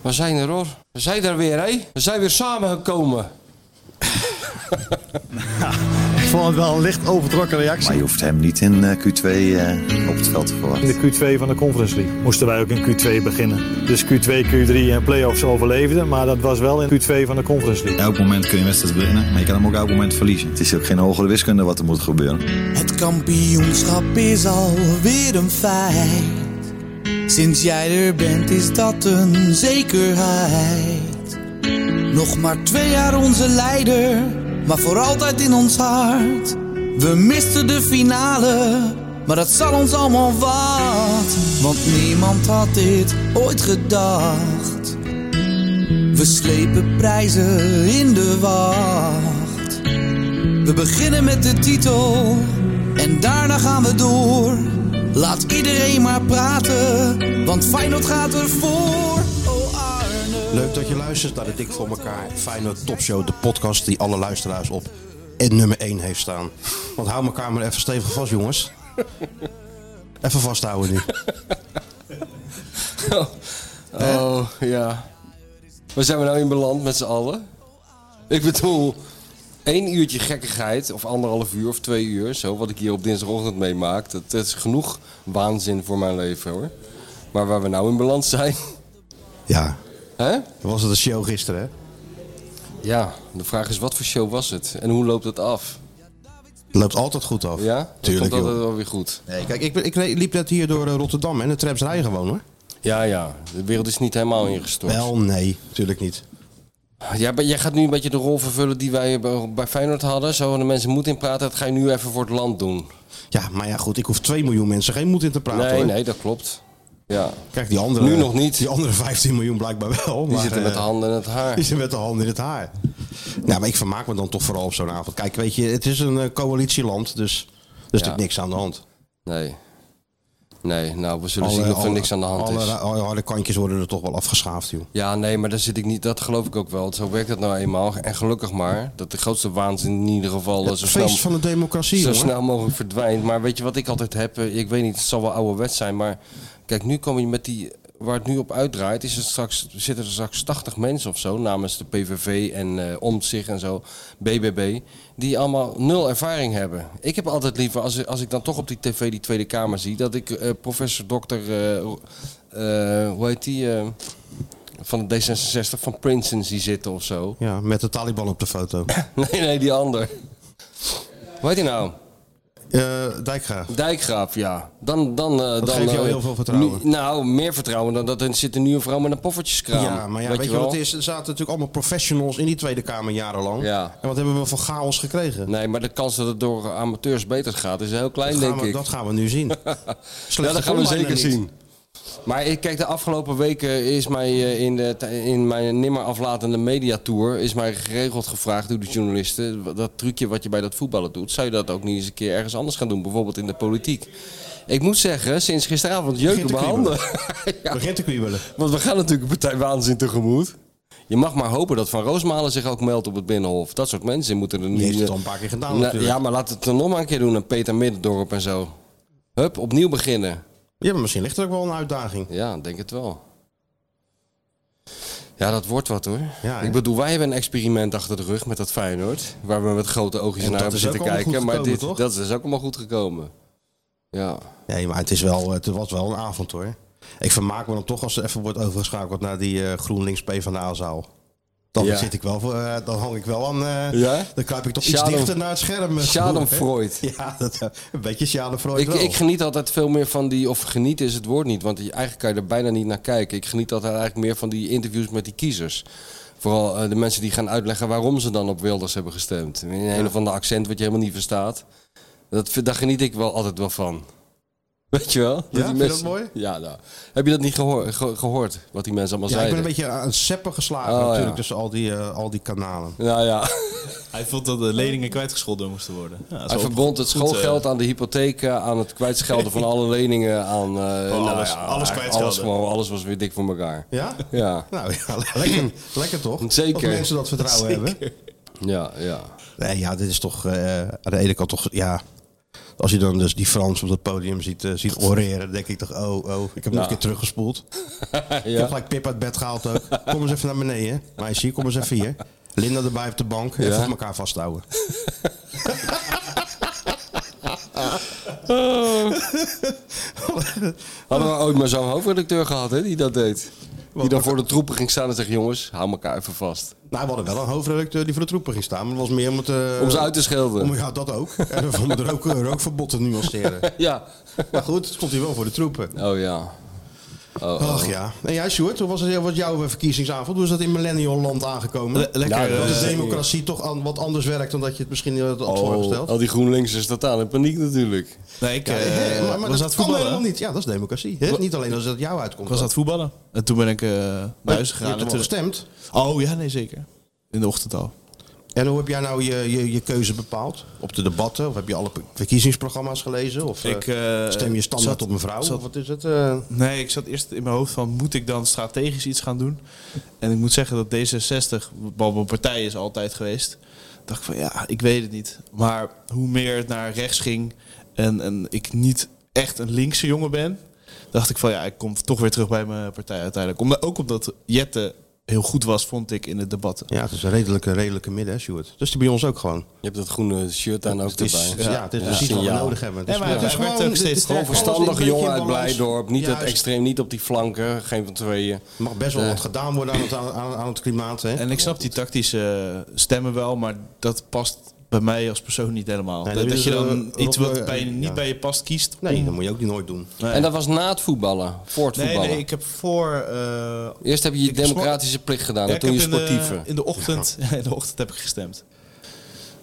we zijn er hoor. We zijn er weer, hé. We zijn weer samengekomen. Ik vond het wel een licht overtrokken Maar reactie. je hoeft hem niet in eh, Q2 eh, op het veld te In de verwachten. Q2 van de Conference League moesten wij ook in Q2 beginnen. Dus Q2, Q3 en play-offs overleefden, maar dat was wel in Q2 van de Conference League. Elk moment kun je een wedstrijd winnen, maar je kan hem ook elk moment verliezen. Het is ook geen hogere wiskunde wat er moet gebeuren. Het kampioenschap is alweer een feit. Sinds jij er bent is dat een zekerheid. Nog maar twee jaar onze leider, maar voor altijd in ons hart. We misten de finale, maar dat zal ons allemaal wat. Want niemand had dit ooit gedacht. We slepen prijzen in de wacht. We beginnen met de titel en daarna gaan we door. Laat iedereen maar praten, want Feyenoord gaat ervoor. Oh Arne. Leuk dat je luistert naar de Dik voor elkaar Feyenoord Topshow, de podcast die alle luisteraars op en nummer 1 heeft staan. Want hou elkaar maar even stevig vast, jongens. Even vasthouden nu. Oh, ja. Waar zijn we nou in beland met z'n allen? Ik bedoel, één uurtje gekkigheid, of anderhalf uur of twee uur, zo, wat ik hier op dinsdagochtend meemaak, dat, dat is genoeg waanzin voor mijn leven hoor. Maar waar we nou in beland zijn, Ja, hè? dat was het een show gisteren, hè? Ja, de vraag is wat voor show was het en hoe loopt dat af? Het loopt altijd goed af. Ja, dat Tuurlijk, komt joh. altijd wel weer goed. Nee, kijk, ik, ben- ik liep net hier door eh, Rotterdam en de trams rijden gewoon, hoor. Ja, ja, de wereld is niet helemaal ingestort. Wel, nee, natuurlijk niet. Ja, maar jij gaat nu een beetje de rol vervullen die wij bij- bij Feyenoord hadden. Zo, de mensen moeten in praten. Dat ga je nu even voor het land doen. Ja, maar ja, goed, ik hoef 2 miljoen mensen geen moed in te praten, nee, hoor. nee, dat klopt. Ja, Kijk, die andere... Nu nog niet. Die andere 15 miljoen blijkbaar wel. eh, die zitten met de handen in het haar. Die zitten met de handen in het haar. Nou, maar ik vermaak me dan toch vooral op zo'n avond. Kijk, weet je, het is een eh, coalitieland, dus er is natuurlijk niks aan de hand. Nee. Nee, nou, we zullen zien of er niks aan de hand dus- alle, is. ra- Alle harde kantjes worden er toch wel afgeschaafd, joh. Ja, nee, maar daar zit ik niet. Dat geloof ik ook wel. Zo werkt dat nou eenmaal. En gelukkig maar dat de grootste waanzin in ieder geval eh, Het zo, feest snel, van de democratie, zo hoor. snel mogelijk verdwijnt. Maar weet je wat ik altijd heb? Eh, Ik weet niet, het zal wel ouderwets zijn. Maar kijk, nu kom je met die. Waar het nu op uitdraait, is het straks, zitten er straks 80 mensen of zo namens de PVV en eh Omtzigt en zo, BBB, die allemaal nul ervaring hebben. Ik heb altijd liever, als, als ik dan toch op die tv die Tweede Kamer zie, dat ik eh, professor, dokter, eh, eh, hoe heet die? eh, van de D66 van Princeton die zitten of zo. Ja, met de Taliban op de foto. Nee, nee, die ander. Hoe heet die nou? Eh Dijkgraaf. Dijkgraaf, ja. Dan, dan, eh, dan, geeft jou eh, heel veel vertrouwen. nu- nou, meer vertrouwen dan dat er zit een nieuwe vrouw met een poffertjeskraam. Ja, maar ja, weet, je wel? wat het is? Er zaten natuurlijk allemaal professionals in die Tweede Kamer jarenlang. Ja. En wat hebben we voor chaos gekregen? Nee, maar de kans dat het door amateurs beter gaat is heel klein, dat, gaan denk we, ik. dat gaan we nu zien. Ja, dat gaan we zeker niet. zien. Maar ik, kijk, de afgelopen weken is mij eh, in, de, in mijn nimmer aflatende mediatour... is mij geregeld gevraagd door de journalisten... dat trucje wat je bij dat voetballen doet... zou je dat ook niet eens een keer ergens anders gaan doen? Bijvoorbeeld in de politiek. Ik moet zeggen, sinds gisteravond jeuken Begint te mijn handen. Ja, Begint te kwiebelen. want we gaan natuurlijk een partij waanzin tegemoet. Je mag maar hopen dat Van Roosmalen zich ook meldt op het Binnenhof. Dat soort mensen moeten er niet... heeft het al een paar keer gedaan, Nou, natuurlijk. Ja, maar laat het dan nog maar een keer doen. En Peter Middendorp en zo. Hup, opnieuw beginnen. Ja, maar misschien ligt er ook wel een uitdaging. Ja, denk het wel. Ja, dat wordt wat hoor. Ja, hè? ik bedoel, wij hebben een experiment achter de rug met dat Feyenoord. Waar we met grote oogjes En naar dat hebben is ook zitten allemaal kijken. goed maar gekomen, dit, toch? dat is ook allemaal goed gekomen. Ja. Nee, maar het, is wel, het was wel een avond hoor. Ik vermaak me dan toch als er even wordt overgeschakeld naar die eh, GroenLinks PvdA-zaal. Dan, Ja. zit ik wel, voor, eh, dan hang ik wel aan. eh, Ja? Dan kruip ik toch Schaden- iets dichter naar het scherm. eh, Schadenfreude. hè? Ja, dat, eh, een beetje schadenfreude. Oh, Ik, wel. ik geniet altijd veel meer van die, of geniet is het woord niet, want die- eigenlijk kan je er bijna niet naar kijken. Ik geniet altijd eigenlijk meer van die interviews met die kiezers. Vooral eh, de mensen die gaan uitleggen waarom ze dan op Wilders hebben gestemd. In een hele of ander accent wat je helemaal niet verstaat. Dat, vind- daar geniet ik wel altijd wel van. Weet je wel? die vind je dat mooi? Ja, nou. Heb je dat niet gehoor- ge- gehoord, wat die mensen allemaal ja, ik ben zeiden? een beetje aan het seppen geslagen Oh, natuurlijk ja. tussen al die, eh, al die kanalen. Nou ja, Hij vond dat de leningen kwijtgescholden moesten worden. Ja, dat is hij wel verbond het goed, schoolgeld eh, aan de hypotheek, eh, aan het kwijtschelden van alle leningen, aan... eh, nou alles- ja, alles kwijtschelden. alles, gewoon, alles was weer dik voor elkaar. Ja? Ja. Nou ja, lekker, lekker toch? Zeker. Als mensen dat vertrouwen hebben. Ja, ja. Nee, ja, dit is toch eh, aan de ene kant toch, ja, Als je dan dus die Frans op dat podium ziet, eh, ziet oreren, dan denk ik toch, oh, oh, ik heb nog een keer teruggespoeld. Eh, Ik heb gelijk Pip uit bed gehaald ook. Kom eens even naar beneden, meisje, kom eens even hier. Linda erbij op de bank, even op elkaar vasthouden. Hadden we ooit maar zo'n hoofdredacteur gehad, hè, die dat deed. Die dan voor de troepen ging staan en zegt, jongens, hou elkaar even vast. Nou, we hadden wel een hoofdredacteur die voor de troepen ging staan, maar dat was meer om het... eh, Om ze uit te schelden. om- ja, dat ook. eh, En om het rook, rookverbod te nuanceren. Ja. Maar goed, stond hij wel voor de troepen. Oh ja. Oh, Ach ja. En jij, Sjoerd, hoe was, het, wat jouw eh, verkiezingsavond? Hoe is dat in millennial land aangekomen? Le- lekker, Nou, dat eh, de democratie toch an- wat anders werkt dan dat je het misschien eh, had Oh, voorgesteld. al die GroenLinksers totaal in paniek natuurlijk. Nee, ik, Ja, eh, hè, maar, maar dat was dat kan helemaal voetballen. hè? niet. Ja, dat is democratie. hè? Niet alleen als het jou uitkomt. Ik was aan het voetballen. En toen ben ik eh, naar huis Je gegaan. hebt En toch toen- gestemd? Oh ja, nee zeker. In de ochtend al. En hoe heb jij nou je, je, je keuze bepaald? Op de debatten? Of heb je alle pe- verkiezingsprogramma's gelezen? Of eh, Ik, eh, stem je standaard zat- op een vrouw? zat- Of wat is het? eh? Nee, ik zat eerst in mijn hoofd van moet ik dan strategisch iets gaan doen? En ik moet zeggen dat D66, wat mijn partij is altijd geweest, dacht ik van ja, ik weet het niet. Maar hoe meer het naar rechts ging en, en ik niet echt een linkse jongen ben, dacht ik van ja, ik kom toch weer terug bij mijn partij uiteindelijk. Omdat, ook omdat Jette heel goed was, vond ik in de debatten. Ja, het is een redelijke, redelijke midden, hè, Sjoerd. Dus die bij ons ook gewoon. Je hebt dat groene shirt aan ook Het is, eh, erbij. ja, het is precies wat we signaal. nodig hebben. Het Nee, is, maar hij werd ook het steeds is gewoon Gewoon alles een verstandige beetje jongen in uit balans. Blijdorp. Niet dat Juist. extreem, niet op die flanken. Geen van tweeën. Er mag best wel wat gedaan worden aan het, aan, aan- aan het klimaat. Hè? En ik snap die tactische stemmen wel, maar dat past bij mij als persoon niet helemaal. Nee, dat, dat dat is, je eh, dan iets Rob, wat eh, bij, je- niet ja. bij je past kiest. om- nee, dat moet je ook niet nooit doen. En dat was na het voetballen. Voor het Nee, voetballen. nee, ik heb voor. eh, Eerst heb je je Ik heb democratische plicht gedaan. ja, en ik toen je eh, heb in de- sportieve. eh, In de, ochtend, in de ochtend heb ik gestemd.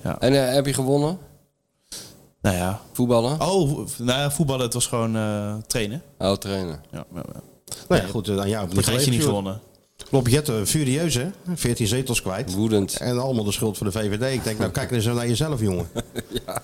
En eh, heb je gewonnen? Nou ja. Voetballen? Oh, v- nou ja, voetballen, het was gewoon eh, trainen. Oh, trainen. Ja, ja, ja. Nou ja, goed, eh, aan jou. heb ik Vergeet je geleverd, niet Sjoerd. gewonnen. Rob Jetten, furieus hè? 14 zetels kwijt. Woedend. En allemaal de schuld voor de VVD. Ik denk, nou kijk eens naar jezelf, jongen. Ja.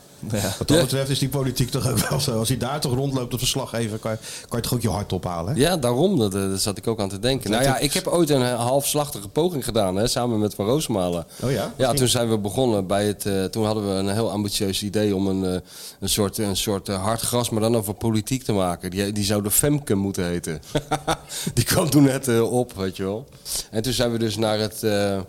Wat dat betreft is die politiek toch ook wel zo. Als hij daar toch rondloopt op verslaggever, kan, je- kan je toch ook je hart ophalen. Hè? Ja, daarom. Dat, eh, daar zat ik ook aan te denken. Nou ja, ik heb ooit een eh, halfslachtige poging gedaan. Hè, samen met Van Roosmalen. Oh ja? Ja, toen zijn we begonnen bij het... eh, toen hadden we een heel ambitieus idee om een, eh, een soort, een soort eh, hard gras... maar dan over politiek te maken. Die, die zou de Femke moeten heten. die kwam toen net eh, op, weet je wel. En toen zijn we dus naar het... eh,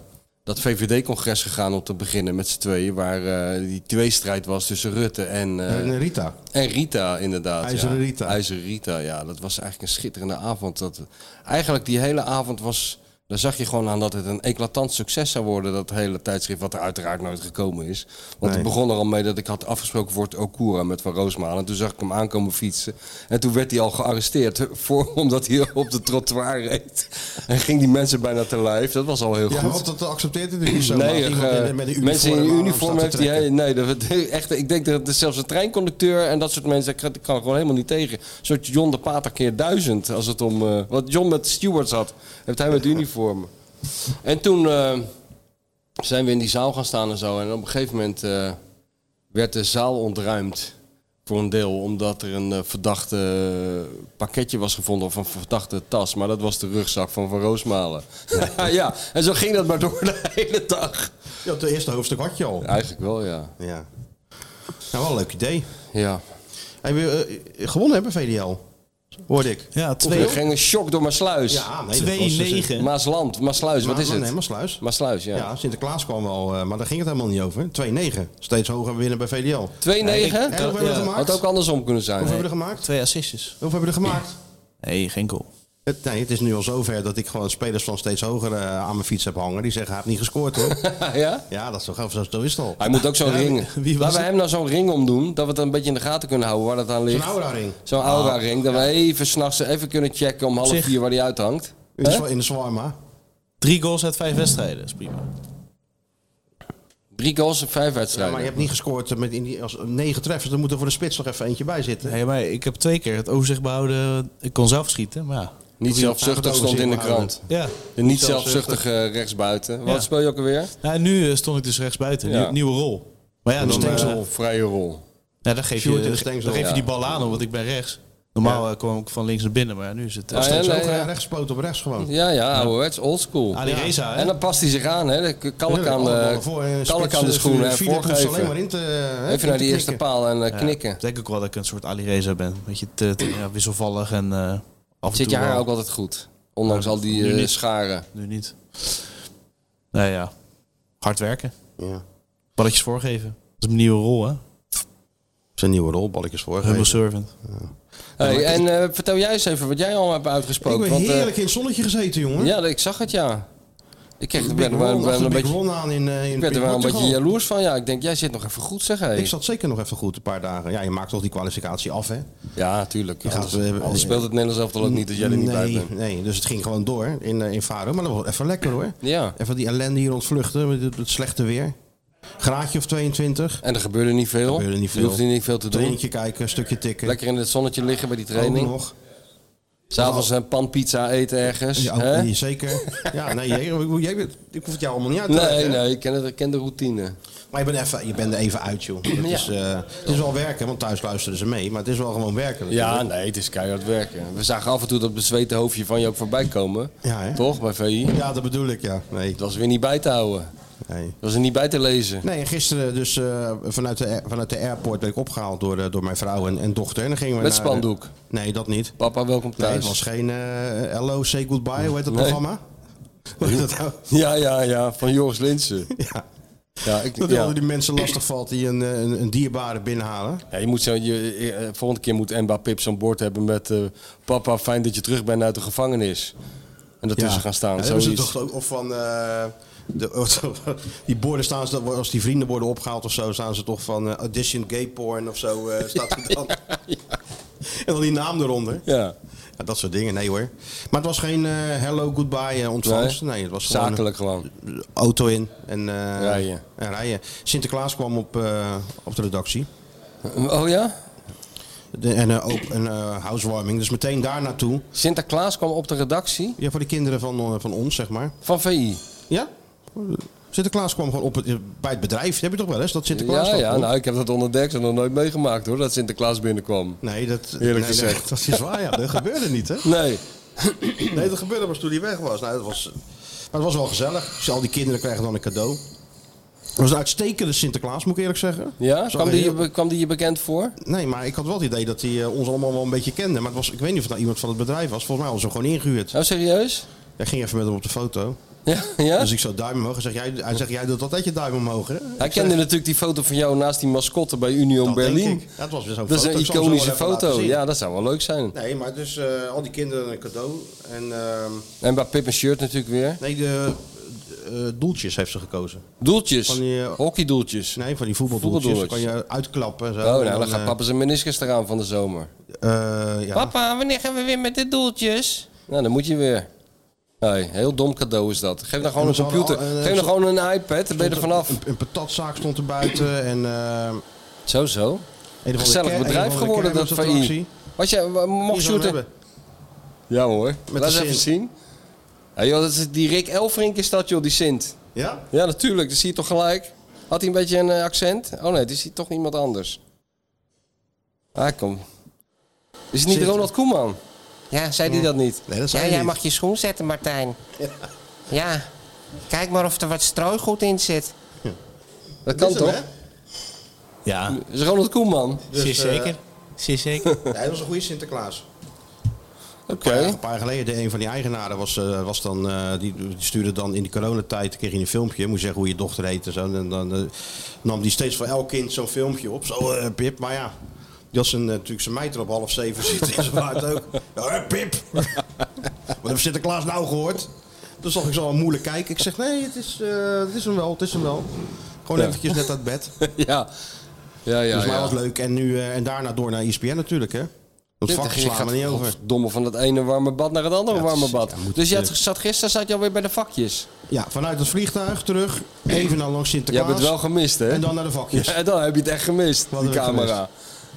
dat VVD-congres gegaan om te beginnen met z'n tweeën, waar eh, die tweestrijd was tussen Rutte en, eh, En Rita. en Rita, inderdaad. IJzeren ja. Rita. IJzeren Rita, ja. Dat was eigenlijk een schitterende avond. Dat, eigenlijk die hele avond was... Daar zag je gewoon aan dat het een eclatant succes zou worden, dat hele tijdschrift, wat er uiteraard nooit gekomen is. Want het begon er al mee dat ik had afgesproken voor het Okura met Van Roosmalen. En toen zag ik hem aankomen fietsen. En toen werd hij al gearresteerd, voor, omdat hij op de trottoir reed. En ging die mensen bijna te lijf. Dat was al heel Ja, goed. want dat accepteert hij niet zo. maar als Nee, iemand eh, in- met een mensen in aan hem uniform staat te heeft die hele- trekken. Nee, dat, echt, ik denk dat er zelfs een treinconducteur en dat soort mensen... Ik kan ik kan gewoon helemaal niet tegen. Een soort John de Pater keer duizend. Als het om, eh, wat John met stewards had, heeft hij met uniformen. En toen eh, zijn we in die zaal gaan staan en zo. En op een gegeven moment eh, werd de zaal ontruimd. Voor een deel, omdat er een eh, verdachte eh, pakketje was gevonden of een verdachte tas. Maar dat was de rugzak van Van Roosmalen. ja, en zo ging dat maar door de hele dag. Ja, het eerste hoofdstuk had je al. Ja. Eigenlijk wel, ja. Nou, wel een leuk idee. Ja. Hij wil eh, gewonnen hebben, VDL. Hoorde ik. Ja, Er 2 ging een shock door Maasluis. Ja, nee, dat was dus- 2-9. Maasland, Maasluis, wat is Maar- Nee, het? maar sluis. Maasluis, ja. Ja, Sinterklaas kwam wel, eh, maar daar ging het helemaal niet over. 2-9. Steeds hoger winnen bij VDL. Hoeveel 2-9? En hoeveel hebben we er gemaakt? Had ook andersom kunnen zijn. hebben we er gemaakt? Twee assistjes. Hoeveel hebben we er gemaakt? Nee, geen goal. Het, nee, het is nu al zover dat ik gewoon spelers van steeds hoger eh, aan mijn fiets heb hangen. Die zeggen, hij heeft niet gescoord hoor. ja? ja, dat is toch gaaf, zo, zo is het al. Hij moet ook zo'n ring. wie was Laten we het? hem nou zo'n ring omdoen, dat we het een beetje in de gaten kunnen houden waar dat aan Zo'n ligt. aura-ring. Zo'n aura ring, dat we even s'nachts even kunnen checken om half Zich. vier waar die uithangt. In de, zwa- in de zwarma. Drie goals uit vijf wedstrijden, is prima. Drie goals en vijf Ja, wedstrijden. maar je hebt niet gescoord met in die, als negen treffers. Dan moet er voor de spits nog even eentje bij zitten. Nee, maar ik heb twee keer het overzicht behouden. Ik kon zelf schieten, maar ja. Niet Ja, zelfzuchtig goed, stond in de overzien, maar krant. Ja. De niet zelfzuchtige rechtsbuiten. Wat Ja. speel je ook alweer? Nou, en nu eh, stond ik dus rechtsbuiten. Ja. Nieuw- nieuwe rol. Maar ja, dan, eh, Stengsel, vrije rol. Ja, dan geef, Sjoerd je, in de Nou, dan stengsel. geef je Ja. die bal aan, hoor, want ik ben rechts. Dan Normaal eh, kwam ik van links naar binnen, maar ja, nu is het... eh, Ah, ja, Steeds nee, ook ja. rechts poot op rechts gewoon. Ja, ja, ouderwets, oldschool. Ali Reza, hè? En dan past hij zich aan, hè? Dan kalk Heerlijk, aan allemaal de, naar voren en kalk spits, aan de eh, schoenen en Philip hoeft alleen maar voorgeven. in te, eh, in Even naar te die eerste knikken. paal en eh, ja, knikken. Ik denk ook wel dat ik een soort Ali Reza ben. Een beetje te, te- ja, wisselvallig en eh, af en Zit je toe haar wel. ook altijd goed? Ondanks al die nu eh, niet. scharen. Nu niet. Nou ja, hard werken. Ja. Balletjes voorgeven. Dat is mijn nieuwe rol, hè? Zijn nieuwe rol, balkjes voor. Humble servant. Hey, en eh, vertel jij eens even wat jij allemaal hebt Ik uitgesproken. ben want, eh, heerlijk in het zonnetje gezeten, jongen. ja, ik zag het, ja. Ik kreeg, Ik ben, ben er wel- ben een een beetje, Ron aan in, eh, in ik werd er wel een beetje Portugal. jaloers van. Ja, ik denk, jij zit nog even goed, zeg hé. Ik zat zeker nog even goed een paar dagen. Ja, je maakt toch die kwalificatie af, hè? Ja, tuurlijk. gaat- Anders, we hebben- anders speelt het Nederlands elftal ook niet dat jij er niet bij nee, bent. nee, dus het ging gewoon door in, eh, in Faro. Maar dat was even lekker hoor. Ja, Even die ellende hier ontvluchten met het, het slechte weer. Graadje of 22. en er gebeurde niet veel. gebeurde niet Je veel. hoefde niet veel te doen. Trainetje kijken, een stukje tikken. Lekker in het zonnetje liggen bij die Ook training. nog. S'avonds een pan pizza eten ergens. Ja, hè? ook niet, zeker. Ja, nee, jij, jij, bent- ik hoef het jou allemaal niet uit te leggen. Nee, hè? nee, ik ken, het, ik ken de routine. Maar je bent, even, je bent er even uit, joh. Het, is, eh, het is wel werken, want thuis luisteren ze mee. Maar het is wel gewoon werken. Ja, natuurlijk. nee, het is keihard werken. We zagen af en toe dat bezweten hoofdje van je ook voorbij komen. Ja, hè? Toch, bij VI? Het ja, dat bedoel ik, ja. Nee. was weer niet bij te houden. nee. Het was er niet bij te lezen. Nee, en gisteren dus eh, vanuit, de, air- vanuit de airport werd ik opgehaald door, eh, door mijn vrouw en, en dochter. En dan gingen we Met naar, spandoek. nee, dat niet. Papa, welkom eh, Nee, thuis. het was geen eh, Hello, Say Goodbye, hoe heet dat Nee. programma? Hoe heet dat nou? Ja, ja, ja, van Joris Linsen. Ja, Ja, ik, dat ja. hadden die mensen lastig valt die een, eh, een, een dierbare binnenhalen. Ja, je moet zo, je, eh, volgende keer moet Emba Pips aan boord hebben met... eh, papa, fijn dat je terug bent uit de gevangenis. En daartussen gaan staan, Ja, hebben ze zoiets. toch ook, of van... eh, de, die borden staan ze, dan- als die vrienden worden opgehaald of zo, staan ze toch van eh, audition gay porn of zo. eh, staat er dan. En dan die naam eronder. Ja, Ja, dat soort dingen, nee hoor. Maar het was geen eh, hello, goodbye eh, ontvangst. Nee. Nee. het was gewoon zakelijk gewoon. een auto in en eh, Rijden. en rijden. Sinterklaas kwam op, eh, op de redactie. Oh ja? De, en eh, ook een eh, housewarming. Dus meteen daar naartoe. Sinterklaas kwam op de redactie Ja, voor de kinderen van, eh, van ons, zeg maar. van VI. Ja? Sinterklaas kwam gewoon op het, bij het bedrijf. Heb je toch wel eens dat Sinterklaas Ja, dan ja komt? nou, ik heb dat onder deks en nog nooit meegemaakt hoor, dat Sinterklaas binnenkwam. Nee, dat, Eerlijk nee, gezegd. Dat, dat is waar, ja. Dat gebeurde niet, hè? Nee. Nee, dat gebeurde pas toen hij weg was. Nou, dat was maar het was wel gezellig. Dus al die kinderen krijgen dan een cadeau. Het was een uitstekende Sinterklaas, moet ik eerlijk zeggen. Ja? Zag Kwam er die, je, heel- be- kwam die je bekend voor? Nee, maar ik had wel het idee dat hij eh, ons allemaal wel een beetje kende. Maar het was, ik weet niet of het nou iemand van het bedrijf was. Volgens mij hadden ze hem gewoon ingehuurd. Oh, serieus? Hij ging even met hem op de foto. Ja? ja? Dus ik zo duim omhoog. Hij zegt, jij, hij zegt, jij doet altijd je duim omhoog, hè? Hij kende natuurlijk die foto van jou naast die mascotte bij Union Dat denk Berlin. ik. Ja, het was weer zo'n Dat is foto. een Ik zal hem zo iconische wel even laten foto. zien. Ja, dat zou wel leuk zijn. Nee, maar dus eh, al die kinderen een cadeau. En ehm, En bij Pip en Shirt natuurlijk weer. nee, de eh, doeltjes heeft ze gekozen. Doeltjes. Van die, eh, Hockeydoeltjes. Nee, van die voetbaldoeltjes. Dan kan Voetbaldoeltjes. je uitklappen. en Zo. Oh, En nou, dan dan, gaat eh, papa zijn meniscus eraan van de zomer. eh, ja. Papa, wanneer gaan we weer met de doeltjes? Nou, dan moet je weer. Nee, heel dom cadeau is dat. Geef dan gewoon Ja, een ze hadden computer. al- eh, Geef dan ze- gewoon een iPad, dan ben je er vanaf. Een, een patatzaak stond er buiten. En, eh, een Zo, zo. of andere Gezellig ker- een bedrijf of andere geworden, dat kermisattractie. VI. Wat jij, wa- mocht Die zou hem shooten? hebben. Ja hoor, de laat eens even Sint. zien. Ja, joh, dat is die Rick Elfrink is dat joh, die Sint. Ja? Ja, natuurlijk, dat zie je toch gelijk. Had hij een beetje een eh, accent? Oh nee, het is hier toch iemand anders. Ah, kom. Is het niet Sint. Ronald Koeman? Ja, zei hij dat niet? Nee, dat zei Ja, hij jij niet. mag je schoen zetten, Martijn. Ja, kijk maar of er wat strooigoed in zit. Dat kan Is hem, toch? hè? Ja, Dat is Ronald Koeman. Dus, zeer eh, zeker. Zeer zeker. ja, hij was een goede Sinterklaas. Oké. Een paar jaar geleden, de een van die eigenaren was, eh, was dan, eh, die, die stuurde dan in de coronatijd, kreeg je een filmpje, moest je zeggen hoe je dochter heet en zo. En dan eh, nam die steeds voor elk kind zo'n filmpje op, zo eh, Pip, maar ja. Die had zijn, eh, natuurlijk zijn meid er op half zeven zitten en ze waard ook. Ja, hè, Pip! Wat heb Sinterklaas nou gehoord? Toen zag ik zo al moeilijk kijken. Ik zeg, nee, het is, eh, het is hem wel, het is hem wel. Gewoon eventjes net uit bed. ja. Ja, ja, dus mij ja. was leuk. En, nu, eh, en daarna door naar ESPN natuurlijk, hè. Dat vak Je slaan we niet over. Domme van het ene warme bad naar het andere Ja, het is- warme bad. ja, moet- dus je had, zat gisteren zat je alweer bij de vakjes. Ja, vanuit het vliegtuig terug, even naar langs Jij Sinterklaas. bent wel gemist, hè? En dan naar de vakjes. Ja, dan heb je het echt gemist, Wat die heb ik Ah. camera.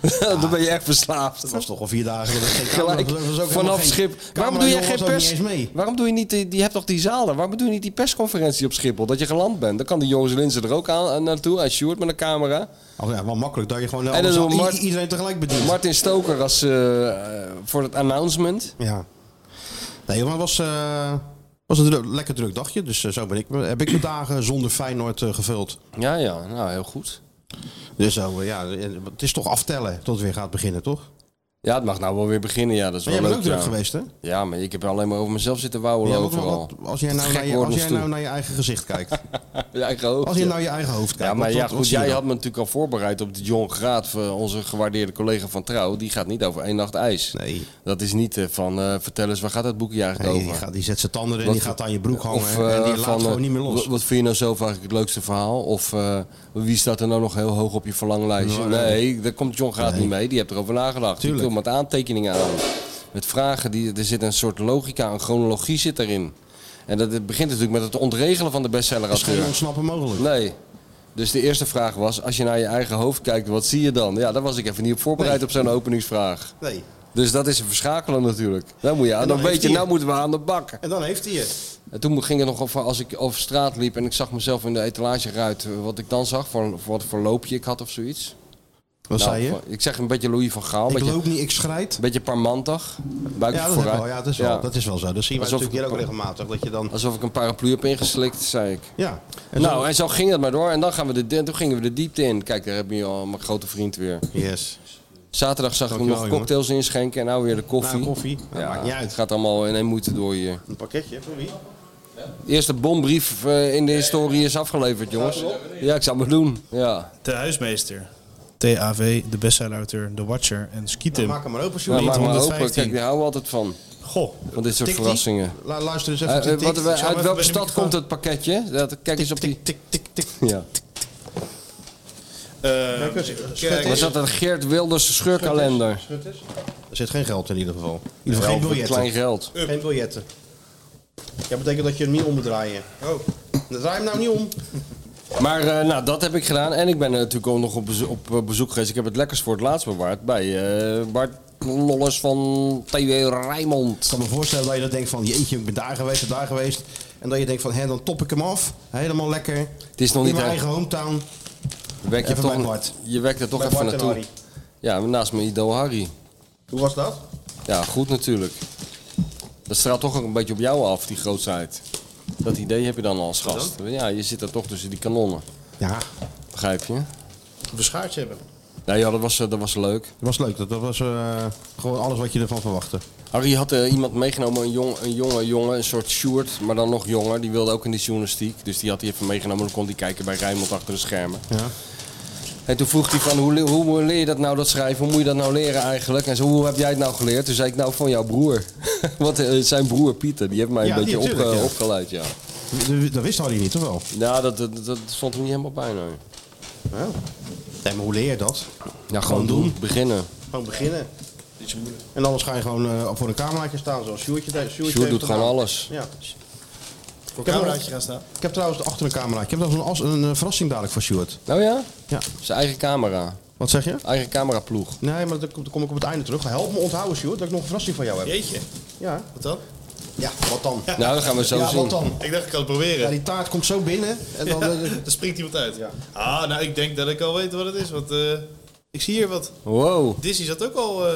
dan ben je echt verslaafd. Dat was toch al vier dagen. Dat geen camera- Gelijk, dat was ook helemaal vanaf geen- schip. Waarom camera- doe jij jongens geen ook niet pers? eens mee. Waarom doe je niet, die, die hebt toch die zalen? Waarom doe je niet die persconferentie op Schiphol? Dat je geland bent. Dan kan die Joris Linsen er ook aan, aan naartoe. En Sjoerd met een camera. Oh ja, wel makkelijk dat je gewoon dan alles- doen we i- Mart- iedereen tegelijk bedient. Martin Stoker als, eh, eh, voor het announcement. Ja. Nee, maar het was, eh, was een dru- lekker druk dagje. Dus eh, zo ben ik. Heb ik mijn dagen zonder Feyenoord eh, gevuld. Ja, ja. Nou, heel goed. Dus zo, eh, ja, eh, het is toch aftellen tot het weer gaat beginnen, toch? Maar Ja, het mag nou wel weer beginnen. Ja, dat is wel jij bent leuk. ook druk ja. geweest, hè? Ja, maar ik heb alleen maar over mezelf zitten wouwen Ja, wat- overal. wat- als jij nou, Gek naar je, worden als jij ons toe. nou naar je eigen gezicht kijkt. Je eigen hoofd, Als nou je ja. naar je eigen hoofd kijkt. Ja, maar wat- ja, wat- wat goed, zie je jij dan? had me natuurlijk al voorbereid op de John Graat, eh, onze gewaardeerde collega van Trouw. Die gaat niet over één nacht ijs. Nee. Dat is niet eh, van, eh, vertel eens, waar gaat dat boekje eigenlijk Nee, die, over? gaat, die zet zijn tanden in, Wat- die gaat aan je broek hangen Of, en eh, die laat van, gewoon eh, niet meer los. wa- Wat vind je nou zelf eigenlijk het leukste verhaal? Of eh, wie staat er nou nog heel hoog op je verlanglijstje? Nou, Nee. Nee, daar komt John Graat niet mee. Die hebt erover nagedacht. Tuurlijk. Die komt met aantekeningen aan. Met vragen. Die, er zit een soort logica, een chronologie zit daarin. En dat het begint natuurlijk met het ontregelen van de dat is geen bestsellerauteur. ontsnappen mogelijk. Nee. Dus de eerste vraag was, als je naar je eigen hoofd kijkt, wat zie je dan? Ja, daar was ik even niet op voorbereid Nee. op zo'n openingsvraag. Nee. Dus dat is een verschakelen natuurlijk. Nou, moet je, aan- En dan dan weet heeft je, hij- nou moeten we aan de bak. En dan heeft hij het. En toen ging het nog over als ik over straat liep en ik zag mezelf in de etalageruit, eh, wat ik dan zag, voor, voor wat voor loopje ik had of zoiets. Wat Nou, zei je? voor- Ik zeg een beetje Louis van Gaal, een Ik beetje, loop niet, ik schrijt. een beetje parmantig, buikje Ja, dat, heb ik vooruit. wel. ja, dat, is wel, Ja. dat is wel zo. Dat zien we Alsof- natuurlijk hier ook regelmatig. Dat je dan... Alsof ik een paraplu heb ingeslikt, zei ik. Ja. En nou, zo- en zo ging dat maar door. En dan gaan we de, di- toen gingen we de diepte in. Kijk, daar heb je al mijn grote vriend weer. Yes. Zaterdag zag ik hem Dankjewel, nog jongen. cocktails inschenken en nou weer de koffie. Nou, koffie. Ja, Ja, maakt niet uit. het gaat allemaal in één moeite door hier. Een pakketje voor wie? De eerste bombrief eh, in de historie is afgeleverd, jongens. Ja, ik zou het doen. Ja. De huismeester. TAV, de bestsellerauteur, The Watcher en Skitim. Maak hem maar open, Nou, Sjoerd. maar maar open. 115. Kijk, daar houden we altijd van. Goh. Van dit soort Tik, tik. verrassingen. La- Luister eens Eh, even. eh, tik, tik. wat, Ik zal uit even welke bij de stad microfoon- komt het pakketje? Dat, kijk eens op die... Tik, tik, tik, tik. Ja. Eh, Kijk, Was dat een Geert Wilders scheurkalender? Er zit geen geld in ieder geval. In ieder Wel geval geen voor biljetten. Klein geld. Geen biljetten. Dat betekent dat je hem niet om moet draaien. Oh. Draai hem nou niet om. Maar eh, nou, dat heb ik gedaan. En ik ben eh, natuurlijk ook nog op bezoek, op eh, bezoek geweest. Ik heb het lekkers voor het laatst bewaard bij eh, Bart Lollers van TV Rijnmond. Ik kan me voorstellen dat je dat denkt van, jeetje, ik ben daar geweest, daar geweest. En dat je denkt van, hè, dan top ik hem af. Helemaal lekker. Het is nog niet In mijn echt- eigen hometown. Wek je, Even bij toch, Bart. je wekt er toch Bij even Bart en naartoe. Ja, naast mijn idool Harry. Hoe was dat? Ja, goed natuurlijk. Dat straalt toch ook een beetje op jou af, die grootsheid. Dat idee heb je dan als gast. Ja, je zit er toch tussen die kanonnen. Ja, Begrijp je? beschaard hebben. Nou ja, dat was, eh, dat was leuk. Dat was leuk. Dat, dat was eh, gewoon alles wat je ervan verwachtte. Harry had eh, iemand meegenomen, een, jong, een jonge jongen, een soort Sjoerd, maar dan nog jonger. Die wilde ook in de journalistiek. Dus die had hij even meegenomen. Dan kon hij kijken bij Rijnmond achter de schermen. Ja. En toen vroeg hij van, hoe, le- hoe leer je dat nou, dat schrijven? Hoe moet je dat nou leren eigenlijk? En zo, hoe heb jij het nou geleerd? Toen zei ik, nou, van jouw broer. Want eh, zijn broer Pieter, die heeft mij een Ja, die beetje natuurlijk, opge- ja. opgeleid, ja. Dat- Dat wist Harry niet, toch wel? Ja, dat, dat, dat stond er niet helemaal bij, nee. Oh. Nee, maar hoe leer je dat? Ja, gewoon doen. Beginnen. Gewoon beginnen. En anders ga je gewoon eh, voor een cameraatje staan, zoals Sjoerdje. Sjoerd Sjoerd doet gewoon alles. Ja. voor heb cameraatje nog- gaan staan. Ik heb trouwens achter een cameraatje. Ik heb nog een, as- een eh, verrassing dadelijk voor Sjoerd. Nou ja? Ja. Zijn eigen camera. Wat zeg je? Eigen cameraploeg. Nee, maar daar kom- daar kom ik op het einde terug. Help me onthouden, Sjoerd, dat ik nog een verrassing van jou heb. Jeetje, Ja. wat dan? Ja, wat dan? Ja, Nou, dat gaan we zo zien. wat dan? Ik dacht ik kan het Ja, proberen. die taart komt zo binnen en dan... eh, Er springt iemand uit. Ja. Ah, nou ik denk dat ik al weet wat het is, want eh, ik zie hier wat. Wow, Disney zat ook al... eh,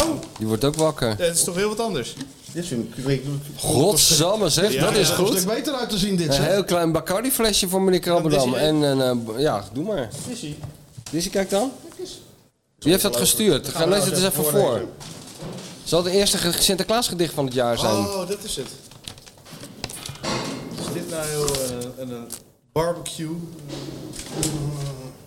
oh, die wordt ook wakker. het is toch heel wat anders. Dit is een... ik- Godsamme zeg, Ja, dat ja, is dat Een goed. stuk beter uit te zien dit, Een zeg. heel klein Bacardi flesje voor meneer Krabbedam. Ja, En een, eh, ja, doe maar. Disney. Dizzy, kijk dan. Wie heeft dat gestuurd? Ga, lees het eens even voor. Zal het eerste ge- Sinterklaasgedicht van het jaar zijn? Oh, dat is het. Is dit nou heel, eh, een, een barbecue?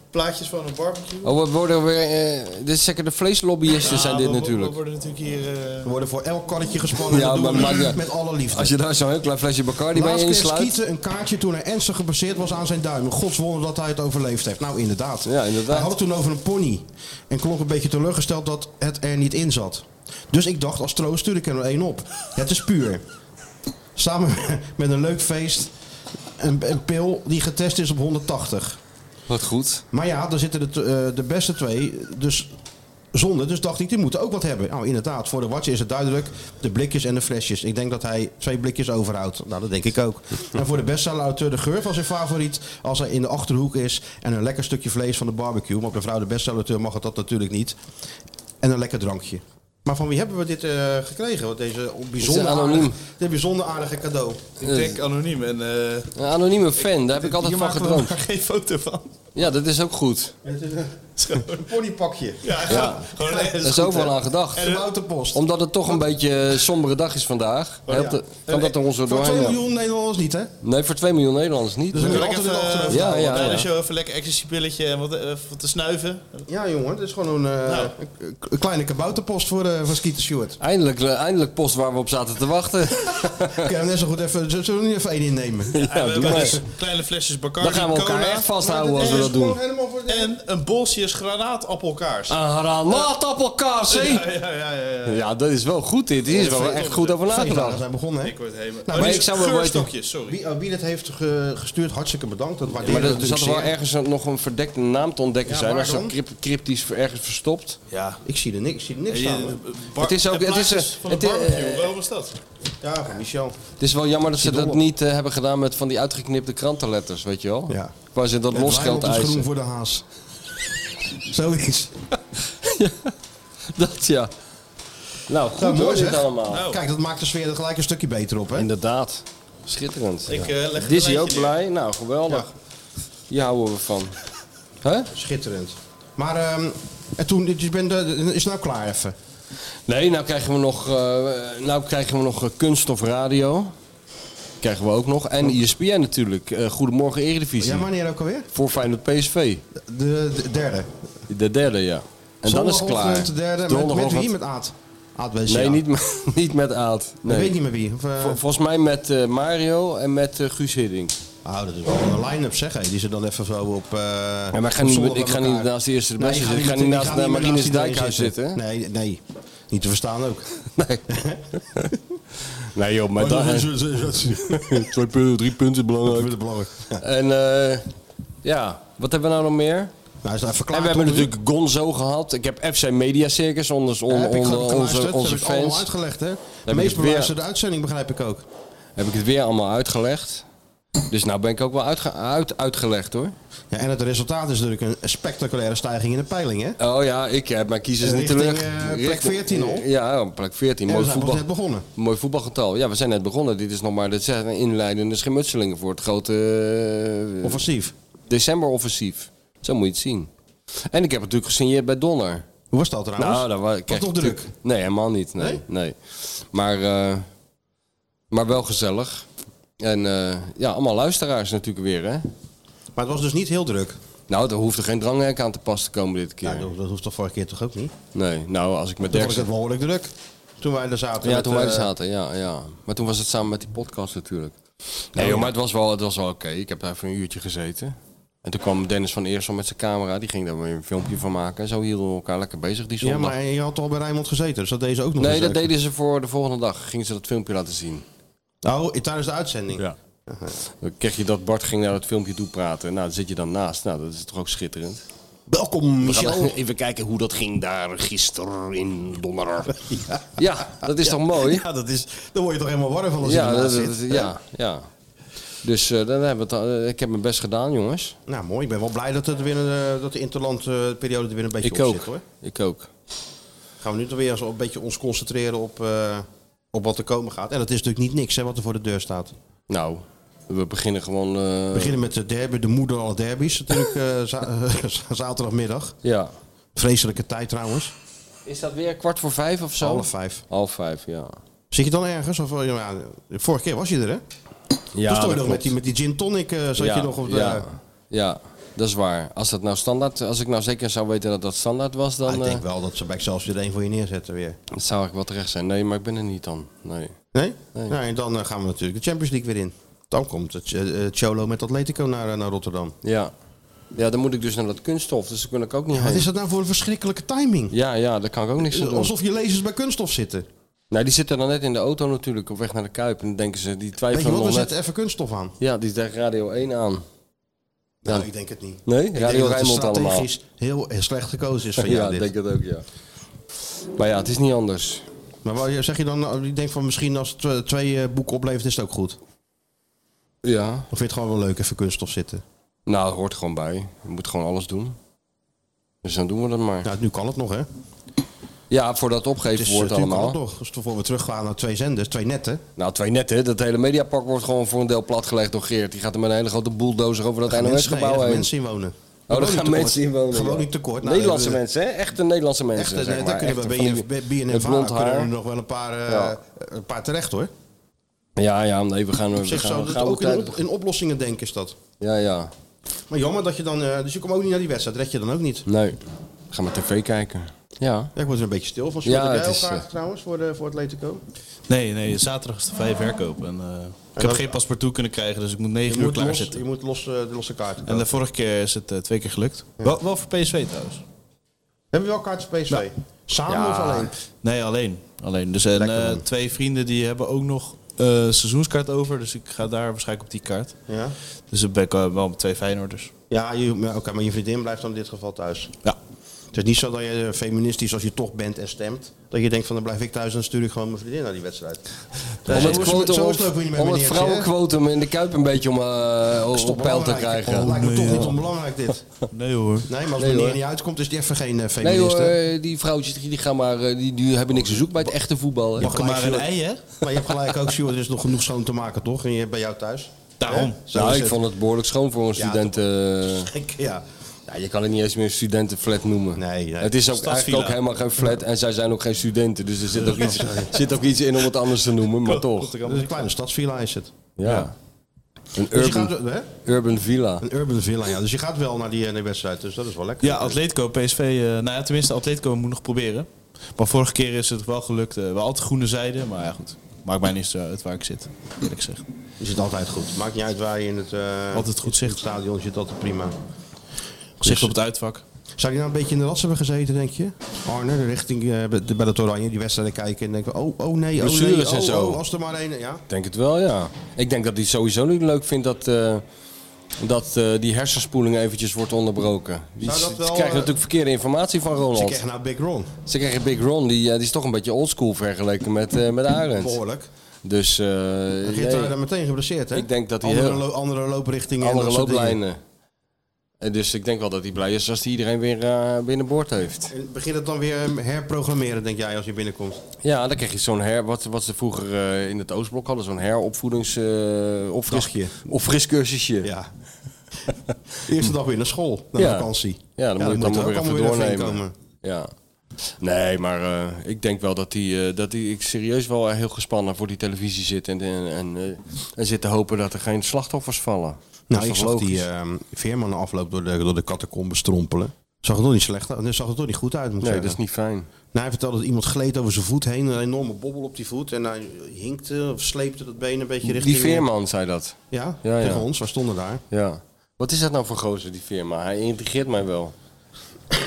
Plaatjes van een barbecue? Oh, we worden weer... eh, dit is zeker de vleeslobbyisten zijn dit we- we- natuurlijk. We worden natuurlijk hier... eh, We worden voor elk karretje gespannen. Ja, Ja, maar- dat doen maar- we ja. met, met alle liefde. Als je daar zo'n heel klein flesje Bacardi bij Laatst kreeg insluit... Skieten een kaartje toen hij ernstig gebaseerd was aan zijn duim. Godswonder dat hij het overleefd heeft. Nou, inderdaad. Ja, inderdaad. Hij had het toen over een pony. En klonk een beetje teleurgesteld dat het er niet in zat. Dus ik dacht, als troost stuur ik er één op. Het is puur. Samen met een leuk feest. Een, een pil die getest is op 180. Wat goed. Maar ja, daar zitten de, t- eh, de beste twee. Dus zonde. Dus dacht ik, die moeten ook wat hebben. Nou, inderdaad, voor de watje is het duidelijk. De blikjes en de flesjes. Ik denk dat hij twee blikjes overhoudt. Nou, dat denk ik ook. En voor de bestsellerauteur de geur van zijn favoriet. Als hij in de achterhoek is en een lekker stukje vlees van de barbecue. Maar op de vrouw de bestsellerauteur mag het dat natuurlijk niet. En een lekker drankje. Maar van wie hebben we dit eh, gekregen? Wat deze bijzonder, anoniem. aardige, dit bijzonder aardige cadeau. Ik denk anoniem en eh Een anonieme fan, daar heb ik altijd hier van maken we gedroomd. maar geen foto van. Ja, dat is ook goed. Het is een- een ponypakje. Ja, gewoon- gewoon Daar een- is ook wel aan gedacht. En een autopost. Omdat het toch een beetje een sombere dag is vandaag, Oh helpt het- kan dat er ons er Voor 2 doorheen. helpen. miljoen Nederlanders niet, hè? Nee, voor 2 miljoen Nederlanders niet. Dus we Wil moeten ik altijd even, eh, erachter. Ja, ja, bij de ja. show even lekker ecstasy-pilletje en wat, eh, wat te snuiven. Ja, jongen, het is gewoon een, eh, Nou. een- een kleine kabouterpost voor, eh voor Skeeter Stewart. Eindelijk, eh, eindelijk post waar we op zaten te wachten. Kun je hem net zo goed even, z- zullen we nu even één innemen? Ja, En we doe hebben maar. dus kleine flesjes Bacardi Dan gaan we elkaar cola echt vasthouden Maar als dit we is dat gewoon doen. helemaal voor de- en een bolsjes granaatappelkaars. Een granaatappelkaas, Ja, hè? ja, ja, ja, ja. Ja, dat is wel goed dit. Hier is wel echt goed over Feestdagen nagedacht. zijn begonnen, hè? Ik word helemaal... maar Oh, nee, ik zou wel geurstokjes, sorry. Wie, oh, wie dit heeft ge- gestuurd, hartstikke bedankt. Dat waardeer Maar ik er er natuurlijk zat er wel zeer. ergens een- nog een verdekte naam te ontdekken Ja, zijn. waar Als zo dan? cryp- cryptisch ver- ergens verstopt. Ja, ik zie er niks, ik zie er niks Ja, staan. hoor. bar- Het is ook- de het is een- plaatjes van het de is- eh, barbecue, wel was dat? Ja, van Michel. Het is wel jammer dat ze dat Dolop. niet eh, hebben gedaan met van die uitgeknipte krantenletters, weet je wel? Ja. Waar ze dat Het weiland losgeld is groen eisen. voor de haas. Zoiets. Dat ja. Nou, goed Nou, hoor, mooi dit zeg. allemaal. Nou. Kijk, dat maakt de sfeer er gelijk een stukje beter op, hè? Inderdaad. Schitterend. Ik, eh, leg Dizzy een lijntje ook neer. blij. Nou, geweldig. Hier houden we van. Hè? Schitterend. Maar ehm, en toen, je bent, eh, is nou klaar even. Nee, nou krijgen we nog, eh, nou krijgen we nog eh, kunst of radio. Krijgen we ook nog. En E ESPN natuurlijk. Eh, Goedemorgen Eredivisie. Ja, wanneer ook alweer? Voor Feyenoord PSV. De, de derde. De derde, ja. En dan is het klaar. Zondagochtend, De derde. Met, met Donderdagochtend. wie? Met Aad? Aad BCA. Nee, niet, met- niet met Aad. Ik weet Nee. niet meer wie. Of, eh, Vol- volgens mij met eh, Mario en met eh, Guus Hiddink. oh, dat is wel een line-up, zeg hé. Die ze dan even zo op... eh Ja, maar ik ga op niet- zondag ik ga aan niet elkaar- naast de eerste de Nee, beste je zitten. Ik gaat ga niet naast- meer naar Marines naast die twee Dijkhuis zitten, Nee, nee. Niet te verstaan ook. Nee. nee joh, Oh, maar dan... Twee punten, drie punten is Dat belangrijk. is belangrijk. Ja. En eh, ja, wat hebben we nou nog meer? Nou, is dat verklaard En we hebben toch nu? natuurlijk Gonzo gehad. Ik heb FC Media Circus onder, Ja, onder, heb ik onder gewoon onze, geluisterd. Dat onze heb ik allemaal fans. uitgelegd, hè? De ik meest het weer. beluisterde uitzending begrijp ik ook. Heb ik het weer allemaal uitgelegd. Dus nou ben ik ook wel uitge- uit, uitgelegd hoor. Ja, en het resultaat is natuurlijk een spectaculaire stijging in de peiling, hè? Oh ja, ik heb mijn kiezers niet Richting, terug. eh, plek 14 al. Ja, oh, plek 14. En we Mooi zijn pas voetbal. net begonnen. Mooi voetbalgetal. Ja, we zijn net begonnen. Dit is nog maar dit zijn inleidende schermutselingen voor het grote eh, Offensief. decemberoffensief. Zo moet je het zien. En ik heb natuurlijk gesigneerd bij Donner. Hoe was dat trouwens? Nou, dat was, was kijk, toch druk? Nee, helemaal niet. Nee, nee? Nee? Maar, eh, maar wel gezellig. En eh, ja, allemaal luisteraars natuurlijk weer, hè? Maar het was dus niet heel druk. Nou, daar hoeft er geen dranghek aan te pas te komen dit keer. Nou, dat, dat hoeft toch vorige keer toch ook niet? nee, nou, als ik met Toen was Dirk... het behoorlijk druk. Toen wij er zaten. Ja, met, toen wij er eh, zaten, ja, ja. Maar toen was het samen met die podcast natuurlijk. Nee, joh, maar het was wel, het was wel oké. Ik heb daar even een uurtje gezeten. En toen kwam Dennis van Eersel met zijn camera. Die ging daar weer een filmpje van maken. En zo hielden we elkaar lekker bezig die Ja, zondag. maar je had al bij Rijnmond gezeten, dus dat deze ook nog nee, eens dat leuk. deden ze voor de volgende dag. Gingen ze dat filmpje laten zien. Oh, tijdens de uitzending. Ja. Dan kreeg je dat Bart ging naar het filmpje toe praten. Nou, daar zit je dan naast. Nou, dat is toch ook schitterend. Welkom, We gaan Michel. even kijken hoe dat ging daar gisteren in Donner. Ja, dat is toch mooi? Ja, dat is, daar word je toch helemaal warm van als je Ja, ernaast dat, zit. dat- ja, ja. Dus eh, dan hebben we het, al- eh, ik heb mijn best gedaan, jongens. Nou, mooi. Ik ben wel blij dat, het weer, eh, dat de interlandperiode er weer een beetje Ik op ook. zit, hoor. Ik ook. gaan we nu toch weer eens een beetje ons concentreren op, eh, op wat er komen gaat. En dat is natuurlijk niet niks hè, wat er voor de deur staat. Nou, we beginnen gewoon. eh, We beginnen met de derby, de moeder aller derbies natuurlijk eh, za- zaterdagmiddag. Ja. Vreselijke tijd trouwens, Is dat weer kwart voor vijf of zo? half vijf. Half vijf, ja. Zit je dan ergens? Of, eh, ja, de vorige keer was je er hè? Ja, Toen stond je nog met die, met die gin tonic, eh, zat je nog op de... Ah, Ja, ja, dat is waar. Als, dat nou standaard, als ik nou zeker zou weten dat dat standaard was, dan Ah, ik eh, denk wel dat ze bij zelfs weer één voor je neerzetten weer. dat zou ik wel terecht zijn. Nee, maar ik ben er niet dan. Nee. Nee? Nou, en dan eh, gaan we natuurlijk de Champions League weer in. Dan komt het eh, eh, Cholo met Atletico naar, eh, naar Rotterdam. Ja. ja, dan moet ik dus naar dat kunststof, dus daar kan ik ook niet Wat heen. is dat nou voor een verschrikkelijke timing? Ja, ja, daar kan ik ook niks aan doen. Alsof je lezers bij kunststof zitten. Nou, die zitten dan net in de auto natuurlijk op weg naar de Kuip. En dan denken ze, die Weet je twijfelen wat, we nog net. zetten even kunststof aan. Ja, die tegen Radio 1 aan. Nou, ik denk het niet. Nee? Ik Radio denk dat het Rijnmond allemaal. strategisch heel, heel slecht gekozen is van Ja, jou ik dit. denk het ook, ja. Maar ja, het is niet anders. Maar wat zeg je dan, nou, ik denk van misschien als het eh, twee eh, boeken oplevert is het ook goed. Of Ja. vind je het gewoon wel leuk even kunststof zitten? Nou, het hoort er gewoon bij. Je moet gewoon alles doen. Dus dan doen we dat maar. Nou, nu kan het nog hè. Ja, voordat het opgegeven Dus wordt nu kan het allemaal. nog. Dus voor we teruggaan naar twee zenders, twee netten. Nou, twee netten. Dat hele mediapark wordt gewoon voor een deel platgelegd door Geert. Die gaat er met een hele grote bulldozer over dat nee, er NOS-gebouw gaan heen. mensen inwonen. Oh, daar gaan Gewoon mensen in tekort. wonen. Gewoon ja. niet tekort. Nou, Nederlandse eh, mensen, hè? Echte Nederlandse mensen. Echt, zeg eh, maar. daar kunnen Echte we van die- bij BNN met blond kunnen er haar. nog wel een paar, eh, Ja. een paar terecht hoor. Ja, ja, nee, we gaan, we Op zich gaan, zou we dat gaan ook in, tijd... op- in oplossingen denken is dat. Ja, ja. Maar jammer dat je dan, eh, dus je komt ook niet naar die wedstrijd, red je dan ook niet. Nee. We gaan maar tv kijken. Ja. Ja, ik word er een beetje stil van. Ja, Ja, het jij is, elkaar eh, trouwens voor, de, voor Atletico? Nee, nee, zaterdag is de vrije verkoop. En, eh, ik heb dat- geen paspartout kunnen krijgen, dus ik moet Je 9 uur moet, klaar los, zitten. je moet los, eh, de losse kaart. En de vorige keer is het eh, twee keer gelukt. Wel, wel voor PSV trouwens. Hebben we wel kaartjes voor PSV? Nou. Samen of alleen? Nee, alleen. alleen. Dus, en Lekker, eh, man. twee vrienden die hebben ook nog eh, seizoenskaart over. Dus ik ga daar waarschijnlijk op die kaart. Ja, Dus dan ben ik eh, wel met twee Feyenoorders. ja je- maar oké, maar je vriendin blijft dan in dit geval thuis. Ja. Het is niet zo dat je eh, feministisch als je toch bent en stemt, dat je denkt van dan blijf ik thuis en dan stuur ik gewoon mijn vriendin naar die wedstrijd. Eh, Om zo het, is- quotum, zo is op, het ook weer niet met om het meneertje, hè? vrouwenquotum in de Kuip een beetje om, eh, Is op toch peil te belangrijk? krijgen. Het lijkt me toch niet onbelangrijk dit. Nee hoor. Nee, maar als Nee, meneer hoor. niet uitkomt is die even geen eh, Nee hoor, feministe. eh, die vrouwtjes die, die gaan maar, eh, die, die hebben niks te zoeken bij het echte voetbal. Hè? Pak er gelijk, maar een Sjoerd. ei, hè? Maar je hebt gelijk ook, Sjoerd, er is nog genoeg schoon te maken toch? En je hebt bij jou thuis. Daarom. Hè? Zo Nou, is ik het. vond het behoorlijk schoon voor een Ja, studenten... Ik- Ja. Ja, je kan het niet eens meer studentenflat noemen. Nee, nee. Het is ook Stadsvilla. eigenlijk ook helemaal geen flat en zij zijn ook geen studenten. Dus er zit ook iets, zit ook iets in om het anders te noemen, maar toch. Dat is een kleine stadsvilla is het. Ja. Een Dus je urban, gaat, hè? urban villa. Een urban villa, ja. Dus je gaat wel naar die, eh, die wedstrijd, dus dat is wel lekker. Ja, Atletico, PSV. eh, nou ja, tenminste, Atletico moet nog proberen. Maar vorige keer is het wel gelukt. eh, wel altijd groene zijde. Maar ja, goed. Maakt mij niet zo uit waar ik zit. Eerlijk gezegd. Je zit altijd goed. Maakt niet uit waar je in het, eh, Altijd goed zicht. in het stadion zit, altijd prima. Dus Gezicht op het uitvak. Zou die nou een beetje in de lats hebben gezeten, denk je? Arne, de richting eh, bij de- bij dat Oranje, die wedstrijden kijken en denken, oh, oh nee, oh nee, Blessures en oh, zo. oh, als er maar één, ja. Ik denk het wel, ja. Ik denk dat hij sowieso niet leuk vindt dat, eh, dat eh, die hersenspoeling eventjes wordt onderbroken. Die, Zou dat ze wel, krijgen eh, natuurlijk verkeerde informatie van Ze Ronald. krijgen nou Big Ron, Ze krijgen Big Ron, die, eh, die is toch een beetje oldschool vergeleken met, eh met Arend. behoorlijk. Dus eh, Geert nee. daar dan meteen geblesseerd, hè? Ik denk dat hij andere, heel- lo- andere looprichtingen en andere dat soort dingen. looplijnen. En dus ik denk wel dat hij blij is als hij iedereen weer eh, binnenboord heeft. En Begin het dan weer eh, herprogrammeren, denk jij, als je binnenkomt? Ja, dan krijg je zo'n her, wat, wat ze vroeger eh, in het Oostblok hadden, zo'n heropvoedings... eh opfris, Dagje. opfriscursusje. Ja. Eerste dag weer naar school, naar Ja. vakantie. Ja, dan moet je het allemaal er ook weer even allemaal weer doornemen. even inkomen. Ja. Nee, maar eh, ik denk wel dat, die, eh, dat die, ik serieus wel heel gespannen voor die televisie zit. En, en, en, eh, en zit te hopen dat er geen slachtoffers vallen. Dat Nou, is ik toch zag die logisch? ehm Veerman na afloop door de, door de catacombe strompelen. Zag het toch niet slecht uit? Nee, zag het toch niet goed uit, moet ik Nee, zeggen. dat is niet fijn. Nou, hij vertelde dat iemand gleed over zijn voet heen. Een enorme bobbel op die voet. En hij hinkte of sleepte dat been een beetje richting... Die Veerman zei dat. Ja, Ja, tegen ja. ons. Wij stonden daar. Ja. Wat is dat nou voor gozer, die Veerman? Hij intrigeert mij wel.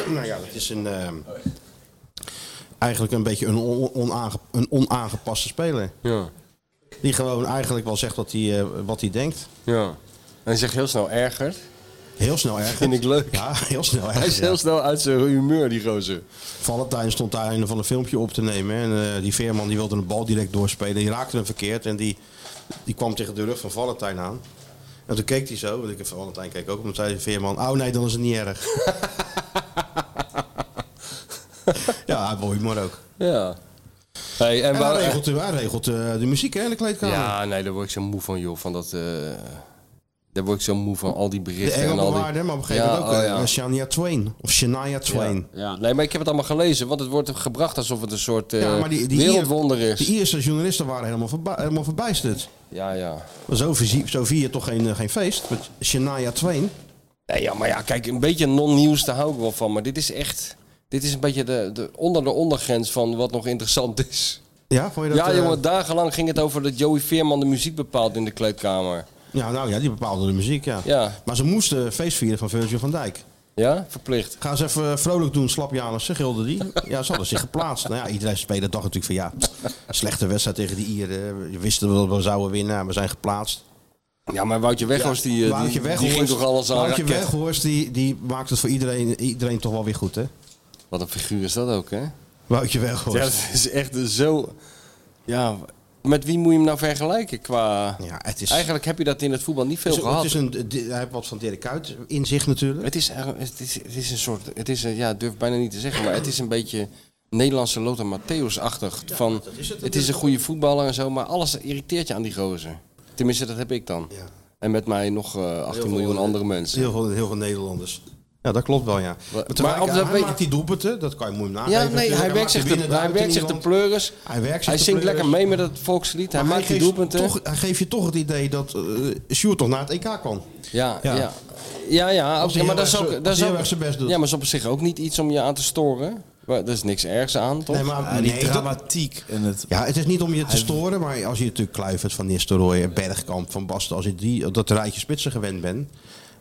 nou ja, dat is een... ehm, eigenlijk een beetje een, on- onaange- een onaangepaste speler. Ja. Die gewoon eigenlijk wel zegt wat hij, eh, wat hij denkt. ja. En hij zegt heel snel erger. Heel snel erg. Vind ik leuk. Ja, heel snel Hij is erg. heel ja. snel uit zijn humeur, die gozer. Valentijn stond daar een van een filmpje op te nemen. En eh, die Veerman die wilde een bal direct doorspelen. Die raakte hem verkeerd en die, die kwam tegen de rug van Valentijn aan. En toen keek hij zo, want ik Valentijn keek ook, en toen zei de Veerman, oh nee, dan is het niet erg. ja, hij boeit maar ook. Ja. Hey, en En waar- hij regelt, hij regelt eh, de muziek hè, in de kleedkamer. Ja, nee, daar word ik zo moe van, joh. Van dat, eh, daar word ik zo moe van, al die de berichten. en Engel al die... bewaarde, maar op een gegeven Ja, moment ook oh eh, ja. Shania Twain. Of Shania Twain. Ja. Nee, maar ik heb het allemaal gelezen, want het wordt gebracht alsof het een soort eh, Ja, maar die- die wereldwonder is. De Ierse journalisten waren helemaal, verba helemaal verbijsterd. Ja, ja. Maar Zo, vier, zo vier je toch geen, eh, geen feest met Shania Twain. Nee, ja. Maar ja, kijk, een beetje non-nieuws, daar hou ik wel van. Maar dit is echt, dit is een beetje de, de, onder de ondergrens van wat nog interessant is. Ja, vond je dat? ja, eh, jongen, dagenlang ging het over dat Joey Veerman de muziek bepaalt in de kleedkamer. Ja, nou ja, die bepaalde de muziek, ja. Ja. Maar ze moesten feest vieren van Virgil van Dijk. Ja, verplicht. Ga eens even eh, vrolijk doen, slap Janussen, gilde die. Ja, ze hadden zich geplaatst. Nou ja, iedereen speler dacht natuurlijk van ja, slechte wedstrijd tegen die Ieren. We wisten wel dat we zouden winnen, maar we zijn geplaatst. Ja, maar Woutje Weghorst, die, eh, Woutje die, die Weghorst- ging toch alles aan Woutje raket. Weghorst, die, die maakt het voor iedereen, iedereen toch wel weer goed, hè? Wat een figuur is dat ook, hè? Woutje Ja, Weghorst. dat is echt zo... Ja, met wie moet je hem nou vergelijken qua... Ja, het is- Eigenlijk heb je dat in het voetbal niet veel Het is- gehad. Het is een, di- hij heeft wat van Dirk Kuyt in zich natuurlijk. Het is, eigenlijk- het is, het is een soort, het is een, ja, ik durf bijna niet te zeggen, maar het is een beetje Nederlandse Lothar Matthäus-achtig. van, is het. het is een goede voetballer en zo, maar alles irriteert je aan die gozer. Tenminste, dat heb ik dan. Ja. En met mij nog eh 18 miljoen andere mensen. Heel veel, heel veel Nederlanders. Ja, dat klopt wel, ja. Maar, tegelijk, op dat hij weet- maakt die doelpunten, dat kan je moeilijk nageven. Ja, nee, natuurlijk. hij werkt zich maakt de, winnen daar hij werkt uit in zich de Nederland. pleuris. Hij werkt zich Hij de zingt pleuris. lekker mee met het volkslied. Hij Maar maakt die geeft doelpunten. Toch, hij geeft je toch het idee dat eh Sjoerd toch naar het EK kan. Ja, ja. Ja. ja. ja, Als hij oké, maar heel dat is erg ook... zijn- dat is als hij heel ook- erg zijn best doet. Ja, maar is op zich ook niet iets om je aan te storen. Maar Er is niks ergs aan, toch? Nee, maar Ja, die nee, dat- dramatiek en het... ja, het is niet om je te storen, maar als je natuurlijk Kluivert, Van Nistelrooy, en Bergkamp, Van Basten, als je die, dat rijtje spitsen gewend bent.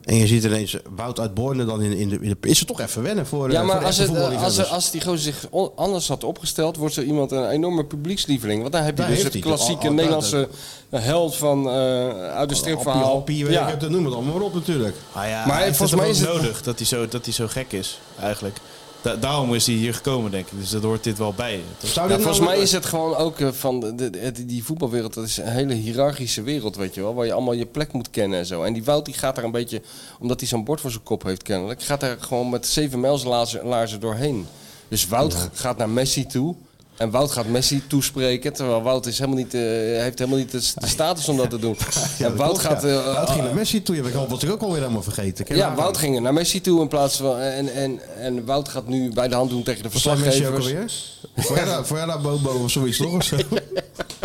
En je ziet ineens Wout uit Borne dan in, in, de, in de- Is het toch even wennen voor, eh, Ja, voor maar de als, echte het, eh, als, voetballiefhebbers. er- als die gozer zich on- anders had opgesteld, wordt zo iemand een enorme publiekslieveling. Want dan heb je Daar dus heeft het hij het. klassieke Al- altijd Nederlandse held van eh, uit de Appie, stripverhaal. Appie, weet ja. ik het, noem het allemaal maar op natuurlijk. Maar maar volgens volgens mij mij is is het het- ook nodig dat hij, zo, dat hij zo gek is, eigenlijk. Da- daarom is hij hier gekomen, denk ik. Dus dat hoort dit wel bij. Dat- Zou Ja, dit nou- volgens mij is het gewoon ook eh, van de, de- het- die voetbalwereld, dat is een hele hiërarchische wereld, weet je wel, waar je allemaal je plek moet kennen en zo. En die Wout die gaat daar een beetje, omdat hij zo'n bord voor zijn kop heeft kennelijk, gaat daar gewoon met zeven mijlslaarzen laarzen doorheen. Dus Wout g- gaat naar Messi toe. En Wout gaat Messi toespreken, terwijl Wout is helemaal niet, eh, heeft helemaal niet de, s- de status om dat te doen. Ja, en dat Wout klopt, gaat... ja. eh, Wout ging eh, naar Messi toe. Ja, ik had ik ook alweer helemaal vergeten. Ken ja, je Wout dat? ging er naar Messi toe in plaats van... En, en, en Wout gaat nu bij de hand doen tegen de Wat zei Messi ook verslaggevers. alweer? Fuera- Fuera Bobo of zoiets toch? Of zo?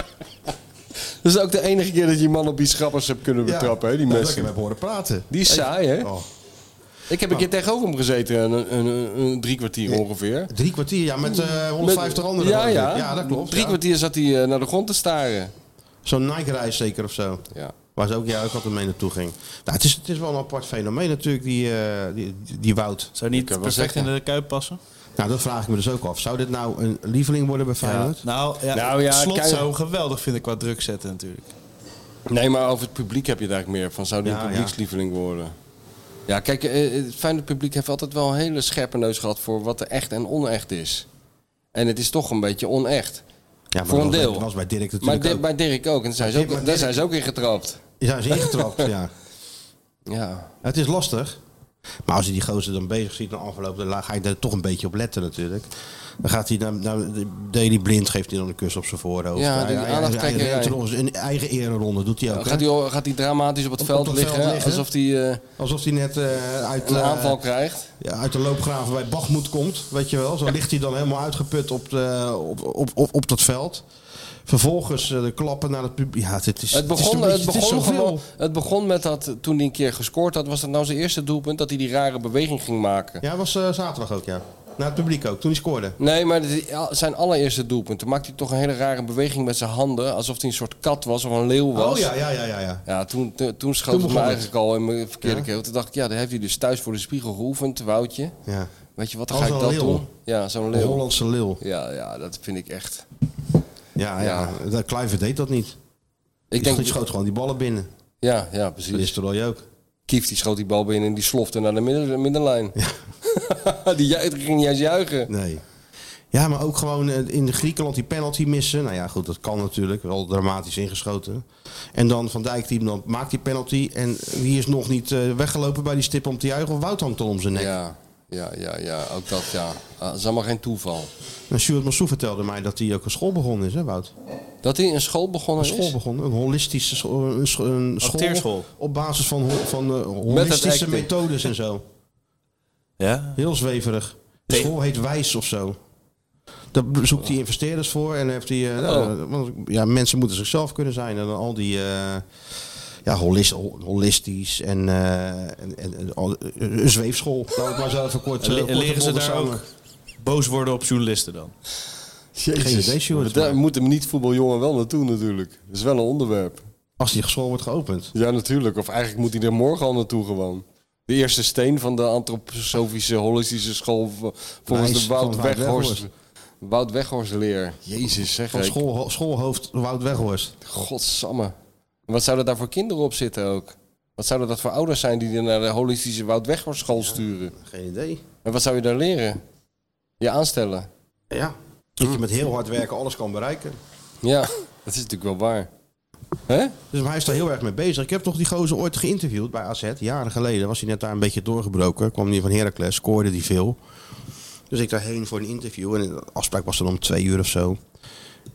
Dat is ook de enige keer dat je man op iets grappigs hebt kunnen betrappen, hè, die Ja, dat Messi. ik hem heb horen praten. Die is saai, hè? Oh. Nou. Ik heb een keer tegenover hem gezeten, een, een, een, een drie kwartier ongeveer. Drie kwartier, ja, met eh 150 anderen. Ja, geloof ik. ja. ja, dat klopt. Drie ja. kwartier zat hij eh, naar de grond te staren. Zo'n Nike-reis zeker of zo. Ja. Waar ze ook, ja, ook altijd mee naartoe ging. Nou, het, is, het is wel een apart fenomeen natuurlijk, die, eh, die, die, die Wout. Zou niet kan wel perfect zeggen. in de kuip passen? Nou, dat vraag ik me dus ook af. Zou dit nou een lieveling worden bij Feyenoord? Nou, ja, Nou ja, Slot Kuip- zou hem geweldig vinden qua druk zetten natuurlijk. Nee, maar over het publiek heb je het eigenlijk meer. Van zou die Ja, een publiekslieveling worden? Ja, kijk, eh, het fijne publiek heeft altijd wel een hele scherpe neus gehad voor wat er echt en onecht is. En het is toch een beetje onecht. Ja, maar voor dat een was bij- deel. was bij Dirk Maar natuurlijk Di- ook. bij Dirk ook. En daar zijn ze ook, maar daar Dirk- zijn ze ook in getrapt. Die zijn ze ingetrapt, ja. Ja. Het is lastig. Maar als je die gozer dan bezig ziet na afloop, dan ga je daar toch een beetje op letten natuurlijk. Dan gaat hij, dan, dan, Daily Blind geeft hij dan een kus op zijn voorhoofd. Ja, Hij- die hij- aandachttrekkerij. hij- hij- hij- hij- Een eigen ereronde doet hij ook. hè? Gaat hij, gaat hij dramatisch op het Op- op veld het liggen, veld liggen. alsof hij eh, Alsof hij net eh, uit, een eh, aanval krijgt? ja, uit de loopgraven bij Bachmoed komt, weet je wel. Zo ligt hij dan helemaal uitgeput op, de, op, op, op, op dat veld. Vervolgens eh, de klappen naar het publiek. Ja, dit is, Het is begon, een beetje- het, is begon zoveel. gewoon, het begon met dat toen hij een keer gescoord had, was dat nou zijn eerste doelpunt dat hij die rare beweging ging maken. Ja, was eh, zaterdag ook, ja. Naar het publiek ook, toen hij scoorde. Nee, maar dit- zijn allereerste doelpunt. Toen maakte hij toch een hele rare beweging met zijn handen, alsof hij een soort kat was of een leeuw was. Oh ja, ja, ja, ja. ja. Ja, toen, toen, toen schoot Toen het me begon het. eigenlijk al in mijn verkeerde Ja. keel. Toen dacht ik, ja, daar heeft hij dus thuis voor de spiegel geoefend, Woutje. ja. Weet je wat, dan Als ga ik dat een Oh, leeuw. doen. Ja, zo'n Een leeuw. Hollandse lul. Ja, ja, dat vind ik echt. Ja, ja. dat Kluivert deed dat niet. Ik Die denk, Dus- scho- schoot gewoon die ballen binnen. ja, ja, precies. Listeroy ook. Kieft die schoot die bal binnen en die slofte naar de midden- middenlijn. die ju- die ging niet eens juichen. Nee. Ja, maar ook gewoon eh, in de Griekenland die penalty missen. Nou ja, goed, dat kan natuurlijk. Wel dramatisch ingeschoten. En dan Van Dijk die hem dan maakt die penalty. En wie is nog niet eh, weggelopen bij die stip om te juichen? Of Wout hangt al om zijn nek. Ja, ja, ja, ja, ook dat, ja. Ah, dat is allemaal geen toeval. En Stuart Massou vertelde mij dat hij ook een school begonnen is, hè Wout? Dat hij een school begonnen Een school is. begonnen. Een holistische scho- een scho- een school. Acteerschool. Op basis van, ho- van eh, holistische acting. methodes en zo. Ja? Heel zweverig. De school heet Wijs of zo. Daar zoekt hij investeerders voor en heeft hij. eh, nou, want, ja, mensen moeten zichzelf kunnen zijn. En dan al die. eh, ja, holis- hol- holistisch en. eh, en, en, en al- eh, een zweefschool. Laat ik maar zo even kort. En le- eh, kort leren ze gebonden daar samen. ook boos worden op journalisten dan? Geen idee, Sjoerd, Daar maar moet hem niet voetbaljongen wel naartoe natuurlijk. Dat is wel een onderwerp. Als die school wordt geopend. Ja, natuurlijk. Of eigenlijk moet hij er morgen al naartoe gewoon. De eerste steen van de antroposofische holistische school v- volgens Wijs de Wout van Wout Weghorst. Weghorst. Wout Weghorst leer. Jezus, zeg Van ik. school, schoolhoofd Wout Weghorst. Godsamme. En wat zouden daar voor kinderen op zitten ook? Wat zouden dat voor ouders zijn die er naar de holistische Wout Weghorst school sturen? Geen idee. En wat zou je daar leren? Je aanstellen. Ja. Dat je met heel hard werken alles kan bereiken. Ja, dat is natuurlijk wel waar. Hè? Dus maar hij is daar heel erg mee bezig. Ik heb toch die gozer ooit geïnterviewd bij AZ. Jaren geleden was hij net daar een beetje doorgebroken. Kwam hij van Heracles, scoorde die veel. Dus ik daarheen voor een interview. En de afspraak was dan om twee uur of zo.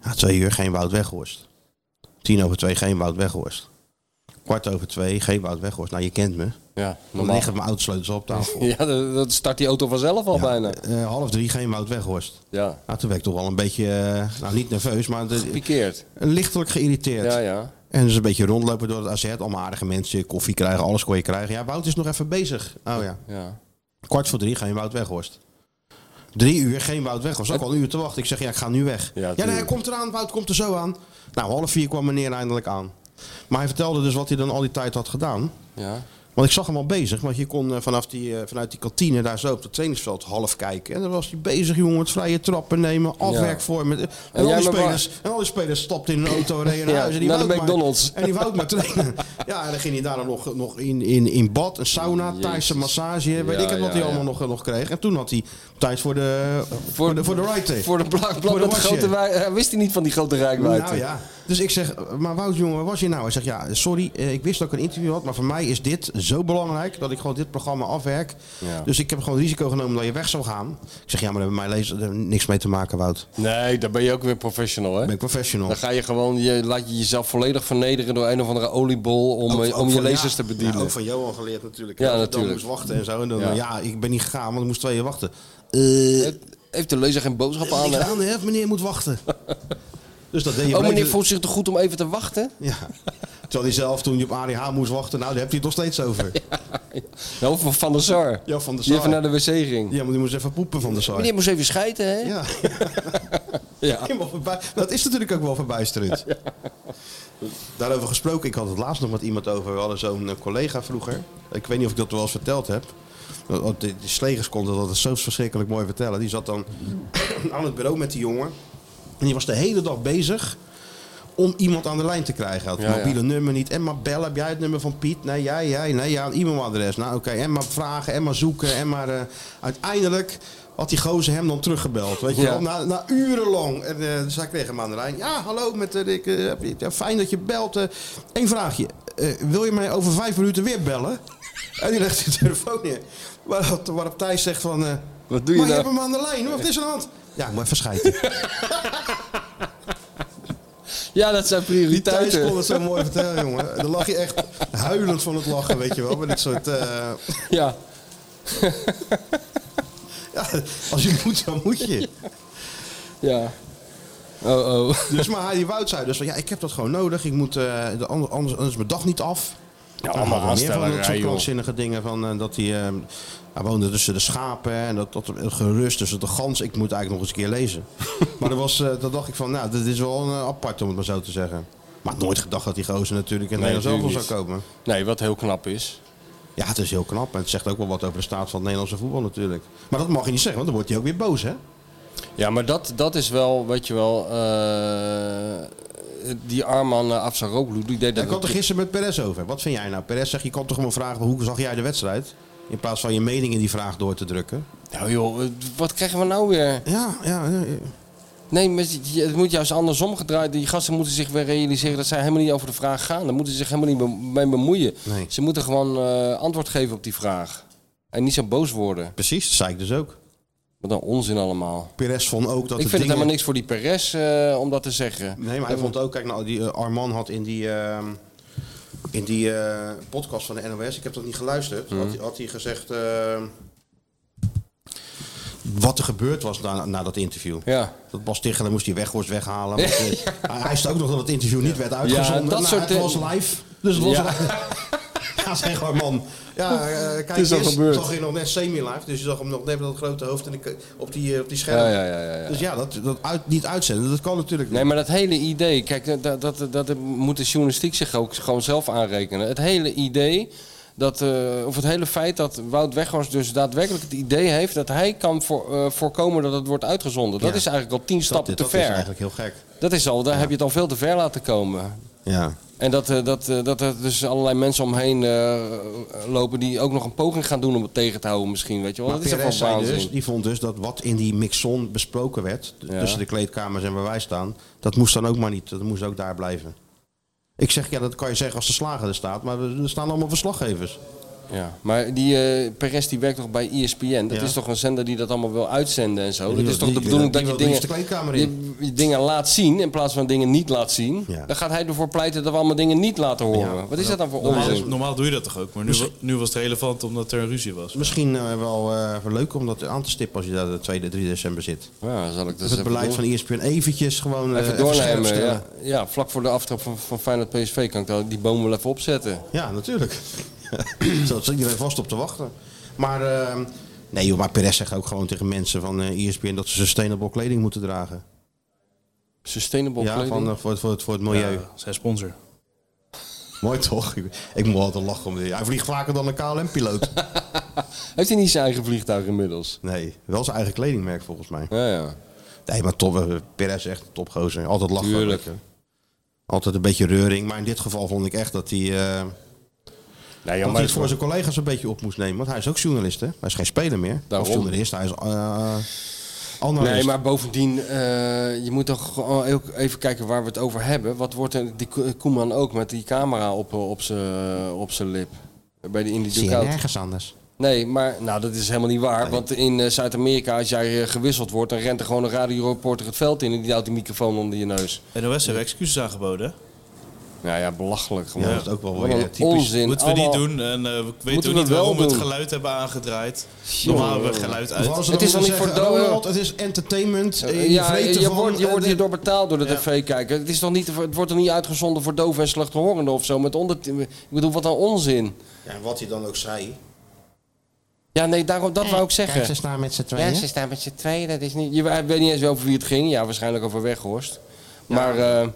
Ja, twee uur, geen Wout Weghorst. Tien over twee, geen Wout Weghorst. Kwart over twee, geen Wout Weghorst. Nou, je kent me. Ja, Dan normaal. liggen mijn autosleutels op tafel. Ja, dan dan start die auto vanzelf al bijna. Eh, half drie, geen Wout Weghorst. Ja, Nou, toen werd ik toch wel een beetje, eh, nou niet nerveus, maar de- gepikeerd. lichtelijk geïrriteerd. Ja, ja. En dus een beetje rondlopen door het AZ. Allemaal aardige mensen, koffie krijgen, alles kon je krijgen. Ja, Wout is nog even bezig. Oh ja. ja. Kwart voor drie, geen Wout Weghorst. Drie uur, geen Wout Weghorst. Ook al een uur te wachten. Ik zeg, ja, ik ga nu weg. Ja, Ja, nee, tuurlijk. hij komt eraan, Wout komt er zo aan. Nou, half vier kwam meneer eindelijk aan. Maar hij vertelde dus wat hij dan al die tijd had gedaan. ja. Want ik zag hem al bezig, want je kon eh, vanaf die, eh, vanuit die kantine daar zo op het trainingsveld half kijken. En dan was hij bezig, jongen, met vrije trappen nemen, afwerkvormen. En, jij al die maar spelers, en al die spelers stapten in een auto, reden naar Ja, huis. En die naar de Wout maar- McDonald's. En die wou maar trainen. Ja, en dan ging hij daar dan nog, nog in, in, in bad, een sauna, Thaise massage, weet Ja, ik het wat ja, hij ja. allemaal nog, eh, nog kreeg. En toen had hij tijd voor de, voor, de, voor de right day. Voor de blak, blak Voor de met wasje. grote wij- Hij wist hij niet van die grote rijkwijde. Nou ja. Dus ik zeg, maar Wout jongen, waar was je nou? Hij zegt, ja, sorry, eh, ik wist dat ik een interview had, maar voor mij is dit zo belangrijk dat ik gewoon dit programma afwerk. Ja. Dus ik heb gewoon het risico genomen dat je weg zou gaan. Ik zeg, ja, maar daar hebben mijn lezers eh, niks mee te maken, Wout. Nee, daar ben je ook weer professional, hè? Ben ik professional. Dan ga je gewoon, je, laat je jezelf volledig vernederen door een of andere oliebol om, Ook- eh, ook om je van- lezers te ja, bedienen. ja, ook van Johan geleerd natuurlijk. Ja, dat ik natuurlijk. Dan moest wachten en zo. En dan, Ja. ja. ik ben niet gegaan, want ik moest twee uur wachten. Eh, Het- Heeft de lezer geen boodschap aan? niks hè? aan, hè? Meneer moet wachten. dus dat deed je Oh, wel meneer even- voelt zich te goed om even te wachten? Ja. Terwijl hij zelf, toen hij op ADH moest wachten, nou, daar hebt hij het nog steeds over. Ja, of van der Sar. Ja, Van der Die Sar. even naar de wc ging. Ja, maar die moest even poepen van de saai. Meneer moest even schijten, hè? Ja, Ja. helemaal verbu- dat is natuurlijk ook wel verbijsterend. Daarover gesproken, ik had het laatst nog met iemand over. We hadden zo'n eh, collega vroeger. Ik weet niet of ik dat wel eens verteld heb. Want de, de Slegers konden dat zo verschrikkelijk mooi vertellen. Die zat dan aan het bureau met die jongen. En die was de hele dag bezig om iemand aan de lijn te krijgen. Had het Ja, ja. mobiele nummer niet. En maar bellen, heb jij het nummer van Piet? Nee, jij, jij. Nee, ja, een e-mailadres. Nou, oké. En maar vragen, en maar zoeken, en maar... eh, uiteindelijk had die gozer hem dan teruggebeld. Weet je Ja. wel, na, na urenlang. En eh dus hij kreeg hem aan de lijn. Ja, hallo, met eh, Rick. eh, heb je- ja, fijn dat je belt. eh Eén vraagje. Eh, wil je mij over vijf minuten weer bellen? En die legt de telefoon neer. Waarop, waarop Thijs zegt van... eh, Wat doe je maar nou? je hebt hem aan de lijn. Wat is er aan de hand? Ja, ik moet even schijten. Ja, dat zijn Thijs prioriteiten. kon het zo mooi vertellen, jongen. Dan lag je echt huilend van het lachen, weet je wel. Met dit soort... eh, Ja. ja, als je moet, dan moet je. Ja. Oh, oh. Dus maar die Wout zei dus van, ja, ik heb dat gewoon nodig. Ik moet, eh, de ander- anders, anders is mijn dag niet af. Ja, allemaal meer van dat aanstellerij, soort joh. krankzinnige dingen. Van, eh, dat hij, eh, hij woonde tussen de schapen en dat, dat gerust tussen de gans. Ik moet eigenlijk nog eens een keer lezen. maar dat was, eh, dat dacht ik van, nou, dit is wel een eh, apart om het maar zo te zeggen. Maar nooit gedacht dat die gozer natuurlijk in Nee, Nederland zelf natuurlijk zou komen. Nee, wat heel knap is. Ja, het is heel knap. En het zegt ook wel wat over de staat van het Nederlandse voetbal natuurlijk. Maar dat mag je niet zeggen, want dan wordt hij ook weer boos, hè? Ja, maar dat, dat is wel, weet je wel, eh, die Arman uh, Afsaroglu, die deed dat... ik had er gisteren met Perez over. Wat vind jij nou? Perez zegt, je kan toch gewoon vragen, hoe zag jij de wedstrijd? In plaats van je mening in die vraag door te drukken. Nou joh, eh, wat krijgen we nou weer? Ja, ja. ja, ja. Nee, maar het- het moet juist andersom gedraaid. Die gasten moeten zich weer realiseren dat zij helemaal niet over de vraag gaan. Daar moeten ze zich helemaal niet be- mee bemoeien. Nee. Ze moeten gewoon eh, antwoord geven op die vraag. En niet zo boos worden. Precies, dat zei ik dus ook. Wat een onzin allemaal. Perez vond ook dat ik de vind het dingen... helemaal niks voor die Perez eh, om dat te zeggen. Nee, maar hij vond ook, kijk, nou, die eh, Arman had in die, ehm, in die eh, podcast van de NOS, ik heb dat niet geluisterd, Mhm. had, hij- had hij gezegd ehm, wat er gebeurd was na, na dat interview. Ja. Dat Bas Tichelen moest die wegworst weghalen. want, eh, hij- Hij wist ook nog dat het interview niet werd Ja, uitgezonden. dat Nou, soort het dingen. was live. Dus het was Ja. ja, zeg maar man. Ja, eh, kijk is al eens, gebeurd. zag je nog net semi-live. Dus je zag hem nog net met dat grote hoofd en die- op, die, eh, op die scherm. Ja, ja, ja, ja, ja. Dus ja, dat, dat uit, niet uitzenden, dat kan natuurlijk niet. Nee, maar dat hele idee, kijk, eh, dat, dat, dat moet de journalistiek zich ook gewoon zelf aanrekenen. Het hele idee, dat, eh, of het hele feit dat Wout Weghorst dus daadwerkelijk het idee heeft dat hij kan voor, eh, voorkomen dat het wordt uitgezonden. Dat Ja. is eigenlijk al tien stappen dat, te ver. is eigenlijk heel gek. Dat is al, daar heb je het al veel te ver laten komen. Ja. En dat, eh, dat, eh, dat er dus allerlei mensen omheen eh, lopen die ook nog een poging gaan doen om het tegen te houden misschien, weet je wel. Maar Dat is toch Perez wel zei waanzin. dus, die vond dus dat wat in die mixon besproken werd, t- Ja. tussen de kleedkamers en waar wij staan, dat moest dan ook maar niet. Dat moest ook daar blijven. Ik zeg, ja, dat kan je zeggen als de slager er staat, maar er er staan allemaal verslaggevers. Ja, maar die eh, Perez die werkt toch bij E ESPN? Dat Ja. is toch een zender die dat allemaal wil uitzenden en zo? die dat wil- is toch de die- bedoeling die dat je wil dingen, het liefst de kleedkamer je, je dingen laat zien in plaats van dingen niet laat zien? Ja. Dan gaat hij ervoor pleiten dat we allemaal dingen niet laten horen. Ja. Wat is dat dan voor Normaal, onzin? normaal doe je dat toch ook, maar nu, wa- nu was het relevant omdat er een ruzie was. Misschien eh, wel eh, leuk om dat aan te stippen als je daar de 2e, 3 december zit. Ja, dan zal ik dus Dus het beleid van ESPN eventjes gewoon eh, Even scherp doornemen. stellen. Ja. ja, vlak voor de aftrap van, van Feyenoord PSV kan ik daar die boom wel even opzetten. Ja, natuurlijk. Zo zit iedereen vast op te wachten. Maar, eh, nee, joh, maar Perez zegt ook gewoon tegen mensen van eh ESPN dat ze sustainable kleding moeten dragen. Sustainable ja, kleding. van, eh, voor, het- voor, het- voor het milieu. Ja, zijn sponsor. Mooi toch? Ik, ik moet altijd lachen om dit. Hij vliegt vaker dan een KLM-piloot. Heeft hij niet zijn eigen vliegtuig inmiddels? nee, wel zijn eigen kledingmerk volgens mij. Ja, ja. Nee, maar top, eh, Perez is echt een topgozer. Altijd lachen. Tuurlijk. Altijd een beetje reuring. Maar in dit geval vond ik echt dat hij, eh, Nee, dat jammer. hij het voor zijn collega's een beetje op moest nemen. Want hij is ook journalist, hè? Hij is geen speler meer. Daarom. Of journalist, hij is eh analist. Nee, maar bovendien, eh, je moet toch gewoon ook even kijken waar we het over hebben. Wat wordt er, die Ko- Koeman ook met die camera op, eh, op zijn op zijn lip? Bij de Indie Zie je Dugout. nergens anders. Nee, maar nou, dat is helemaal niet waar. Want in eh, Zuid-Amerika, als jij eh, gewisseld wordt, dan rent er gewoon een radioreporter het veld in en die houdt die microfoon onder je neus. NOS heeft excuses aangeboden. hè? Nou ja, belachelijk gewoon. Ja, dat is ook wel Wat weer een typisch. onzin. Moeten we niet Allemaal- doen en eh we we weten we dat niet wel waarom we het doen? geluid hebben aangedraaid. Jongen, Normaal hebben we jongen. geluid Vooral als uit. ze Het dan is dan moeten niet voor zeggen, doden. Ronald, het is entertainment. eh, je Ja, vreet je ervan, wordt, je eh, wordt dit- hierdoor betaald door de tv-kijker. Het, is toch niet, het wordt toch niet uitgezonden voor doven en slechthorenden of zo? Met onder, ik bedoel, wat een onzin. Ja, en wat hij dan ook zei. Ja, nee, daarom, dat wou ik zeggen. staan met z'n Ja, ze staan met z'n tweeën. Dat is niet... Je wa- weet niet eens over wie het ging. Ja, waarschijnlijk over Weghorst. Maar eh,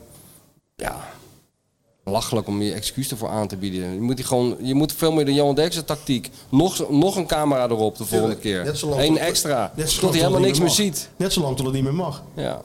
ja, lachelijk om je excuus ervoor aan te bieden. Je moet, die gewoon, je moet veel meer de Johan Derksen tactiek. Nog, nog een camera erop de volgende keer. Net zolang Eén tot- extra. net zolang Tot hij helemaal niks het niet meer mag. ziet. Net zolang tot het niet meer mag. Ja.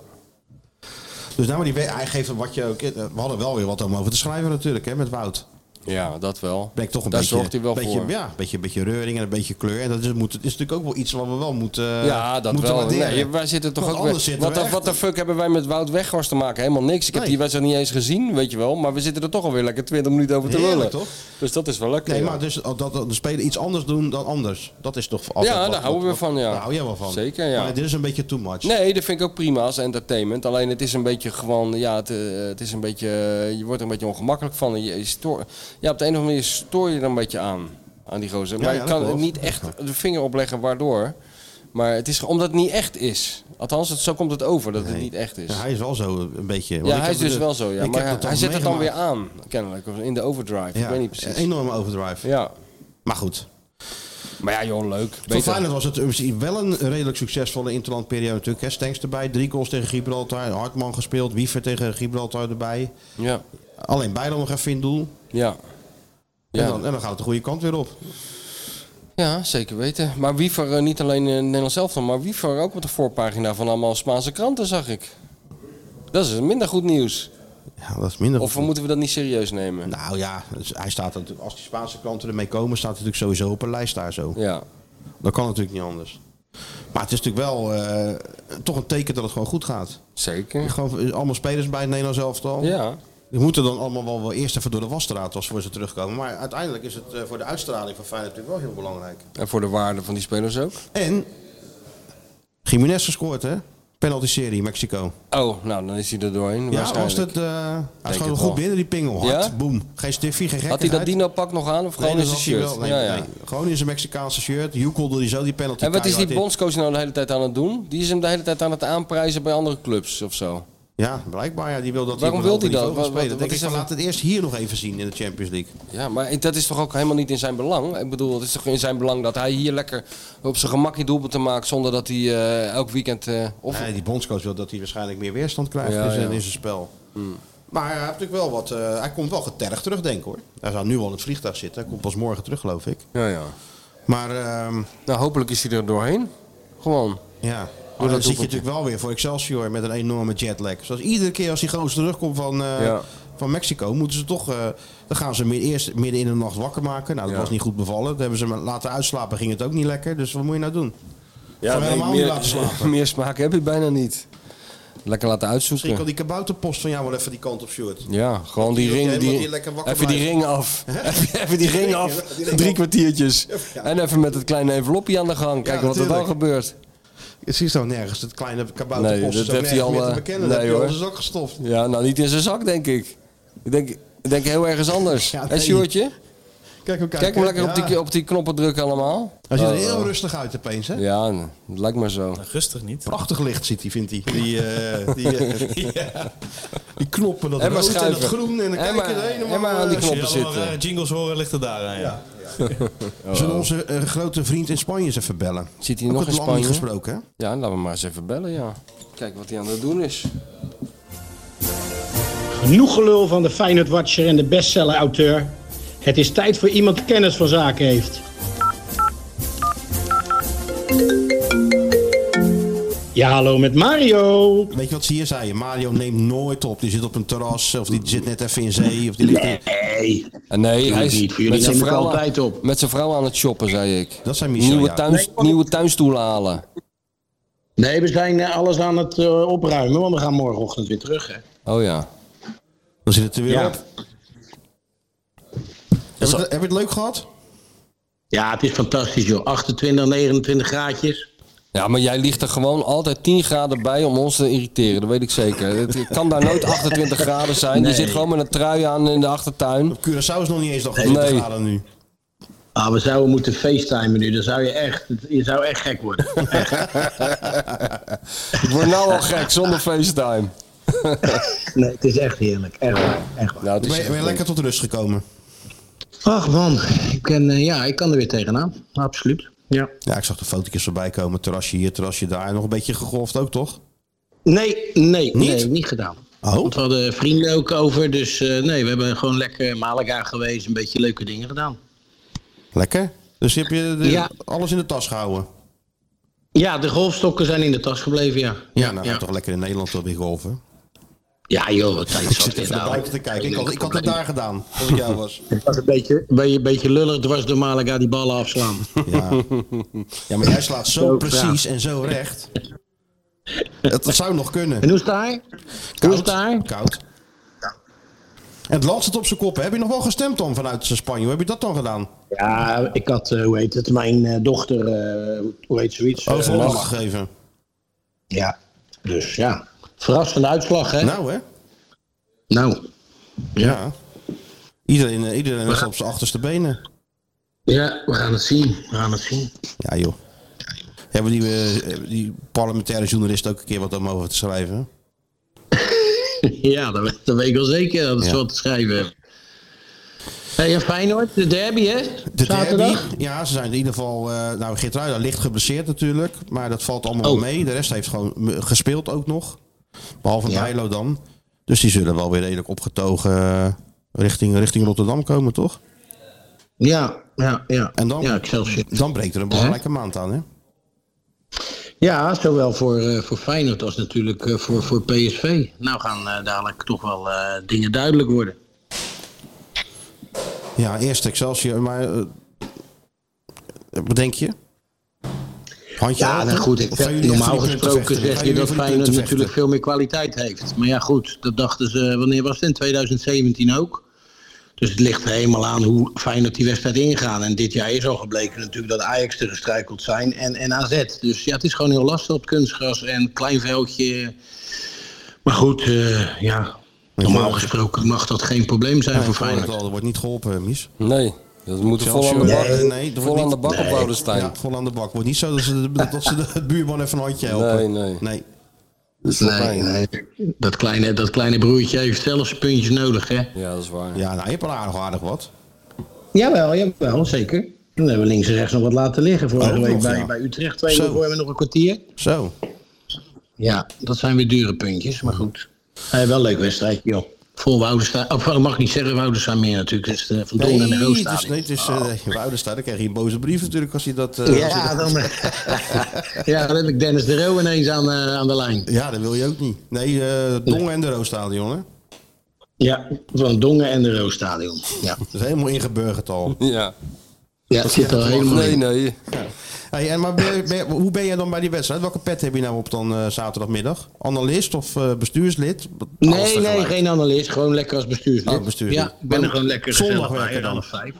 Dus nou, maar die, we- hij geeft wat je ook... eh, We hadden wel weer wat om over te schrijven natuurlijk, hè, met Wout. ja, dat wel. Brengt toch een Daar beetje... zorgt hij wel beetje, voor. Ja, een beetje, beetje reuring en een beetje kleur. En dat is, moet, het is natuurlijk ook wel iets wat we wel moeten Ja, dat Eh, moeten wel. waarderen. Nee, wij zitten toch Want ook anders weer- zitten wat, we de- echt- wat de fuck hebben wij met Wout Weghorst te maken? Helemaal niks. Ik heb Nee. die wedstrijd niet eens gezien, weet je wel. Maar we zitten er toch alweer lekker 20 minuten over te Heerlijk, lullen. toch? Dus dat is wel lekker. Nee, ja. maar dus dat, dat de spelen iets anders doen dan anders. Dat is toch altijd Ja, daar wat- houden we wat- van, ja. Daar hou jij wel van. Zeker, ja. Maar dit is een beetje too much. Nee, dat vind ik ook prima als entertainment. Alleen het is een beetje gewoon, ja, het, eh, het is een beetje, eh, je wordt er een beetje ongemakkelijk van. En Je, je stoor- ja, op de een of andere manier stoor je er een beetje aan, aan die gozer. Maar ja, je dat kan klopt. niet echt de vinger opleggen waardoor. Maar het is omdat het niet echt is. Althans, het, zo komt het over dat het niet echt is. Ja, Ja, hij is wel zo een beetje. Want hij, ik heb is dus de- wel zo, ja. ik Maar heb hij, dat al hij zet het dan weer meegemaakt. aan, kennelijk. of In de overdrive, ik weet niet Een precies. enorme overdrive. Ja, Maar goed. maar ja, joh, leuk. Voor Beter. Feyenoord was het misschien wel een redelijk succesvolle interlandperiode natuurlijk. Hè. Stenks erbij, drie goals tegen Gibraltar, Hartman gespeeld, Wiever tegen Gibraltar erbij. Ja, Alleen Bijlo nog even in doel. ja. En, dan, en dan gaat het de goede kant weer op. Ja, zeker weten. Maar Wiever, eh, niet alleen in het Nederlands elftal, maar Wiever ook met de voorpagina van allemaal Spaanse kranten, zag ik. Dat is minder goed nieuws. Ja, dat is minder. Of we moeten we dat niet serieus nemen? Nou ja, dus hij staat er natuurlijk, als die Spaanse klanten ermee komen, staat hij natuurlijk sowieso op een lijst daar zo. Ja. Dat kan natuurlijk niet anders. Maar het is natuurlijk wel eh, toch een teken dat het gewoon goed gaat. Zeker. Gewoon eh, allemaal spelers bij het Nederlands elftal. Ja. Die moeten dan allemaal wel, wel eerst even door de wasstraat als voor ze terugkomen. Maar uiteindelijk is het eh, voor de uitstraling van Feyenoord natuurlijk wel heel belangrijk. En voor de waarde van die spelers ook. En Jiménez gescoord hè? Penalty serie Mexico. Oh, nou, dan is hij er doorheen. Ja, was waarschijnlijk. het, eh, hij het schoot hem wel. goed binnen die pingel. Hard, Ja? boem. Geen stiffie, geen Had hij dat gekkigheid. dino-pak nog aan of gewoon Nee, in zijn dat had hij shirt? wel. Nee, ja, ja. nee. Gewoon in zijn Mexicaanse shirt. Joekelde hij zo die penalty En wat is die keihard in. bondscoach nou de hele tijd aan het doen? Die is hem de hele tijd aan het aanprijzen bij andere clubs of zo. Ja, blijkbaar. Ja, die wil dat Waarom hij op wil een hij dat? hoger niveau Wat- gaat wat- spelen. Denk wat ik is van, dat? laat het eerst hier nog even zien in de Champions League. Ja, maar dat is toch ook helemaal niet in zijn belang? Ik bedoel, het is toch in zijn belang dat hij hier lekker op zijn gemak die doelpunten maakt... zonder dat hij eh, elk weekend... eh, of... Nee, die bondscoach wil dat hij waarschijnlijk meer weerstand krijgt Ja, in, zijn, ja. Hmm. in zijn spel. Maar hij, heeft natuurlijk wel wat, eh, hij komt wel getergd terug, denk ik hoor. Hij zou nu al in het vliegtuig zitten. Hij komt pas morgen terug, geloof ik. Ja, ja. Maar ehm, Nou, hopelijk is hij er doorheen. Gewoon. ja, dat dan zit je doelpuntje. natuurlijk wel weer voor Excelsior met een enorme jetlag. Zoals iedere keer als die gozer terugkomt van, eh, Ja. van Mexico moeten ze toch. eh, dan gaan ze meer, eerst midden in de nacht wakker maken. Nou, dat Ja. was niet goed bevallen. Dat hebben ze maar laten uitslapen, ging het ook niet lekker. Dus wat moet je nou doen? Ja, Gewoon helemaal meer, niet laten slapen. meer smaak heb je bijna niet. Lekker laten uitzoeken. Misschien kan die kabouterpost van jou wel even die kant op, Stuart. Ja, gewoon die Die ook ring. helemaal Die, niet lekker wakker even die blijft. ring af. Even, even die ring af. Die ring Drie af. kwartiertjes. Ja. En even met het kleine envelopje aan de gang. Kijken wat er dan natuurlijk. gebeurt. Het ziet zo nergens, het kleine kabouterpost. Nee, dat is ook heeft hij nergens al, meer te eh, nee, bekennen. dat heeft hij al hoor. in zijn zak gestopt. Ja, nou niet in zijn zak, denk ik. Ik denk, ik denk heel ergens anders. Ja, En nee. Sjoertje? Kijk, hem Kijk maar lekker op, Ja. die, op die knoppen drukken allemaal. Hij ziet er Oh, heel oh. rustig uit opeens, hè? Ja, n- dat lijkt me zo. Rustig niet. Prachtig licht ziet hij, vindt hij. Oh. Die, eh, die, eh, die knoppen, dat En maar rood en dat schuiven. groen. En En dan kijken maar- we er helemaal... en maar aan die eh, knoppen Als je allemaal zitten. rare jingles horen, ligt het daar aan. Ja. Zullen we onze eh, grote vriend in Spanje eens even bellen? Zit hij Ook nog het in land niet Spanje? gesproken, hè? Ja, laten we maar eens even bellen, ja. Kijken wat hij aan het doen is. Genoeg gelul van de Feyenoord Watcher en de bestseller-auteur. Het is tijd voor iemand die kennis van zaken heeft. Ja, hallo met Mario. Weet je wat ze hier zeiden? Mario neemt nooit op. Die zit op een terras, of die zit net even in zee, of die ligt in... Hey, En Eh, nee, hij is niet. Voor jullie met zijn neem ik vrouw, altijd op. met zijn vrouw aan het shoppen, zei ik. Dat zijn Michel, nieuwe, ja. tuins, nieuwe tuinstoelen halen. nee, we zijn eh, alles aan het eh, opruimen, want we gaan morgenochtend weer terug. Hè? Oh ja. Dan zit het er weer Ja. op. Heb je, het, heb je het leuk gehad? ja, het is fantastisch joh. 28, 29 graadjes. Ja, maar jij ligt er gewoon altijd 10 graden bij om ons te irriteren. Dat weet ik zeker. Het kan daar nooit 28 graden zijn. Je zit gewoon met een trui aan in de achtertuin. Curaçao is nog niet eens nog 70 Nee. graden nu. Ah, we zouden moeten facetimen nu, dan zou je echt, je zou echt gek worden. Ik word nou al gek zonder FaceTime. nee, het is echt heerlijk. Echt waar, echt waar. Nou, het Ben is je, ben je lekker tot rust gekomen? Ach man, ik, ben, eh, ja, ik kan er weer tegenaan. Absoluut. Ja. Ja, ik zag de fotootjes voorbij komen. Terrasje hier, terrasje daar. Nog een beetje gegolfd ook, toch? Nee, nee, Niet? nee, niet gedaan. Oh. Want we hadden vrienden ook over, dus eh, nee, we hebben gewoon lekker Malaga geweest, een beetje leuke dingen gedaan. Lekker. Dus heb je de- Ja. alles in de tas gehouden? Ja, de golfstokken zijn in de tas gebleven, ja. Ja, nou, ja. toch lekker in Nederland wel weer golven. Ja, joh, wat tijd Ik zat zit dit even naar nou? buiten te kijken. Ik had, ik had het daar gedaan, als ik jou was. Het was een beetje, ben je een beetje lullig dwars door Malaga die ballen afslaan. Ja, ja maar jij slaat zo Zo precies en zo recht. Het, het zou nog kunnen. En hoe sta je? Hoe is het daar? Koud. En het land zit op zijn kop. hè? Heb je nog wel gestemd dan vanuit Spanje? Hoe heb je dat dan gedaan? Ja, ik had, eh, hoe heet het, mijn eh, dochter, eh, hoe- hoe heet zoiets? Eh, Overal Lala. gegeven. Ja, dus ja. Verrassende uitslag, hè? Nou hè? nou. Ja. Iedereen, eh, iedereen is op zijn achterste benen. Ja, we gaan het zien. We gaan het zien. Ja, joh. Hebben die, eh, die parlementaire journalist ook een keer wat om over te schrijven? Ja, dat, weet- dat weet ik wel zeker. Dat is Ja. wat te schrijven. hebben. Hey, en Feyenoord, de derby, hè? De Zaterdag? derby? Ja, ze zijn in ieder geval... eh nou, Geert licht geblesseerd natuurlijk. Maar dat valt allemaal Oh. wel mee. De rest heeft gewoon m- gespeeld ook nog. Behalve Ja. Bijlo dan. Dus die zullen wel weer redelijk opgetogen eh, richting, richting Rotterdam komen, toch? Ja, ja, ja. En dan? Ja, Excelsior. Dan breekt er een belangrijke maand aan, hè? Ja, zowel voor, eh, voor Feyenoord als natuurlijk eh, voor, voor PSV. Nou gaan eh, dadelijk toch wel eh, dingen duidelijk worden. Ja, eerst Excelsior, maar... eh, wat denk je? Handje Ja, hoog? nou goed. Of gaan Ik, jullie echt normaal voor die punten gesproken vechten? zeg Gaan je jullie dat voor die punten Feyenoord natuurlijk vechten? veel meer kwaliteit heeft. Maar ja, goed. Dat dachten ze, eh, wanneer was het? In 2017 ook. Dus het ligt er helemaal aan hoe Feyenoord die wedstrijd ingaan. En dit jaar is al gebleken natuurlijk dat Ajax er gestruikeld zijn en, en AZ. Dus ja, het is gewoon heel lastig op kunstgras en klein veldje. Maar goed, eh, ja, normaal gesproken mag dat geen probleem zijn voor Nee, ik hoor het Feyenoord. al, er wordt niet geholpen, eh, Mies. Nee, dat moet vol aan de Excelsior. bak, Nee, nee, dat vol wordt aan de niet- bak op houden Ja, staan. vol aan de bak. Wordt niet zo dat ze, de, dat ze de, het buurman even een handje helpen. Nee, nee. nee. Nee, nee. Dat, kleine, dat kleine broertje heeft zelfs zijn puntjes nodig, hè? Ja, dat is waar. Ja, nou, je hebt al aardig, aardig wat. Jawel, jawel, zeker. Toen hebben we links en rechts nog wat laten liggen. Vorige Ook week nog, bij, ja. bij Utrecht twee Oh, nou, Zo. voor hebben we nog een kwartier. Zo. Ja, dat zijn weer dure puntjes, maar goed. Eh, wel een leuk wedstrijd, joh. Vol Woudenstein. Of dat mag ik niet zeggen, Woudenstein meer natuurlijk. Dat is de Van Doorn en de het is, Roosstadion. nee, het is, eh, nee, mijn ouders staan, dan krijg je een boze brief natuurlijk als je dat... eh, als je ja, dat- dan, ja, dan heb ik Dennis de Roo ineens aan, eh, aan de lijn. ja, dat wil je ook niet. Nee, eh Dongen en de Roosstadion, hè? Ja, van Dongen en de Roosstadion. Ja, Dat is helemaal ingeburgerd al. Ja. ja het zit er helemaal Nee, in. nee. Hey, en maar ben je- ben je- hoe ben jij dan bij die wedstrijd? Welke pet heb je nou op dan eh, zaterdagmiddag? Analist of eh, bestuurslid? Alles Nee, nee, tegelijk. geen analist. Gewoon lekker als bestuurslid. Oh, bestuurslid. Ja, ik ben er gewoon lekker Zondag gezellig werken bij dan. dan vijf.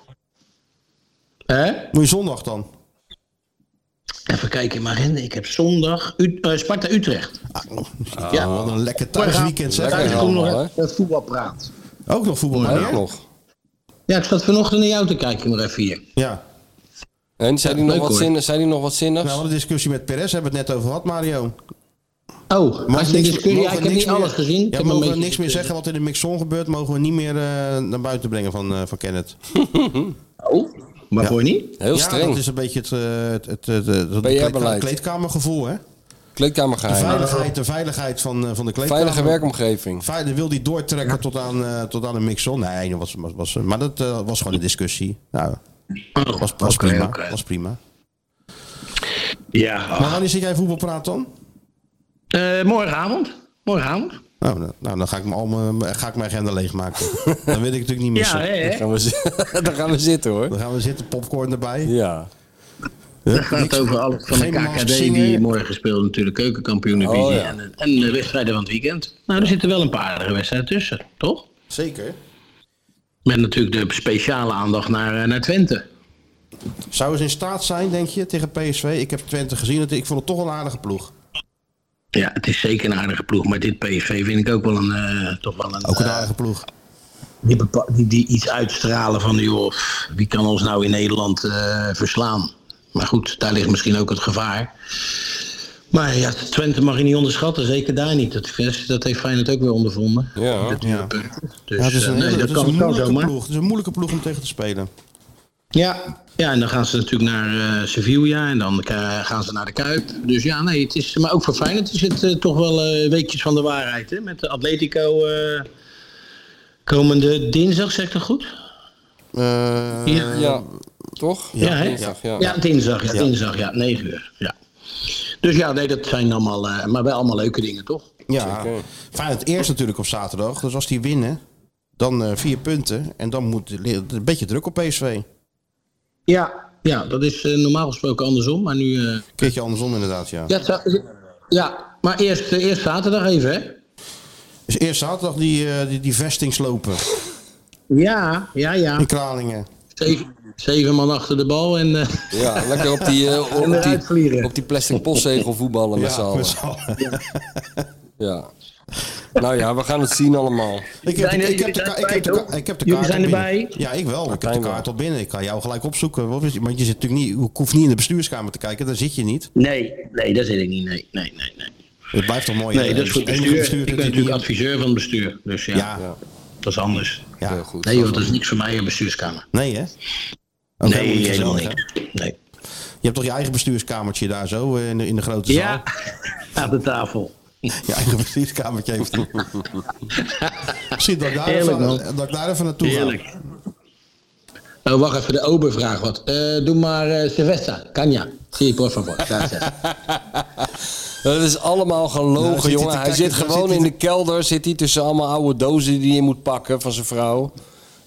Hè? Moet je zondag dan? Even kijken in mijn agenda. Ik heb zondag Ut- eh, Sparta-Utrecht. Ah. Ja. Wat een lekker thuisweekend zeg. Thuis komt allemaal, nog het voetbalpraat. Ook nog voetbal. Ook hè? nog. Ja, ik zat vanochtend naar jou te kijken nog even hier. Ja. En zijn die nog Leuk, wat hoor. zinnen? Zijn die nog wat Nou, we zinnigs? hadden een discussie met Perez, hebben we het net over gehad, Mario. Oh, als je niks- discussie, ja, mogen ik heb niks niet alles meer- gezien. Ja, Ik heb een mogen we beetje niks meer gekeken. zeggen wat in de mixon gebeurt, mogen we niet meer eh, naar buiten brengen van, eh, van Kenneth. Oh, waarvoor niet? Heel Ja, streng. dat is een beetje het, eh, het, het, het, het- het PR-beleid. kleedka- kleedkamergevoel, hè? De Kleedkamergeheim. veiligheid, de veiligheid van, eh, van de kleedkamer. Veilige werkomgeving. Veilig- wil die doortrekken tot, aan, eh, tot aan een mixon? Nee, dat was, was, was, maar dat eh, was gewoon een discussie. Nou, Oh, was, was, oké, prima, oké. was prima. Ja. Maar wanneer zit jij voetbalpraat dan? Eh, morgenavond. Morgenavond. Nou, nou, nou, dan ga ik, me al mijn, ga ik mijn agenda leegmaken. dan wil ik natuurlijk niet Ja, missen. hè, Daar hè? gaan we, zi- daar gaan we zitten hoor. Dan gaan we zitten, popcorn erbij. Ja. Het gaat over alles van de Geen Max KKD die Singer. morgen speelt. Natuurlijk keukenkampioen-divisie Oh, ja. en, en de wedstrijden van het weekend. Nou, er zitten wel een paar aardige wedstrijden tussen, toch? Zeker. Met natuurlijk de speciale aandacht naar, eh, naar Twente. Zou ze in staat zijn, denk je, tegen PSV? Ik heb Twente gezien. het- Ik vond het toch wel een aardige ploeg. Ja, het is zeker een aardige ploeg. Maar dit PSV vind ik ook wel een... eh, toch wel een, Ook een eh, aardige ploeg. die, bepa- die, die iets uitstralen van... joh, wie kan ons nou in Nederland eh, verslaan? Maar goed, daar ligt misschien ook het gevaar. Maar ja, Twente mag je niet onderschatten. Zeker daar niet. Dat, dat heeft Feyenoord ook weer ondervonden. Ja. Ja. Dus Ja, het is eh, een, nee, hele- dat het is kan, een kan moeilijke zomaar. ploeg. Het is een moeilijke ploeg om tegen te spelen. Ja. ja, en dan gaan ze natuurlijk naar eh, Sevilla en dan eh, gaan ze naar de Kuip. Dus ja, nee, het is, maar ook voor Feyenoord is het eh, toch wel eh, weekjes van de waarheid. Hè? Met de Atletico eh, komende dinsdag, zeg ik dat goed? Eh, Ja. Ja. Toch? Ja, hè? Dinsdag, ja. Ja, dinsdag, ja, dinsdag, ja, 9 uur. Ja. Dus ja, nee, dat zijn allemaal, eh, maar wel allemaal leuke dingen, toch? ja. Feyenoord eerst natuurlijk op zaterdag. Dus als die winnen, dan eh, vier punten. En dan moet een beetje druk op PSV. Ja. Ja, dat is eh, normaal gesproken andersom, maar nu... eh, Keertje andersom inderdaad, ja. ja, het zou- ja, maar eerst, eh, eerst zaterdag even, hè? Dus eerst zaterdag die, eh, die, die vestingslopen Ja, ja, ja. in Kralingen. Zeven, zeven man achter de bal en... eh, Ja, lekker op die, eh, En op eruit die, vliegen. op die plastic postzegel voetballen met z'n allen. met z'n allen. Ja. Nou ja, we gaan het zien allemaal. Ik heb, Zijn de- er- ik, heb de, ka- jullie zijn ik heb de, erbij, ka- ik heb de toch? kaart Jullie zijn al binnen. erbij? Ja, ik wel. Ik heb de Martijn wel. kaart al binnen. Ik kan jou gelijk opzoeken. Wat is, want je zit natuurlijk niet, ik hoef niet in de bestuurskamer te kijken. Daar zit je niet. Nee, nee, dat zit ik niet. Nee, nee, nee. Nee, Het blijft toch mooi. nee hè? dat is voor Het het Oh, dus enige bestuur. bestuur Ik dat ben je natuurlijk niet- adviseur van het bestuur. Dus ja, Ja. dat is anders. Ja. Heel goed. Nee joh, dat is niks voor mij een bestuurskamer. Nee, hè? Ook helemaal nee, niet helemaal gezellig, hè? niks. Nee. Je hebt toch je eigen bestuurskamertje daar zo eh, in de, in de grote Ja, zaal? aan de tafel. Je eigen bestuurskamertje heeft hij. Misschien dat ik, daar Heerlijk, even, dat ik daar even naartoe ga. Heerlijk. Oh, wacht even, de ober vraagt wat. Eh, doe maar eh Sylvester, Kanja. Zie je, por favor. Gracias. Dat is allemaal gelogen, Nou, zit hij te jongen. Hij kijken, zit daar gewoon zit hij in te- de kelder. Zit hij tussen allemaal oude dozen die hij in moet pakken van zijn vrouw.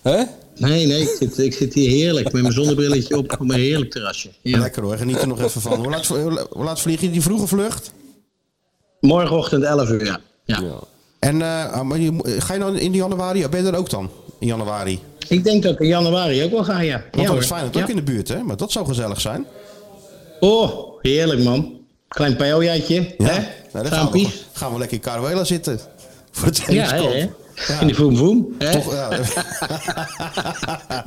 Hè? Nee, nee, ik zit, ik zit hier heerlijk met mijn zonnebrilletje op op mijn heerlijk terrasje. Heerlijk. Lekker hoor, geniet er nog even van. Hoe laat, hoe laat- hoe laat vlieg je die vroege vlucht? Morgenochtend 11 uur, ja. ja. En eh, ah, maar je moet- ga je dan in januari? Ben je er ook dan? In januari? Ik denk dat ik in januari ook wel ga, ja. ja, Want dat hoor. is Feyenoord Ja. ook in de buurt, hè? Maar dat zou gezellig zijn. Oh, heerlijk man. Klein paeljaatje, hè? Nou, dan gaan we, Traampjes. gaan we lekker in Caruela zitten. Voor het Ja, hè, tenniskoop. hè? Ja. In de voem voem, hè? Toch, eh, ja.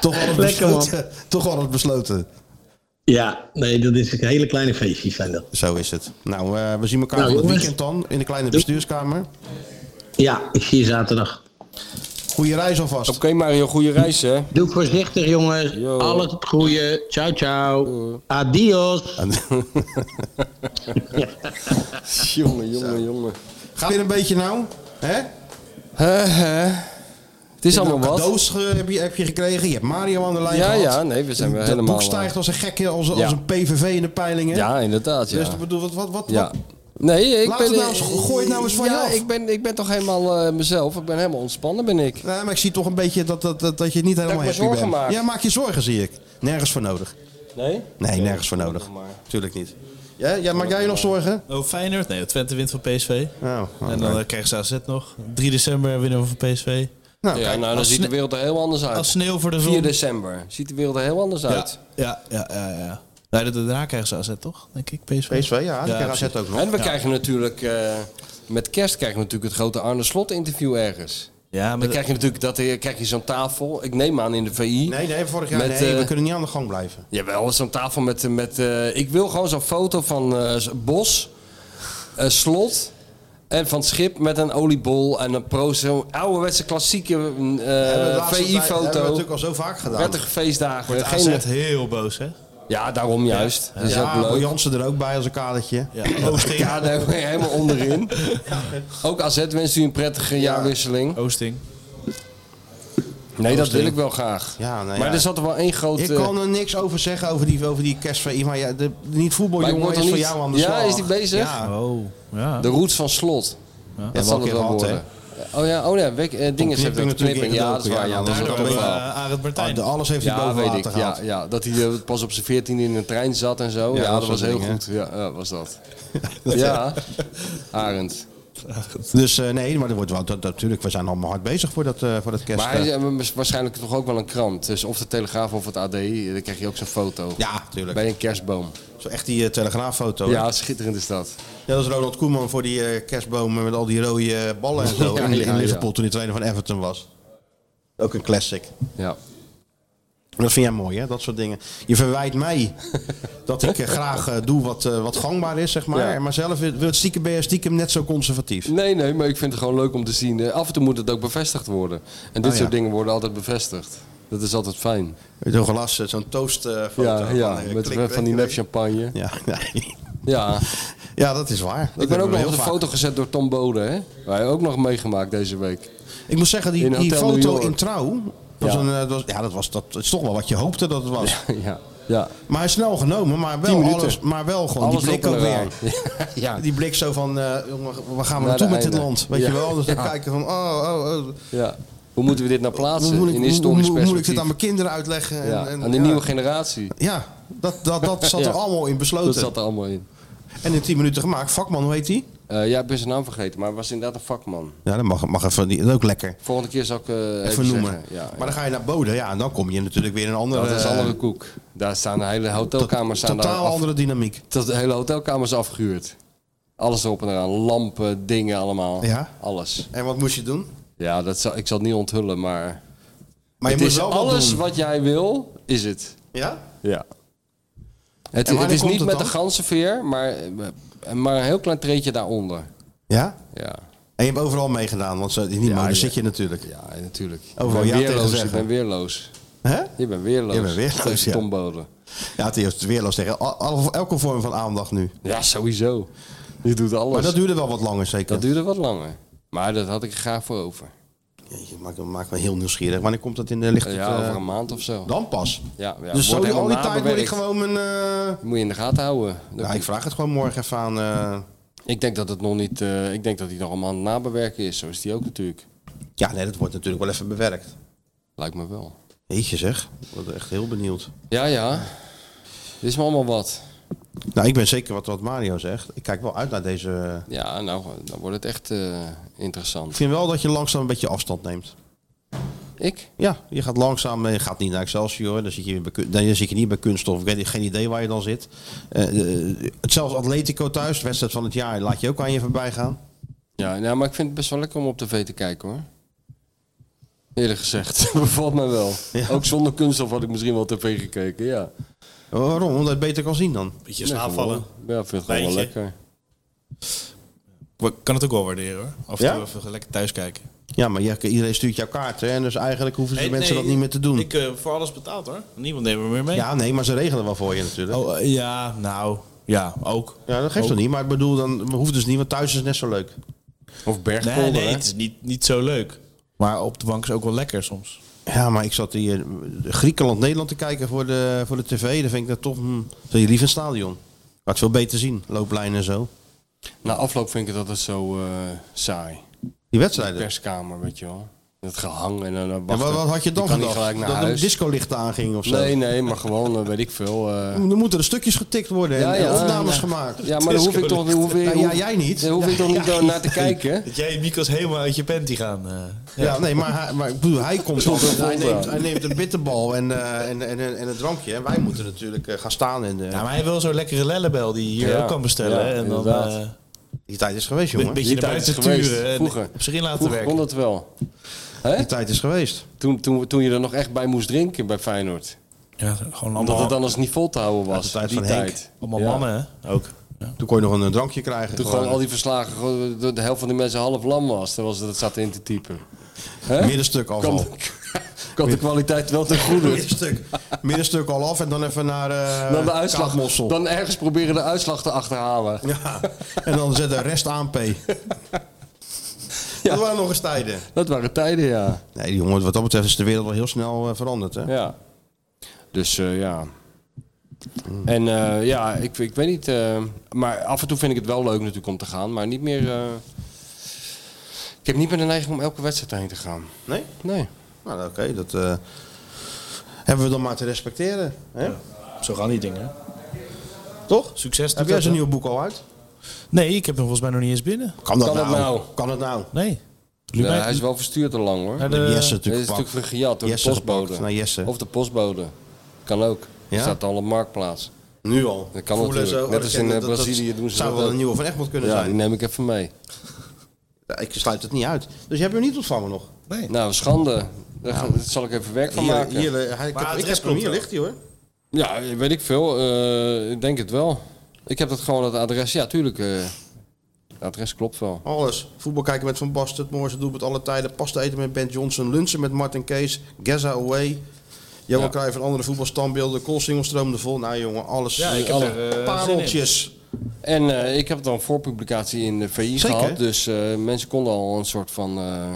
toch alles Lekker, man. besloten. Toch alles besloten. Ja, nee, dat is een hele kleine feestjes zijn dat. Zo is het. Nou, eh, we zien elkaar Nou, van het jongens. weekend dan in de kleine bestuurskamer. Ja, ik zie je zaterdag. Goeie reis alvast. Oké Mario, goede reis hè. Doe voorzichtig jongens. Yo. Alles het goede. Ciao, ciao. Adios. Jongen, jongen, jongen. Gaat weer een beetje nou? Hè? Hè, hè. Het is allemaal Nou, wat. cadeaus eh, heb je, heb je gekregen. Je hebt Mario aan de lijn Ja, gehad. ja, nee, we zijn weer Dat helemaal, eh, boek stijgt als een gekke, als, Ja. als een PVV in de peilingen. Ja, inderdaad Dus ja. ik bedoel, wat, wat, wat, Ja. wat- Nee, ik Laat ben... het nou eens- gooi het nou eens van je ja, af. ik ben, ik ben toch helemaal eh, mezelf. Ik ben helemaal ontspannen, ben ik. Nee, maar ik zie toch een beetje dat, dat, dat, dat je niet helemaal ik me happy zorgen bent. maak. Ja, maak je zorgen, zie ik. Nergens voor nodig. Nee? Nee, nergens voor nodig. maar. Tuurlijk niet. Ja, ja, maak jij je nog zorgen? Oh, Feyenoord? Nee, Twente wint van PSV. Oh, oh, en dan nee. eh, krijgen ze AZ nog. 3 december winnen we van PSV. Nou, Ja, kijk, nou, dan als ziet de sne- wereld er heel anders uit. Als sneeuw voor de zon. 4 december. Ziet de wereld er heel anders ja, uit. ja, ja, ja, ja. Nee, dat- daarna krijgen ze AZ toch? Denk ik, PSV. PSV, ja, die krijgen AZ ook nog. En we krijgen natuurlijk... eh, met kerst krijgen we natuurlijk het grote Arne Slot interview ergens. Ja, Dan maar krijg je natuurlijk dat, eh, krijg je zo'n tafel. Ik neem aan in de VI. Nee, nee, vorig jaar. Met, nee, we eh, kunnen niet aan de gang blijven. Jawel, zo'n tafel met... met eh, ik wil gewoon zo'n foto van eh, z- Bos, eh, Slot en van Schip met een oliebol en een pro. Zo'n ouderwetse klassieke mm, Hebben we de laatste tijd- Hebben we VI-foto. natuurlijk al zo vaak gedaan. Prettige feestdagen. wordt Geen- AZ heel boos, hè? Ja, daarom juist. Dat is Ja, ook Boy leuk. Jansen er ook bij als een kadertje. Ja, Oosting. Ja, daar ben je helemaal onderin. Ook AZ wenst u een prettige jaarwisseling. Oosting. Nee, dat wil ik wel graag. Ja, nou ja. Maar er zat er wel één grote... Ik kan er niks over zeggen over die, over die kerstvrij. Maar ja, de, niet Maar ik voetbaljongen word is er voor niet- jou aan de Ja, slag. is die bezig? Ja, Oh, ja. De roots van slot. Ja, Dat zal wel het een wel keer gehad, worden. Oh ja, oh ja, wek, eh, dingen Knipping hebben dat natuurlijk knipping. Ja, dat is ingedoken, waar. ja, Ja, dat is daardoor ook hebben een we- verhaal. Eh, Arend Ah, Martijn. de- alles heeft hij Ja, boven weet water ik. gehaald. Ja, ja, dat hij eh, pas op zijn 14 in een trein zat en zo. Ja, dat dat was soort heel dingen. goed. Ja, ja, was dat. ja, Arend. Dus eh, nee, maar er wordt wel, dat, dat- natuurlijk, we zijn allemaal hard bezig voor dat, eh voor dat kerst. Maar hij is eh, waarschijnlijk toch ook wel een krant. Dus of de Telegraaf of het AD, eh, dan krijg je ook zo'n foto. ja, tuurlijk. Bij een kerstboom. Zo echt die eh, telegraaffoto. Ja. Ja, schitterend is dat. Net als Ronald Koeman voor die eh, kerstbomen met al die rode eh, ballen en zo. Ja, in, in ja, Liverpool ja. toen hij trainer van Everton was. Ook een classic. Ja. Dat vind jij mooi, hè? Dat soort dingen. Je verwijt mij dat ik eh, graag eh, doe wat, eh, wat gangbaar is, zeg maar. Ja. Mm. Maar zelf wil wil het stiekem, ben je stiekem net zo conservatief. Nee, nee, maar ik vind het gewoon leuk om te zien. Eh, Af en toe moet het ook bevestigd worden. En dit Oh, ja. soort dingen worden altijd bevestigd. Dat is altijd fijn. Met Zo'n glas, eh, zo'n toastfoto. Ja, ja, eh, met klik, van die weet nep je. champagne. Ja, nee. Ja, ja, dat is waar. Dat ik ben hebben ook we nog heel op de vaak. foto gezet door Tom Bode, hè? Wij hebben ook nog meegemaakt deze week. Ik moet zeggen, die, In die Hotel New foto York. in trouw. Was Ja. een, eh, dat was, ja, dat, was, dat is toch wel wat je hoopte dat het was. ja, ja. Maar hij is snel genomen, maar Tien wel, minuten. alles, maar wel gewoon Alles Oh, die op blik en ook weer. eraan. ja, Die blik zo van, eh, jongen, waar gaan we Naar naartoe de met dit einde. land? Weet Ja. je wel? Dus dan Ja. kijken van, oh, oh, oh. ja. Hoe moeten we dit nou Hoe, plaatsen moet ik, in hoe- historisch hoe- hoe moet ik dit perspectief? aan mijn kinderen uitleggen? En, Ja, en- aan de ja. nieuwe generatie. Ja, dat, dat, dat zat Ja. er allemaal in Dat besloten. zat er allemaal in. En in 10 minuten gemaakt. Vakman, hoe heet die? Eh ja, ik ben zijn naam vergeten, maar hij was inderdaad een vakman. Ja, dat mag, mag even, die, dat is ook lekker. Volgende keer zal ik eh, even, Even noemen. zeggen. Ja, maar dan ga je naar Boden, ja, en dan kom je natuurlijk weer in een andere... Dat is eh, andere koek. Daar staan de hele hotelkamers staan daar totaal af- andere dynamiek. tot de hele hotelkamers afgehuurd. Alles erop en eraan. Lampen, dingen allemaal. Ja? Alles. En wat moest je doen? Ja, dat zal, ik zal het niet onthullen, maar... Maar je het is moest wel wat alles doen. wat jij wil, is het. Ja? Ja. Het, wanneer het is komt niet het met de dan? ganzenveer, maar, maar een heel klein treetje daaronder. Ja? Ja, En je hebt overal meegedaan, want zo, in die mode zit je natuurlijk. ja natuurlijk. Overal ik Oh, ben ja tegen weerloos. Ik zeggen. ben weerloos. Hè? Je bent weerloos. Je bent weerloos, Tegen ja. Tom Bode. Ja, het is weerloos tegen al- al- elke vorm van aandacht nu. Ja, sowieso. Je doet alles. Maar dat duurde wel wat langer, zeker. Dat duurde wat langer. Maar dat had ik er graag voor over. Jeetje, maakt, maakt me heel nieuwsgierig. Wanneer komt dat in de licht? Ja, eh, over een maand of zo. dan pas. Ja, ja, dus zo wordt die- al die helemaal tijd moet ik nabewerkt. gewoon mijn... eh, Moet je in de gaten houden. Dat- Nou, ik vraag het gewoon morgen even aan... eh, Ik denk dat het nog niet. eh, ik denk dat hij nog allemaal aan het nabewerken is. Zo is die ook natuurlijk. Ja, nee, dat wordt natuurlijk wel even bewerkt. Lijkt me wel. Jeetje zeg, ik word echt heel benieuwd. Ja, ja. Dit is me allemaal wat. Nou, ik ben zeker wat, wat Mario zegt. Ik kijk wel uit naar deze... Ja, nou, dan wordt het echt eh, Ik interessant. vind wel dat je langzaam een beetje afstand neemt. Ik? Ja, je gaat langzaam, eh, je gaat niet naar Excelsior, dan zit je, weer bij, kun- dan zit je niet bij kunststof, ik weet geen idee waar je dan zit. Eh, eh, zelfs Atletico thuis, de wedstrijd van het jaar, laat je ook aan je voorbij gaan. Ja, nou, maar ik vind het best wel lekker om op tv te kijken hoor. Eerlijk gezegd, bevalt mij wel. Ook zonder kunststof had ik misschien wel tv gekeken, ja. Waarom? Omdat je het beter kan zien dan. Beetje slaapvallen. Ja, ik vind het gewoon wel Lijntje. lekker. Ik kan het ook wel waarderen, hoor. Af en Ja? toe even lekker thuis kijken. Ja, maar je- iedereen stuurt jouw kaart, hè, en dus eigenlijk hoeven ze Nee, mensen nee, dat niet meer te doen. Ik eh, voor alles betaald hoor. Niemand neemt me meer mee. Ja, nee, maar ze regelen wel voor je natuurlijk. Oh, eh, ja, nou. Ja, ook. Ja, dat Oh. geeft Ook. toch niet, maar ik bedoel, dan hoeft dus niet, want thuis is net zo leuk. Of Bergpolder, Nee, nee, hè? het is niet, niet zo leuk. Maar op de bank is ook wel lekker soms. Ja, maar ik zat hier eh, Griekenland-Nederland te kijken voor de, voor de tv, dan vind ik dat toch, hm, zou je liever een stadion. Laat het veel beter zien, looplijnen en zo. Na afloop vind ik dat het zo eh, saai. Die De wedstrijden. perskamer, weet je wel. Het gehang en dan eh, Ja, wachten. maar wat had je dan kan niet gedacht? gelijk naar dat huis. een discolicht aanging of zo? Nee, nee, maar gewoon, eh, weet ik veel. eh, Dan moeten er stukjes getikt worden en- Ja, en ja. opnames Ja. gemaakt. ja, maar daar hoef ik toch daar hoef ik- Nou, ja, hoef- jij niet. Daar hoef ik toch niet Ja, naar te kijken. Dat jij en Mikos helemaal uit je panty gaan. eh. Ja, nee, maar hij, maar ik bedoel, hij komt Tot de altijd, hij, volgende. neemt, hij neemt een bitterbal en, eh, en, en, en, en een drankje. En wij moeten natuurlijk eh, gaan staan. En, eh, Ja, maar hij wil zo'n lekkere lellebel die je hier Ja, ook kan bestellen. ja, en dan inderdaad. eh, die tijd is geweest, een jongen. beetje Die tijd naar buiten is geweest, turen en vroeger. op zich in laten Vroeger werken. kon dat wel. Hè? Die tijd is geweest. Toen, toen, toen je er nog echt bij moest drinken bij Feyenoord. Ja, gewoon Omdat allemaal, het anders niet vol te houden was. Ja, de tijd die van Henk. tijd. allemaal Ja. mannen hè, ook. Toen kon je nog een, eh, drankje krijgen. Toen gewoon al die verslagen, gewoon de, de helft van de mensen half lam was. Dat, was, dat zat in te typen. Hè? middenstuk al. Kan, af. kan de kwaliteit wel ten goede. middenstuk, middenstuk al af en dan even naar eh Dan de uitslag. Kaapmossel. Dan ergens proberen de uitslag te achterhalen. Ja, en dan zet de rest aan P. Dat waren nog eens tijden. Dat waren tijden, ja. Nee, die jongen, wat dat betreft is de wereld wel heel snel eh, veranderd. Hè? ja. Dus eh, ja. En eh, ja, ik, ik weet niet. eh, maar af en toe vind ik het wel leuk natuurlijk om te gaan. Maar niet meer. eh, ik heb niet meer de neiging om elke wedstrijd heen te gaan. Nee? Nee. Nou, oké, dat eh, hebben we dan maar te respecteren. Hè? Zo gaan die dingen. Toch? Succes doet Heb jij dat, nou. zijn hè? nieuw boek al uit? Nee, ik heb hem volgens mij nog niet eens binnen. Kan dat, Kan het nou? nou? Kan het nou? Nee. Ja, hij is wel verstuurd al lang hoor. Naar Hij de- Jesse is natuurlijk natuurlijk gepakt. van gejat door Jesse de postbode. gepakt, naar Jesse. Of de postbode. Kan ook. Ja? Staat al op marktplaats. Nu al. Dat kan Voelen natuurlijk. zo, Net oh, als in, dat ken- eh, dat- dat Brazilië doen ze zou dat wel ook. een nieuwe van Egmond kunnen Ja, die zijn. neem ik even mee. Ja, ik sluit het niet uit. Dus je hebt hem niet ontvangen nog? Nou, schande. Daar ga- daar zal ik even werk van Hier, maken. hier, hij, ik heb, ik heb hem hier ligt hij hoor. Ja, weet ik veel. Eh, ik denk het wel. Ik heb dat gewoon het adres. Ja, tuurlijk. eh, het adres klopt wel. Alles. Voetbal kijken met Van Basten, het mooiste doelpunt alle tijden. Pasta eten met Ben Johnson, lunchen met Martin Kees, Gaza away. Johan Ja. Cruijff en andere voetbalstandbeelden. Koolsingel stroomde vol. Nou jongen, alles. Ja, ik heb Alle er eh, zin in. pareltjes. En eh, ik heb dan voorpublicatie in de VI Zeker. gehad. Dus eh, mensen konden al een soort van eh,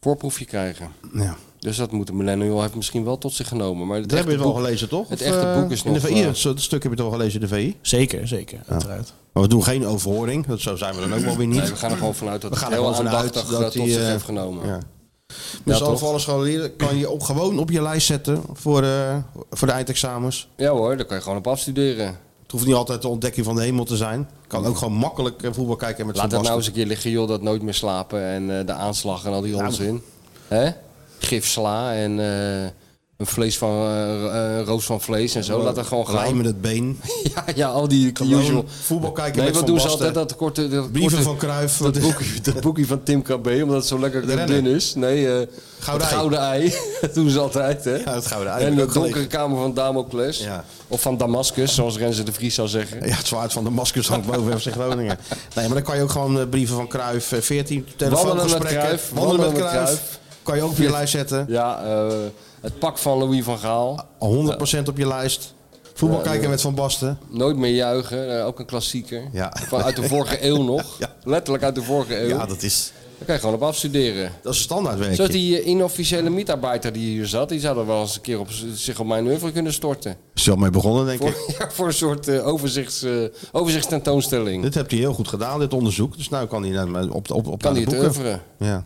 voorproefje krijgen. Ja. Dus dat moet de millennial heeft misschien wel tot zich genomen. Maar het Dat heb je echte het wel boek- gelezen, toch? Het Of, echte eh, boek is in de nog, VI, eh, het stuk heb je het wel gelezen in de VI. Zeker, zeker. Uiteraard. Maar we doen geen overhoring. Dat zo zijn we dan ook wel weer niet. Nee, we gaan er gewoon vanuit dat We het gaan er heel gewoon vanuit aandachtig dat dat tot die, zich eh, heeft genomen. Ja. Dus Ja, alle toch? voor alle scholieren kan je op, gewoon op je lijst zetten voor, eh, voor de eindexamens. Ja hoor, daar kan je gewoon op afstuderen. Het hoeft niet altijd de ontdekking van de hemel te zijn. Kan ook gewoon makkelijk eh, voetbal kijken met Laat dat nou Sebastian. eens een keer liggen, joh, dat nooit meer slapen en eh, de aanslag en al die onzin. Hè? Gif sla en eh, een vlees van, eh, ro- eh, roos van vlees en zo. Laat dat gewoon Lijm gaan. met het been. Ja, ja, al die Gewoon usual. voetbal kijken Nee, met wat Van doen ze Basten. altijd? Dat korte, dat Brieven korte- van Cruijff. Dat Wat- boekje, dat boekje van Tim KB, omdat het zo lekker renner. dun is. Nee, eh Gouden het ei. gouden ei. dat doen ze altijd, hè? Ja, het gouden En ei. Heb ik de ook donkere gelezen. kamer van Damocles. Ja. Of van Damascus, zoals Renze de Vries zou zeggen. Ja, het zwaard van de maskers hangt boven FC Groningen. Nee, maar dan kan je ook gewoon eh, brieven van Cruijff. eh, 14 telefoongesprekken. met Cruijff, Wandelen met wandelen met Cruijff. Kan je ook op je lijst zetten. Ja, eh, het pak van Louis van Gaal. 100% op je lijst. Voetbal kijken met Van Basten. Nooit meer juichen, eh, ook een klassieker. Ja. Van uit de vorige eeuw nog. Ja. Letterlijk uit de vorige eeuw. Ja, dat is, Daar kan je gewoon op afstuderen. dat is een standaardwerkje. Zoals die eh, inofficiële mietarbeiter die hier zat, die zou er wel eens een keer op, z- zich op mijn oeuvre kunnen storten. Is wel mee begonnen, denk Voor, ik. ja, voor een soort eh, overzichts, eh, overzichtstentoonstelling. Dit hebt hij heel goed gedaan, dit onderzoek. Dus nu kan hij naar- op, op, op Kan die naar de het boeken. oeuvre? Ja.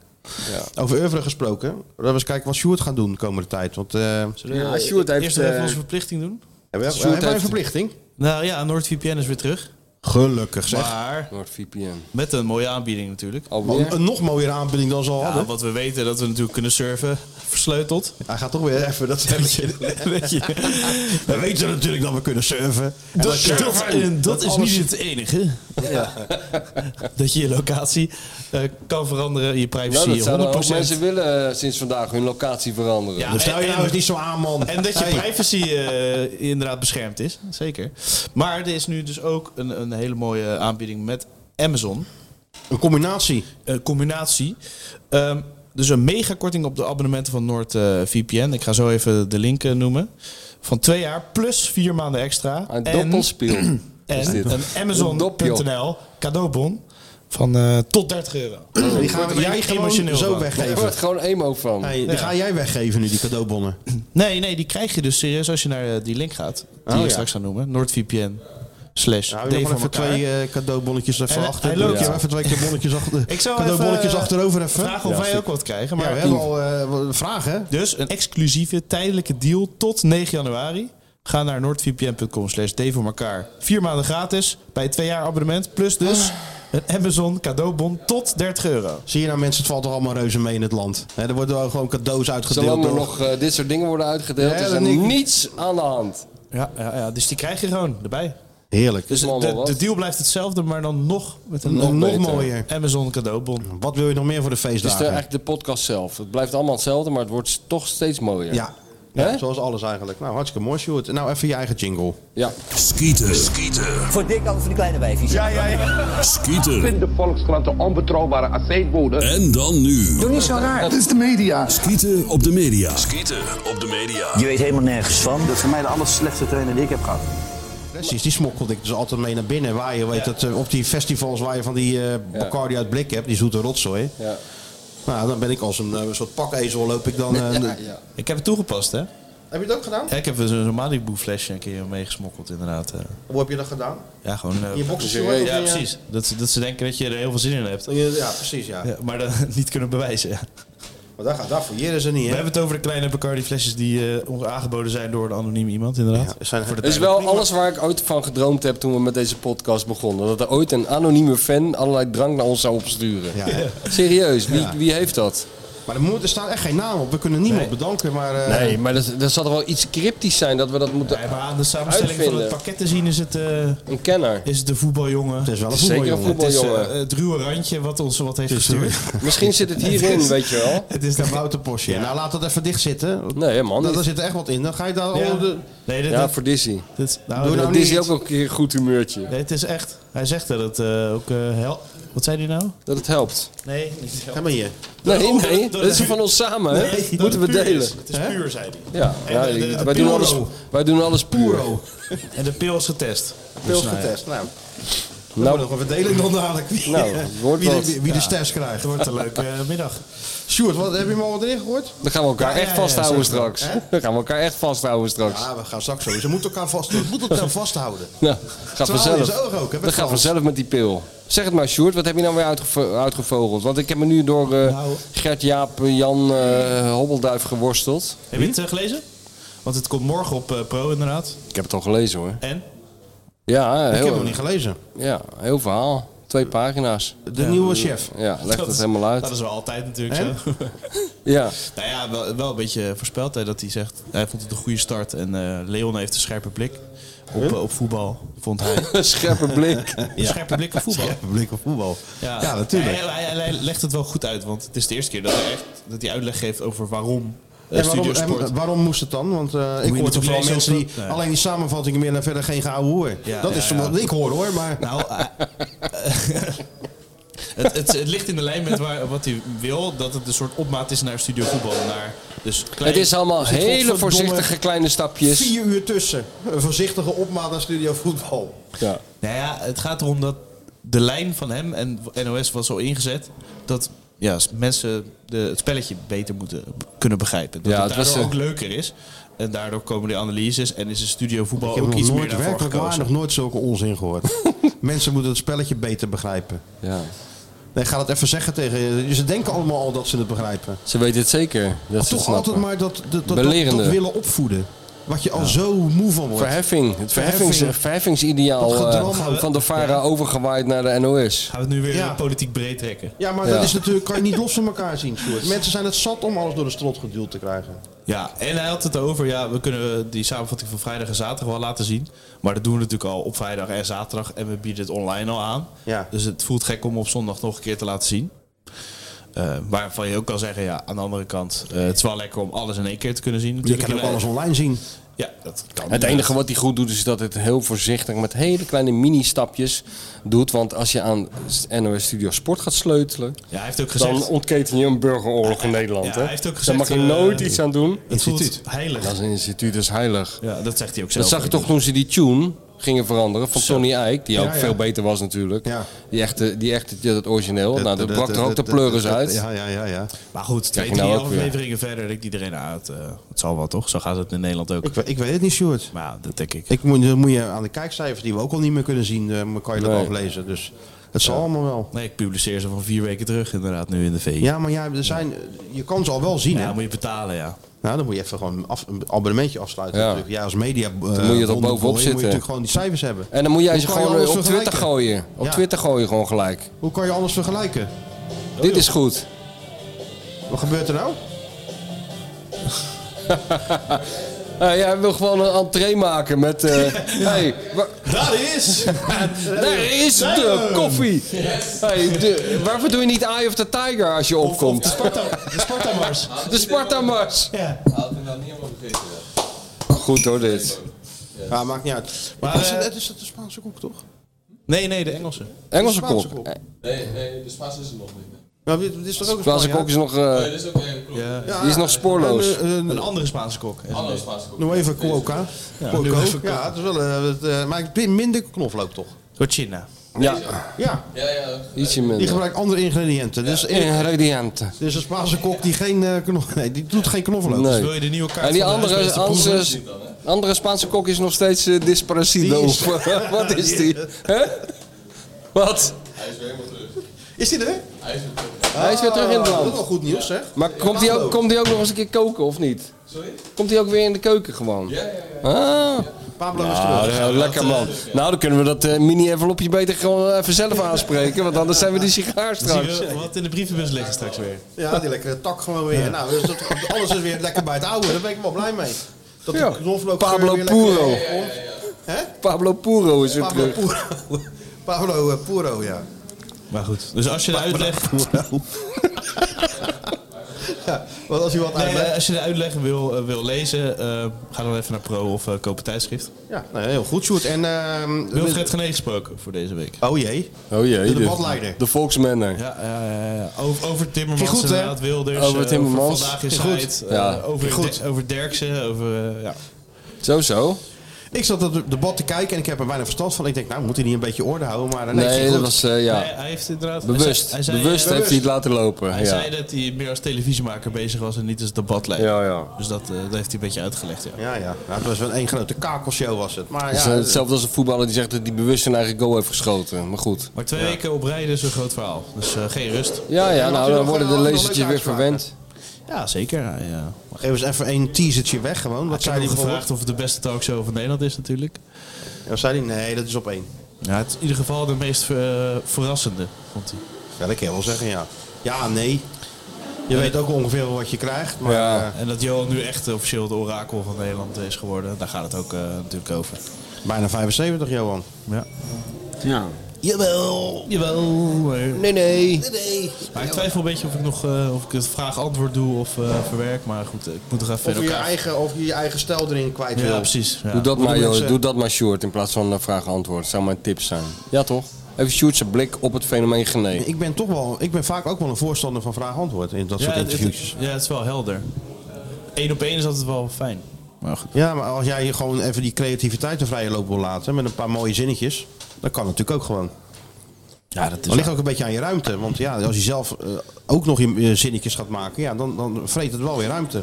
Over oeuvre gesproken. Laten we eens kijken wat Sjoerd gaat doen de komende tijd. Want, eh Zullen we Ja, Sjoerd heeft, eerst nog even eh, onze verplichting doen? hebben we, Sjoerd hebben wij een heeft- verplichting? Nou ja, NordVPN is weer terug. Gelukkig zeg. Maar NordVPN. met een mooie aanbieding natuurlijk. Alweer? Oh, Nou, Een, een nog mooiere aanbieding dan ze al Ja, hadden. wat we weten dat we natuurlijk kunnen surfen, versleuteld. Hij gaat toch weer even dat stemmetje. Weet je? We weten natuurlijk dat we kunnen surfen. En Dat, je- dat, en dat is alles- niet het enige. dat je je locatie eh, kan veranderen, je privacy Nou, dat zouden ook 100%. mensen willen eh, sinds vandaag hun locatie veranderen. Ja, Dus stel je en- nou eens niet zo aan, man. En dat je Hey. privacy eh, inderdaad beschermd is, zeker. Maar er is nu dus ook een, een hele mooie aanbieding met Amazon. Een combinatie. Een combinatie. Ehm, dus een megakorting op de abonnementen van eh, NordVPN. Ik ga zo even de link eh, noemen. Van twee jaar plus vier maanden extra. Een en doppelspiel. is en dit. een Amazon.nl cadeaubon van eh, tot 30 euro. Oh, Die gaan er jij echt gewoon emotioneel zo van. Daar weggeven. wordt gewoon emo van. Hey, die ga jij weggeven nu, die cadeaubonnen. Nee, nee, die krijg je dus serieus als je naar eh, die link gaat. Die Oh, ik ja. straks ga noemen. NordVPN. Slash Nou, D nog van even elkaar. twee eh, cadeaubonnetjes En even hij- achter. hij loopt, Ja, ja. even twee cadeaubonnetjes achter. Ik zou cadeaubonnetjes even, eh, achterover even. Vraag of Ja, wij ook wat krijgen. Maar ja, we hebben al eh vragen. Dus een exclusieve tijdelijke deal tot 9 januari. Ga naar noordvpn.com slash D voor elkaar. Vier maanden gratis bij twee jaar abonnement. Plus Ah. dus een Amazon cadeaubon tot 30 euro. Zie je nou mensen, het valt toch allemaal reuze mee in het land. Hè, er worden wel gewoon cadeaus uitgedeeld. Zolang er door- nog eh, dit soort dingen worden uitgedeeld, Ja, is er dat niet. niets aan de hand. Ja, ja, ja, dus die krijg je gewoon erbij. Heerlijk. Dus Allemaal de, wat. de deal blijft hetzelfde, maar dan nog met een nog, beter. mooier. Amazon cadeaubon. Wat wil je nog meer voor de Het is de, feestdagen? eigenlijk de podcast zelf. Het blijft allemaal hetzelfde, maar het wordt toch steeds mooier. Ja. Hè? Zoals alles eigenlijk. Nou, hartstikke mooi, Sjoerd. Nou, even je eigen jingle. ja. Skieten. Voor dik over de kleine wijfjes. Ja, ja, ja. Skieten. de Volkskrant de onbetrouwbare aceetbode. En dan nu. Doe niet zo raar. Skieten op de media. Skieten op de media. Je weet helemaal nergens van. Dat is voor mij de aller slechtste trainer die ik heb gehad. Precies, die smokkelde ik dus altijd mee naar binnen. Waar je weet dat eh, op die festivals waar je van die eh Bacardi uit blik hebt, die zoete rotzooi. Ja. Nou, dan ben ik als een eh, soort pakezel loop ik dan. eh, de- Ik heb het toegepast, hè? Heb je dat ook gedaan? Ja, Ik heb dus een Malibu flesje een keer meegesmokkeld, inderdaad. eh. Hoe heb je dat gedaan? Ja, gewoon... eh, Je boxers, serieus? hoor, of ja, je- precies. Dat ze, dat ze denken dat je er heel veel zin in hebt. Je- Ja, precies, ja. Ja, maar dat niet kunnen bewijzen. Maar daar, gaat- daar fouilleren ze We niet, hè? hebben het over de kleine Bacardi flesjes die eh, ons aangeboden zijn door een anoniem iemand, Ja, inderdaad. we zijn- Het is wel alles waar ik ooit van gedroomd heb toen we met deze podcast begonnen. Dat er ooit een anonieme fan allerlei drank naar ons zou opsturen. Ja. Serieus, wie, wie heeft dat? Maar er, moet, er staat echt geen naam op. We kunnen niemand bedanken, maar... eh, Nee, maar dat, dat zal toch wel iets cryptisch zijn dat we dat moeten... Ja, maar aan de samenstelling van Uitvinden. het pakket te zien is het, eh, Een kenner. is het de voetbaljongen. Het is wel een Zeker een voetbaljongen. Het is eh, voetbaljongen. het ruwe randje wat ons wat heeft Het is de- gestuurd. Misschien zit het hierin, weet je wel. Het is de Wouterpostje. Nou, laat dat even dicht zitten. Nee, man. Daar niet. daar zit er echt wat in. Dan ga je daar... Ja. al de- Oh, Nee, dit, Ja, dit- voor Dizzy. dit- nou, Doe dit- nou Dit is niet. ook een keer een goed humeurtje. nee, het is echt. Hij zegt dat het eh, ook eh, hel- Wat zei hij nou? Dat het helpt. Nee, niet Ga maar hier. Nee, oh, nee. dat- Dat is van ons samen, hè? Moeten we delen. Het is puur, zei hij. Ja, ja, de- de- de wij, doen Puro. alles, wij doen alles puur. En de pil is getest. Pils getest. Nou, Nou, nog een verdeling dan dadelijk. Wie, eh, Nou, het wordt wie, de- wat. wie, wie de sters krijgt. Het wordt een leuke eh, middag. Sjoerd, wat, heb je hem al wat erin gegooid? dan gaan we elkaar ja, echt ja, vasthouden zo. straks. Dan gaan we elkaar echt vasthouden straks. Ja, Ah, we gaan straks zo. Ze moeten elkaar vasthouden. Ze moeten elkaar vasthouden. Nou, gaat Terwijl vanzelf. je ze ogen ook, hè, met dat gaat Frans. vanzelf met die pil. Zeg het maar, Sjoerd, wat heb je nou weer uitgevo- uitgevogeld? Want ik heb me nu door eh, Nou- Gert, Jaap, Jan, eh, Hobbelduif geworsteld. Heb je het eh, gelezen? Want het komt morgen op eh, Pro, inderdaad. Ik heb het al gelezen hoor. En? Ja, Ik heb hem heel, niet gelezen. ja, heel verhaal. Twee pagina's. De nieuwe chef. Ja, legt Dat het is- helemaal Dat uit. is wel altijd natuurlijk Hè? zo. Ja, nou ja, wel, wel een beetje voorspeld hè, dat hij zegt. Hij vond het een goede start en eh, Leon heeft een scherpe blik op, eh, op voetbal, vond hij. een scherpe blik. Een scherpe blik op voetbal. Blik op voetbal. Ja, natuurlijk. Hij, hij- hij legt het wel goed uit, want het is de eerste keer dat hij, echt, dat hij uitleg geeft over waarom eh, En waarom, studiosport. en waarom moest het dan? Want eh, ik hoor toch natuurlijk wel lezen mensen die of dat- Nee. alleen die samenvattingen meer en verder geen geouwe hoor. Ja, dat ja, is ja. wat ik hoor hoor, maar... Nou, eh, het, het, het ligt in de lijn met waar, wat hij wil, dat het een soort opmaat is naar studio voetbal. Naar, dus klein- Het is allemaal zit hele godverdomme voorzichtige kleine stapjes. Vier uur tussen. Een voorzichtige opmaat naar studio voetbal. Ja. Nou ja, het gaat erom dat de lijn van hem en NOS was zo ingezet dat ja, s- mensen de, het spelletje beter moeten kunnen begrijpen. Dat Ja, het het was eh, daardoor ook de- leuker is. En daardoor komen de analyses en is de studio voetbal Ik heb ook nog iets meer nooit daarvoor werkelijk waar gekozen. nog nooit zulke onzin gehoord. Mensen moeten het spelletje beter begrijpen. Ja. Nee, ga dat even zeggen tegen je. Ze denken allemaal al dat ze het begrijpen. Ze weten het zeker. Dat ze Toch het snappen. altijd maar dat, dat, dat- dat, dat, Belerende. willen opvoeden. Wat je al zo moe van wordt. Verheffing. Het Verheffing. verheffings, verheffingsideaal Dat gedroom eh, hebben we- van de VARA overgewaaid naar de NOS. Gaan we het nu weer Ja. politiek breed trekken? Ja, maar Ja. dat is natuurlijk, kan je niet los van elkaar zien, Sjoerd. Mensen zijn het zat om alles door de strot geduwd te krijgen. Ja, en hij had het over, ja, we kunnen die samenvatting van vrijdag en zaterdag wel laten zien. Maar dat doen we natuurlijk al op vrijdag en zaterdag en we bieden het online al aan. Ja. Dus het voelt gek om op zondag nog een keer te laten zien. Eh, waarvan je ook kan zeggen, ja, aan de andere kant, eh, het is wel lekker om alles in één keer te kunnen zien. Je natuurlijk. kan ook En, eh, alles online zien. Ja, dat kan. Het enige wat hij goed doet is dat het heel voorzichtig met hele kleine mini-stapjes doet. Want als je aan NOS Studio Sport gaat sleutelen, Ja, hij heeft ook dan gezegd, ontketen je een burgeroorlog in Nederland. Ja, hè? hij heeft ook Daar gezegd, mag je eh, nooit iets aan doen. het voelt heilig. Dat is een instituut, dat is heilig. Ja, dat zegt hij ook zelf. Dat zag je toch toen ze die tune gingen veranderen. Van Tony Eijk, die Ja, ook ja. veel beter was natuurlijk. Die echte, die echte, die- dat origineel. nou, dat brak er ook de pleuris uit. Ja, ja, ja, ja. Maar goed, Krijg twee, je nou drie ook weer. afleveringen verder rikt iedereen uit. eh, het zal wel toch? Zo gaat het in Nederland ook. Ik, we- ik weet het niet, Sjoerd. Maar ja, dat denk ik. Ik moet, dan moet je aan de kijkcijfers die we ook al niet meer kunnen zien, eh, kan je dat Nee. aflezen. Dus het zal Ja. allemaal wel. Nee, ik publiceer ze van vier weken terug inderdaad nu in de VI. Ja, maar ja, er zijn, je kan ze al wel zien, Ja, hè? moet je betalen, ja. Nou, dan moet je even gewoon een af, een abonnementje afsluiten. Ja. natuurlijk. Jij als media. eh, Dan moet je er ondervoer, bovenop Moet je zitten. natuurlijk gewoon die cijfers hebben. En dan moet jij Hoe ze kan je gewoon alles op Twitter vergelijken? gooien. Op Ja. Twitter gooien gewoon gelijk. Hoe kan je alles vergelijken? Dit is goed. Wat gebeurt er nou? Nou, jij wil gewoon een entree maken met... eh, hey, wa- Daar is! daar is de koffie! Hey, de- waarvoor doe je niet Eye of the Tiger als je opkomt? De Spartamars. De Sparta Mars! Ja. Goed hoor, dit. Ja, maakt niet uit. Maar, Maar, is, eh, het, het is de Spaanse kop, toch? Nee, nee, de Engelsen. Engelse De Spaanse kok. kop. Eh, Nee, nee, de Spaans is er nog niet. Maar dit dit is toch ook een Spaanse Spanjaard? kok is nog, eh, Nee, dit is ook een klok. Ja. Ja, die is nog spoorloos. Een, een, Een andere Spaanse kok. Andere Spaanse kok. nog even Cuoca. Ja, nu even ja, het is wel, eh, het, eh, maar ik vind minder knoflook toch? Cochina. Ja, Ja, Ja, ja. ietsje die minder. gebruikt andere ingrediënten. Dus er Ingrediënten. is Dus een Spaanse kok die geen eh, knof, nee, die doet geen knoflook. Nee. Wil je de nieuwe kaart En die van de andere, huismeester andere, proeven? andere Spaanse kok is nog steeds eh, Desperacido. Die is- Of, eh, Wat is die? Hè? Wat? Hij is weer helemaal terug. Is die er? Hij is weer terug. Hij is weer terug in het Dat is land. wel goed nieuws, zeg. Maar komt hij ook, komt die ook nog eens een keer koken of niet? Sorry? Komt hij ook weer in de keuken gewoon? Ja, ja, ja. Ah, Pablo is Ah, terug. nou, lekker man. Nou, dan kunnen we dat eh, mini-envelopje beter gewoon eh, even zelf aanspreken. Want anders zijn we die sigaar Zie straks. je wat in de brievenbus liggen straks weer. Ja, die lekkere tak gewoon weer. Nou, dus dat- alles is weer lekker bij het oude. Daar ben ik wel blij mee. Dat de Ja. knoflook Pablo weer lekker- Puro. Hè? Pablo Puro is weer Pablo terug. Puro. Pablo eh, Puro, ja. Maar goed, dus als je de uitleg, ja. Want als je wat nee, uitlegt... eh, als je de uitleg wil, eh, wil lezen, eh, ga dan even naar Pro of eh koop een tijdschrift. Ja, nou, heel goed, Sjoerd. En, ehm, Wilfred Genee gesproken voor deze week. Oh jee. Oh jee. De debatleider. De volksmanner. Ja, ja, ja, ja. Over, over Timmermans, Ging goed, hè? inderdaad, Wilders. Over eh, Timmermans. vandaag is Ging goed. Heid, eh, Ja. over, Ging goed. Der- over Derksen, over... eh, ja. Zo, zo. Ik zat op het debat te kijken en ik heb er weinig verstand van. Ik denk, nou, moet hij niet een beetje orde houden? Maar nee, Nee, ging dat goed. was... eh, ja. Hij, hij heeft inderdaad... hij Bewust. zei- hij zei, bewust eh, heeft hij het laten lopen. Hij ja. zei dat hij meer als televisiemaker bezig was en niet als debatleider. Ja, ja. Dus dat, eh, dat heeft hij een beetje uitgelegd, ja. Ja, ja. Nou, het was wel één grote kakelshow was het. Maar Het is, ja, eh, hetzelfde als een voetballer die zegt dat hij bewust zijn eigen goal heeft geschoten. Maar goed. Maar twee weken op rijden is een groot verhaal. Dus eh, geen rust. Ja, ja, nou dan worden de nog lezertjes leuke weer uitspraken. verwend. Ja, zeker. Ja, ja. geef eens even één teasertje weg gewoon. Wat Ik zei hij heb hem bijvoorbeeld? gevraagd of het de beste talkshow van Nederland is natuurlijk. Ja, wat zei hij? Nee, dat is op één. Ja, het is in ieder geval de meest eh, verrassende, vond hij. Ja, dat kan je wel zeggen, ja. Ja, nee. Je weet ook ongeveer wel wat je krijgt. Maar, Ja. eh, En dat Johan nu echt officieel het orakel van Nederland is geworden, daar gaat het ook eh, natuurlijk over. bijna 75, Johan. Ja. Ja. Jawel. Jawel. Maar Nee, nee. maar ik twijfel een beetje of ik nog eh, of ik het vraag-antwoord doe of eh, verwerk. Maar goed, ik moet nog even Of je in je elkaar- eigen, of je, je eigen stijl erin kwijt wil. Ja, precies. Ja. Doe dat Hoe maar, doen joh. mensen- Doe dat maar, Sjoerd, in plaats van eh, vraag-antwoord. Zou mijn tip zijn. Ja, toch? Even Sjoerd zijn blik op het fenomeen genee. Ik ben toch wel, ik ben vaak ook wel een voorstander van vraag-antwoord in dat Ja, soort het- het- interviewtjes. ja, het is wel helder. Eén op één is altijd wel fijn. Maar goed. Ja, maar als jij je gewoon even die creativiteit de vrije loop wil laten met een paar mooie zinnetjes, dan kan natuurlijk ook gewoon. Ja, dat Dat ligt ook een beetje aan je ruimte, want ja, als je zelf eh, ook nog je eh, zinnetjes gaat maken, ja, dan, dan vreet het wel weer ruimte.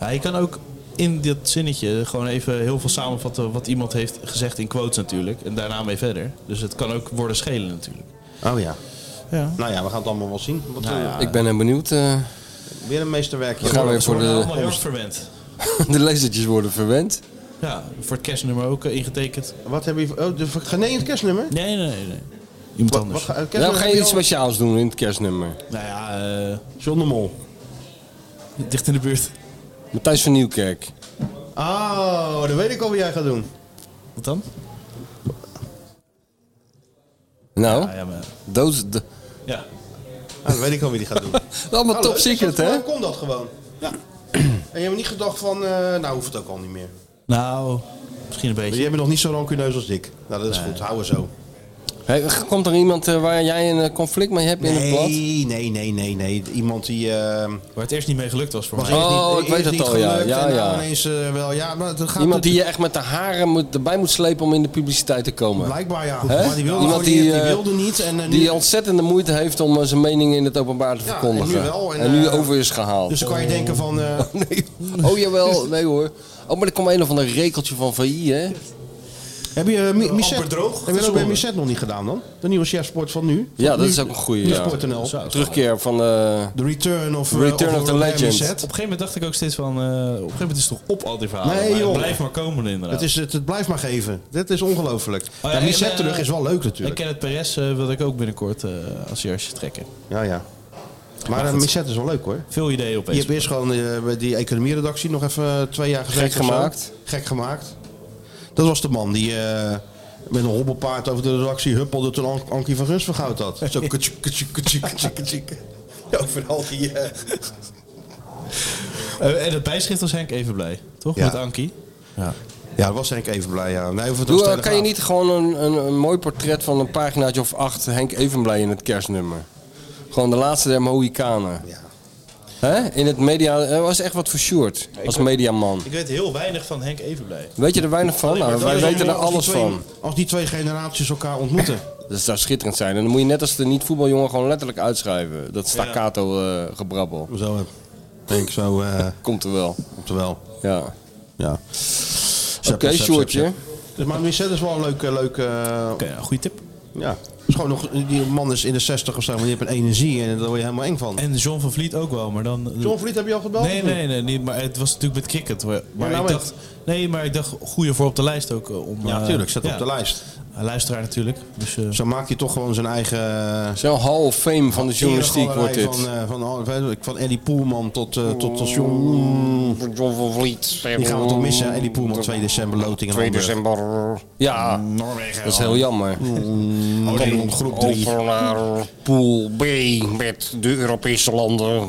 Ja, je kan ook in dat zinnetje gewoon even heel veel samenvatten wat iemand heeft gezegd in quotes natuurlijk. En daarna mee verder. Dus het kan ook worden schelen natuurlijk. Oh ja. Ja. Nou ja, we gaan het allemaal wel zien. Wat, eh, Ik ben heel benieuwd. eh, Weer een meesterwerkje. Nou We gaan weer Ze voor worden de- allemaal heel erg verwend. de lezertjes worden verwend. Ja, voor het kerstnummer ook eh, ingetekend. Wat hebben je? Oh, de geneend kerstnummer? Nee, nee, nee. nee. Iemand Wat, anders. wat ga- Nou, eh, kerstnummer ga heb je je iets al? speciaals doen in het kerstnummer? Nou ja, eh, John de Mol. dicht in de buurt. Matthijs van Nieuwkerk. Oh, dat weet ik al wat jij gaat doen. Wat dan? Nou, Ah, ja, maar, dood... d- ja. Ah, dat weet ik al wie die gaat doen. Allemaal top Hallo, secret, dat- hè? Hoe kon dat gewoon? Ja. En je hebt niet gedacht van, eh, nou hoeft het ook al niet meer. Dus Nou, misschien een Je beetje. bent nog niet zo rancuneus als ik. Nou, dat is goed. Hou er zo. Hey, komt er iemand eh, waar jij een eh, conflict mee hebt in het blad? Nee, nee, nee, nee, nee. Iemand die... eh, Waar het eerst niet mee gelukt was voor mij. Oh, ik weet het al, ja. Ja, ja. ineens eh, wel, ja, maar dat gaat Iemand die je echt met de haren moet, erbij moet slepen om in de publiciteit te komen. Blijkbaar, ja. Hè? Maar die wilde, Iemand gewoon niet, die eh, wilde niet. En, eh, nu- Die ontzettende moeite heeft om eh, zijn meningen in het openbaar te Ja, en verkondigen. nu wel, en, eh, over is gehaald. Dus dan kan je denken van... eh, Oh jawel, nee hoor. Oh, maar er komt een of ander rekeltje van VI, hè? Heb je eh, Mi- Misset? amper droog Heb je dat ook bij geschoren. Misset nog niet gedaan dan? De nieuwe chefsport van nu? Ja, Van dat nu- is ook een goede. Nu Ja. Sport.nl. Terugkeer van de... The Return of, eh, Return of the Robert Legend. Misset. Op een gegeven moment dacht ik ook steeds van, eh, op een gegeven moment is het toch op al die verhalen. Nee, maar het joh. blijft maar komen inderdaad. Het, is, het, het blijft maar geven. Dit is ongelooflijk. Oh ja, en, Misset eh, terug is wel leuk En natuurlijk. Kenneth Perez eh, wilde ik ook binnenkort eh, als jasje trekken. Ja, ja. Maar Maar eh, goed. Misset is wel leuk hoor. Veel ideeën Je opeens. hebt eerst gewoon eh, bij die economieredactie nog even eh, twee jaar gezeten. Gek of zo. gemaakt. Gek gemaakt. Dat was de man die eh, met een hobbelpaard over de redactie huppelde toen An- Ankie van Guns vergoud had. Zo kutje, kutje, kutje, kutje, kutje. Overal die... eh, Eh, en het bijschrift was Henk even blij, toch? Ja. Met Ankie. Ja. ja, dat was Henk even blij. Ja. Nee, of het was Doe, eh, kan je Telegraaf. niet gewoon een, een, een mooi portret van een paginaatje of acht Henk Evenblij in het kerstnummer? Gewoon de laatste der Mohikanen. Hè? In het media... Er was echt wat voor Sjoerd, als mediaman. Ik weet heel weinig van Henk Evenblij. Weet je er weinig van? Nou, Dat wij is weten er allemaal als die alles twee- van. Als die twee generaties elkaar ontmoeten. Dat zou schitterend zijn. En dan moet je net als de niet-voetbaljongen gewoon letterlijk uitschrijven. Dat staccato eh, gebrabbel. Zo, eh, denk ik zo. eh, Komt er wel. komt er wel. Ja. Ja. Oké, Sjoerdje. Dus, maar Misset is wel een leuke... leuke eh, goede tip. ja. Is gewoon nog, die man is in de 60 of zo, maar die heeft een energie en daar word je helemaal eng van. En John van Vliet ook wel, maar dan... John Vliet heb je al gebeld? Nee, nee, nee, niet, maar het was natuurlijk met cricket. Maar, maar nou ik weet- dacht, nee, maar ik dacht, goeie voor op de lijst ook. eh, Om, Ja, eh, tuurlijk, zet op de lijst. Een luisteraar natuurlijk. Dus, eh, Zo maakt hij toch gewoon zijn eigen... Zo'n Hall of Fame van de journalistiek wordt dit. Van, eh, van, al- weet ik, van Eddie Poelman tot, eh, tot, tot John... John van Vliet. Die gaan we toch oh, missen, Eddie Poelman, 2 december, Lotingen, 2 Hamburg. december. Ja, Noorwegen. dat is heel jammer. Oh, Dan nee, groep drie. Over naar pool B met de Europese landen.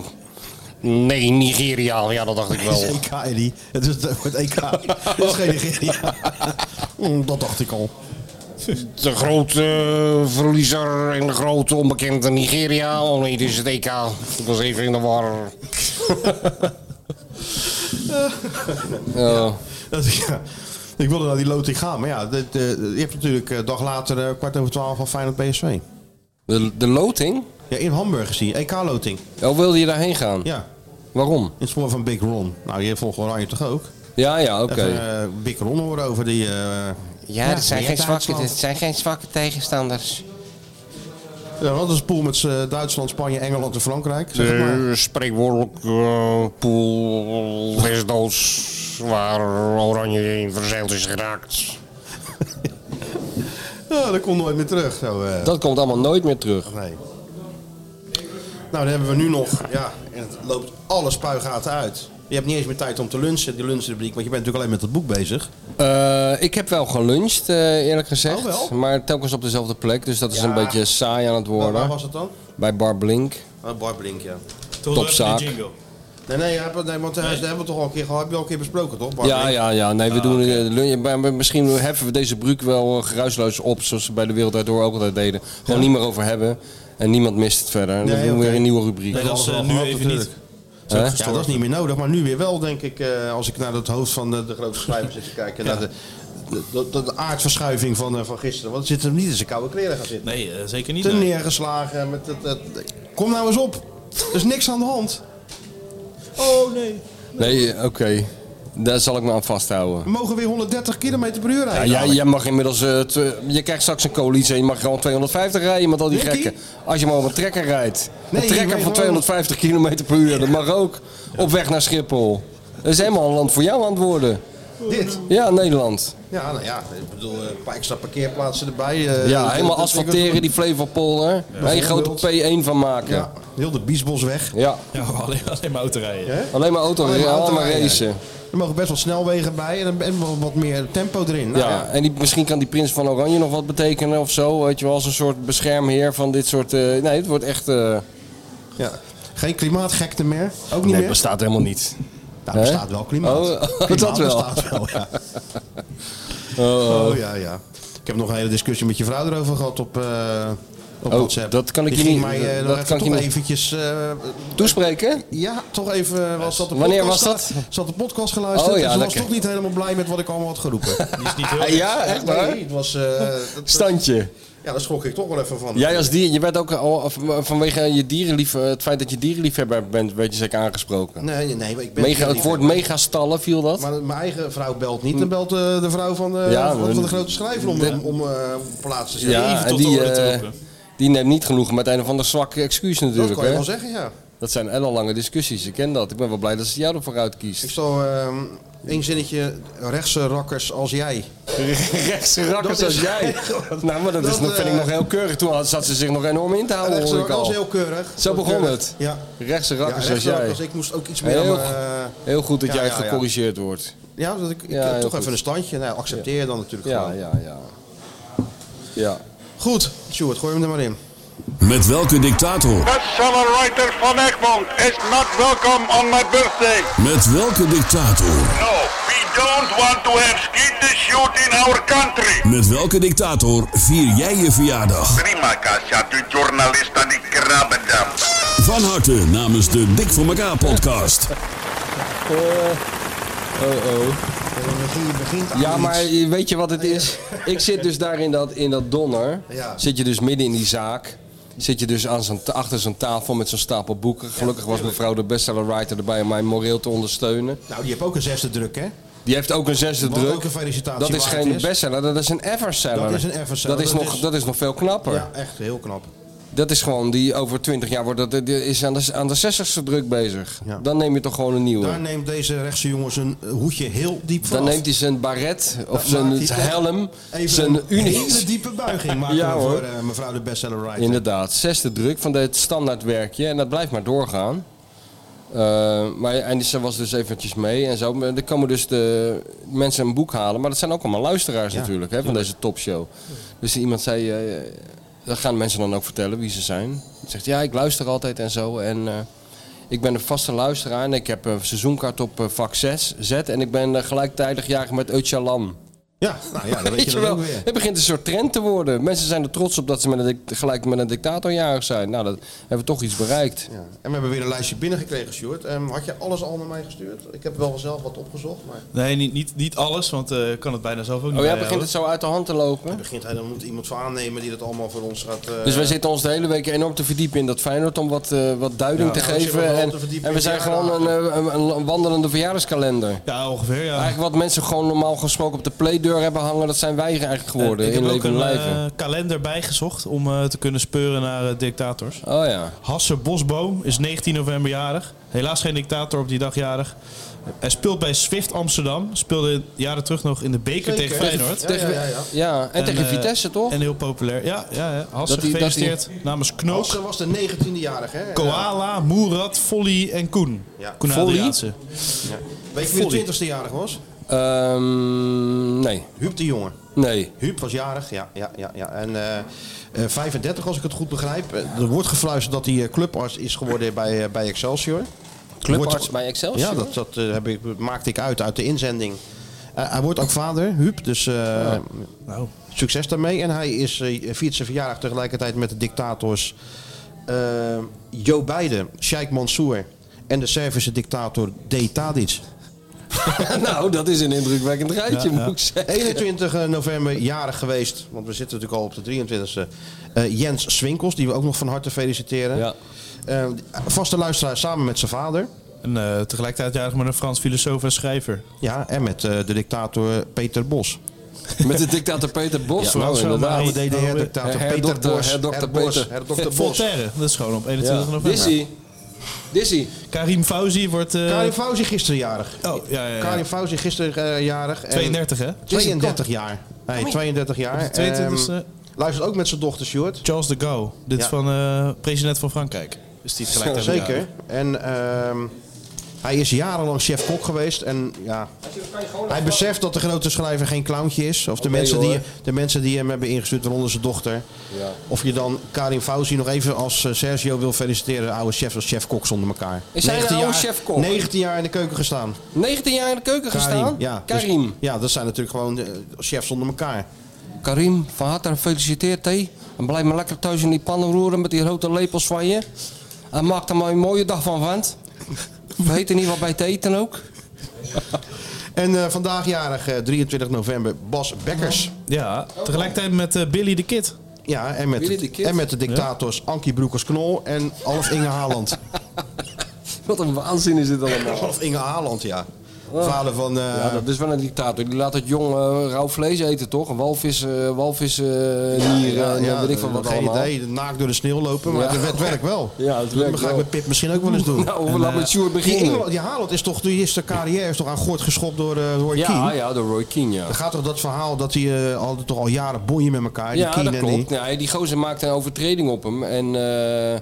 Nee, Nigeria. Ja, dat dacht ik Het wel. is EK, Eddie. E Het is het wordt EK. Het is geen Nigeria. Mm, Dat dacht ik al. De grote eh, verliezer en de grote onbekende Nigeria. Oh nee, dit is het EK. Ik was even in de war. Ja. Dat, ja. Ik wilde naar die loting gaan, maar ja, dit, eh, je hebt natuurlijk eh, dag later eh, kwart over twaalf al Feyenoord PSV. De, de loting? Ja, in Hamburg is die, EK-loting. Oh, wilde je daarheen gaan? Ja, Waarom? in het spoor van Big Ron. Nou, je volgt Oranje toch ook? Ja, ja, oké. Even, eh, Big Ron horen over die... eh, Ja, het zijn, geen zwakke, Duitsland. het zijn geen zwakke tegenstanders. Ja, dat is een pool met eh, Duitsland, Spanje, Engeland en Frankrijk. Zeg het maar. De spreekwoordelijk eh, pool desdoods waar Oranje in verzeild is geraakt. Ja, dat komt nooit meer terug. Zo, eh. Dat komt allemaal nooit meer terug. Nee. Nou, dan hebben we nu nog. Ja, en het loopt alle spuigaten uit. Je hebt niet eens meer tijd om te lunchen, die lunchrubriek, want je bent natuurlijk alleen met dat boek bezig. Eh, ik heb wel geluncht, eh, eerlijk gezegd. Oh, wel? Maar telkens op dezelfde plek, dus dat is Ja. een beetje saai aan het Waar, worden. waar was het dan? Bij Bar Blink. Oh, Bart Brink, ja. tot topzaak. de jingle. Nee, nee, ja, nee want eh, dat hebben we toch al een keer gehad. Heb je al een keer besproken, toch? Bart Ja, Brink? ja, ja. Nee, we Ah, doen eh, lunch- maar- maar Misschien heffen we deze bruik wel eh, geruisloos op, zoals ze bij de Wereld Daardoor ook altijd deden. Gewoon niet meer over hebben. En niemand mist het verder. En dan Nee, doen we oké. weer een nieuwe rubriek. Nee, dat is eh, Alles nu gehad, even natuurlijk. niet. Hè? Ja, dat is niet meer nodig, maar nu weer wel, denk ik. eh, als ik naar het hoofd van de, de grote schrijver zit te kijken. Naar de, de, de, de aardverschuiving van, eh, van gisteren. Want het zit hem niet in zijn koude kleren gaan zitten. Nee, eh, zeker niet. Te nee. neergeslagen. Met het, het- Kom nou eens op. Er is niks aan de hand. Oh nee. Nee, eh, oké. Daar zal ik me aan vasthouden. We mogen weer 130 km per uur Ja, rijden. jij, jij mag inmiddels. eh, tw- je krijgt straks een coalitie en je mag gewoon 250 rijden met al die Mickey? gekken. Als je maar op een trekker rijdt. Nee, een je trekker weet van gewoon- 250 km per uur, dat mag ook. Op weg naar Schiphol. Dat is helemaal een land voor jou aan het worden. Dit. Ja, Nederland. Ja, nou ja. Ik bedoel, eh, een paar extra parkeerplaatsen erbij. eh, Ja, helemaal ik- ik- asfalteren die Flevopolder. Daar een grote P1 van maken. Ja, heel de biesbos weg. Ja. Ja, alleen, alleen maar autorijden. Alleen maar auto, Alleen alleen maar maar, autorijden. racen. Er mogen best wel snelwegen bij en, en wel wat meer tempo erin. Nou, Ja, en die, misschien kan die prins van Oranje nog wat betekenen of zo. Weet je wel, als een soort beschermheer van dit soort... eh, nee, het wordt echt... eh, ja. Geen klimaatgekte meer. Ook niet nee, het meer. bestaat helemaal niet. Daar bestaat wel klimaat. Oh, oh, Klimaat dat wel. bestaat wel, ja. Oh, Oh ja, ja. Ik heb nog een hele discussie met je vrouw erover gehad op, eh, op Oh, WhatsApp. dat kan ik Die je ging niet- Mij, eh, dat nog even kan ik je toch niet- eventjes... eh, Toespreken? Ja, toch even. eh, Was dat de Wanneer podcast- was dat? Ze had de podcast geluisterd Oh ja, en ze was lekker. toch niet helemaal blij met wat ik allemaal had geroepen. Die is niet heel niks. Ja, echt waar? Nee, het was... eh, dat- Standje. Ja, daar schrok ik toch wel even van. Jij als dier, je werd ook al van- vanwege je dierenlief, eh, het feit dat je dierenliefhebber bent, werd je zeker aangesproken. Nee, nee, maar ik ben... Mega, het woord megastallen viel dat? Maar mijn eigen vrouw belt niet, dan belt eh, de vrouw van de, Ja, van, van de maar- grote schrijver om, de- om, om, eh, op plaats te zetten. ja, en die, eh, die neemt niet genoegen met een of ander zwakke excuus natuurlijk. dat kan je hè? wel zeggen, ja. Dat zijn ellenlange discussies, ik ken dat. Ik ben wel blij dat ze jou ervoor uitkiest. Ik zal ehm één zinnetje, rechtse rakkers als jij. rechtse rakkers als jij. nou, maar dat, is, nog- vind eh, ik nog heel keurig. Toen zat ze zich nog enorm in te houden, Rechtse hoor ik rakkers al. heel keurig. Zo Heel begon keurig. het. Ja. Rechtse Ja, rakkers als rechtse jij. rakkers, ik moest ook iets meer Heel, aan mijn, go- eh, heel goed dat ja, jij ja, ja. gecorrigeerd wordt. Ja, dat ik, ik Ja, heb heel toch goed. even een standje. Nou, accepteer dan natuurlijk Ja, gewoon. ja, ja. Ja. Goed, Sjoerd, gooi hem er maar in. Met welke dictator? Writer van Egmond is not welcome on my birthday. Met welke dictator? No, we don't want to have skeet the shoot in our country. Met welke dictator vier jij je verjaardag? Prima casa, tu journalista di Krabbendam. Van harte namens de Dik voor elkaar podcast. Oh, oh. begint, Eh, begint aan Ja, iets. maar weet je wat het is? Ik zit dus daar in dat, in dat donner. Ja. Zit je dus midden in die zaak. Zit je dus aan zo'n ta- achter zo'n tafel met zo'n stapel boeken. Gelukkig was mevrouw de bestseller writer erbij om mij moreel te ondersteunen. Nou, die heeft ook een zesde druk, hè? Die heeft ook een zesde Wat druk. ook een felicitatie dat is waard geen is. bestseller, dat is een everseller. Dat is een everseller, Dat is, dat nog, is- dat is nog veel knapper. Ja, echt heel knap. Dat is gewoon die over 20 jaar wordt, dat, die is aan de, aan de 60ste druk bezig. Dan neem je toch gewoon een nieuwe. Daar neemt deze rechtse jongen zijn hoedje heel diep van Dan af. neemt hij zijn baret of Dan zijn maakt hij echt helm, even zijn een hele unies. diepe buiging maken Ja, we hoor. voor eh, mevrouw de bestseller writer. Inderdaad, zesde druk van dit standaardwerkje. En dat blijft maar doorgaan. Eh, maar, en ze was dus eventjes mee en zo. Maar Er komen dus de mensen een boek halen. Maar dat zijn ook allemaal luisteraars Ja, natuurlijk hè, van deze topshow. Dus iemand zei... eh, dat gaan mensen dan ook vertellen wie ze zijn. Zegt, ja, ik luister altijd en zo. En eh, ik ben een vaste luisteraar. En ik heb een seizoenkaart op eh, vak 6, Z. En ik ben eh, gelijktijdig jager met Öcalan. Ja, nou ja, dan weet Weet je je dat wel, ook weer. het begint een soort trend te worden. Mensen zijn er trots op dat ze met een dic- gelijk met een dictatorjarig zijn. Nou, dat hebben we toch iets bereikt. Ja. En we hebben weer een lijstje binnengekregen, Sjoerd. Ehm, had je alles al naar mij gestuurd? Ik heb wel zelf wat opgezocht, maar... Nee, niet, niet, niet alles, want eh, ik kan het bijna zelf ook niet Oh ja, bijhouden. begint het zo uit de hand te Het lopen. begint hij, dan moet iemand voor aannemen die dat allemaal voor ons gaat... eh, Dus wij zitten ons de hele week enorm te verdiepen in dat Feyenoord om wat, eh, wat duiding Ja, te we zitten geven. vooral En, te verdiepen en we in zijn gewoon verjaardagen. een, eh, een, een, een wandelende verjaardagskalender. Ja, ongeveer, ja. Eigenlijk wat mensen gewoon normaal gesproken op de playdeur hebben hangen, dat zijn wij eigenlijk geworden Eh, ik in heb ook leven en een lijven. eh, kalender bijgezocht om eh, te kunnen speuren naar eh, dictators. Oh ja. Hasse Bosboom is 19 november jarig. Helaas geen dictator op die dag jarig. Hij speelt bij Swift Amsterdam. Speelde jaren terug nog in de beker Zeker. tegen Feyenoord. Ja, ja, ja, ja. Ja, en, tegen eh, Vitesse toch? En heel populair. Ja, ja, ja. Hasse, Dat die- dat die- gefeliciteerd. Namens Knook, Hasse eh, was de 19e-jarige, hè? Koala, Moerat, Folly en Koen. Ja. Koen Folly? Adriaanse. Weet je wie de Volley. 20e-jarige was? Ehm, nee, Huub de Jonge. nee. Huub was jarig, ja. ja, ja, ja. En eh, eh, 35 als ik het goed begrijp. Eh, Er wordt gefluisterd dat hij eh, clubarts is geworden bij, eh, bij Excelsior. Clubarts Wordt- bij Excelsior? Ja, dat, dat eh, heb ik, maakte ik uit uit de inzending. Eh, hij wordt ook vader, Huub. Dus eh, Nou, succes daarmee. En hij is, eh, viert zijn verjaardag tegelijkertijd met de dictators eh, Joe Biden, Sheikh Mansour en de Servische dictator D. Tadic. nou, dat is een indrukwekkend rijtje, Ja, ja. moet ik zeggen. 21 november jarig geweest, want we zitten natuurlijk al op de 23e. eh, Jens Swinkels, die we ook nog van harte feliciteren. Ja. Eh, vaste luisteraar samen met zijn vader. En eh, tegelijkertijd jarig met een Frans filosoof en schrijver. Ja, en met eh, de dictator Peter Bos. Met de dictator Peter Bos. Ja, nou, oh, zo, maar inderdaad. hij- Oude DDR-dictator Her- Peter herdokter- Bos. herdokter Her Bos, Peter. herdokter Bos. Voltaire, dat is gewoon op 21 Ja. november. Dizzy. Dizzy. Karim Fauzi wordt eh, Karin Fauzi gisteren jarig. Oh, ja, ja, ja. Karin Fauzi gisteren eh, jarig. En 32, hè? 32 jaar. Nee, 32 jaar. 22 Ehm, luistert ook met zijn dochter, Stuart. Charles de Gaulle. Dit Ja. is van eh, president van Frankrijk. Is die gelijk Zo, Zeker. En ehm, hij is jarenlang chef-kok geweest. En ja, hij beseft dat de grote schrijver geen clowntje is. Of de, Oké, mensen, die, hoor. de mensen die hem hebben ingestuurd, waaronder zijn dochter. Ja. Of je dan Karin Fauzi nog even als eh, Sergio wil feliciteren. Oude chef als chef-kok zonder elkaar. Is hij een 19 oude jaar- chef-kok? 19 jaar in de keuken gestaan. 19 jaar in de keuken gestaan? ja. Dus- Karim. ja, dat zijn natuurlijk gewoon eh, chefs onder elkaar. Karim, van harte gefeliciteerd hé. En blijf maar lekker thuis in die pannen roeren met die grote lepels van je. En maak er maar een mooie dag van, want vergeet er niet wat bij te eten ook. En eh, vandaag jarig eh, 23 november Bas Bekkers. Ja, tegelijkertijd met eh, Billy de Kid. Ja, en met, Billy de Kid. en met de dictators Ankie Broekers-Knol en Alf Inge Haaland. Wat een waanzin is dit allemaal. Alf Inge Haaland, ja. Vader van... eh, Oh. Ja, dat is wel een dictator. Die laat het jong eh, rauw vlees eten, toch? Een walvis, eh, walvis eh, nieren en eh, weet ik van wat geen allemaal. idee, naakt door de sneeuw lopen, maar Ja. het werkt wel. Ja, het werkt dat ga ik wel. met Pip misschien ook wel eens doen. Nou, we laten eh, met Sjoerd beginnen. Die, Engeland- die Haaland is toch, die is de carrière is toch aan gort geschopt door eh Roy Ja, Keane. ja, door Roy Keane, ja. Dan gaat toch dat verhaal dat hij eh, al, toch al jaren bonje met elkaar. die Ja, Keane dat en die- klopt. Ja, die gozer maakt een overtreding op hem. En, eh,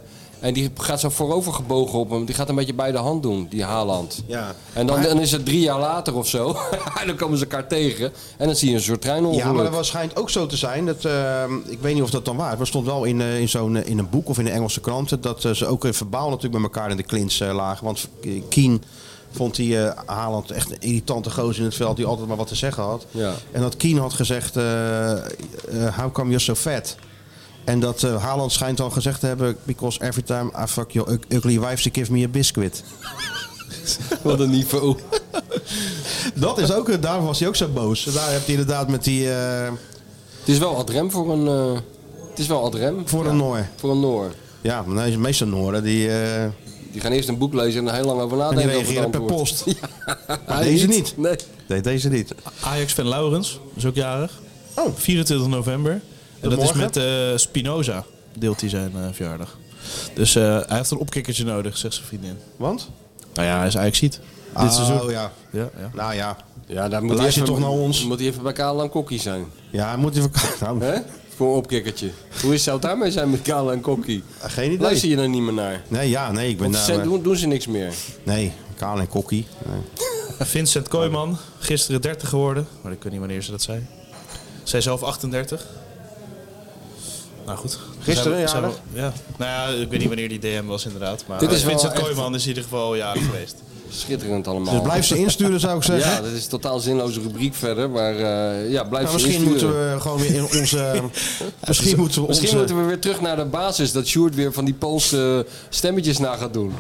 en die gaat zo voorover gebogen op hem. Die gaat een beetje bij de hand doen, die Haaland. Ja. En dan, Maar- dan is het drie jaar later of zo. en dan komen ze elkaar tegen. En dan zie je een soort treinongeluk. Ja, maar dat was- schijnt ook zo te zijn. Dat, eh, ik weet niet of dat dan waar is. Maar het stond wel in, eh, in, zo'n, eh, in een boek of in de Engelse kranten. Dat eh, ze ook eh, verbaal natuurlijk met elkaar in de klins eh, lagen. Want eh, Keane vond die eh, Haaland echt een irritante gozer in het veld. Die altijd maar wat te zeggen had. Ja. En dat Keane had gezegd, eh eh, how come you're so fat? En dat eh, Haaland schijnt dan gezegd te hebben... because every time I fuck your ug- ugly wife, she gives me a biscuit. Wat een niveau. Dat is ook, eh, daarom was hij ook zo boos. Daar heb je inderdaad met die... eh, Het is wel adrem voor een... eh, het is wel adrem. Voor een Noor. Voor een Noor. ja, maar nee, meestal Noren, die... eh, Die gaan eerst een boek lezen en er heel lang over En die nadenken. over het reageren per antwoord. post. Ja, Maar deze niet. Nee. Nee, deze niet. Ajax van Laurens, is ook jarig. Oh. 24 november. En dat morgen? is met eh, Spinoza, deelt hij zijn eh, verjaardag. Dus eh, hij heeft een opkikkertje nodig, zegt zijn vriendin. Want? Nou ja, hij is Ajax ziet. Dit seizoen. Oh ja. Ja, ja. Nou ja. Ja, daar moet Dan hij luister even, je toch naar ons. Moet hij even bij Kala en Kokkie zijn. Ja, moet hij verkopen. Nou, Hè? Voor een opkikkertje. Hoe is zou het daarmee zijn met Kala en Kokkie? geen idee. Nou, Luister je er niet meer naar? Nee, ja, nee, ik ben Want daar. ze doen, doen ze niks meer. Nee, kaal en kokkie. Nee. Vincent Kooijman, gisteren 30 geworden. Maar ik weet niet wanneer ze dat zei. Zij zelf 38. Nou goed. Gisteren Zijn we- zijn we- jarig? Ja. Nou ja, ik weet niet wanneer die DM was inderdaad. Maar eh, Dit is wel Vincent echt- Kooijman is in ieder geval jarig geweest. Schitterend allemaal. Dus blijf ze insturen, zou ik zeggen. Ja, dat is een totaal zinloze rubriek verder. Maar eh, ja, blijf Nou, ze misschien insturen. moeten we gewoon weer in onze. misschien moeten we Misschien onze. moeten we weer terug naar de basis. Dat Sjoerd weer van die Poolse stemmetjes na gaat doen.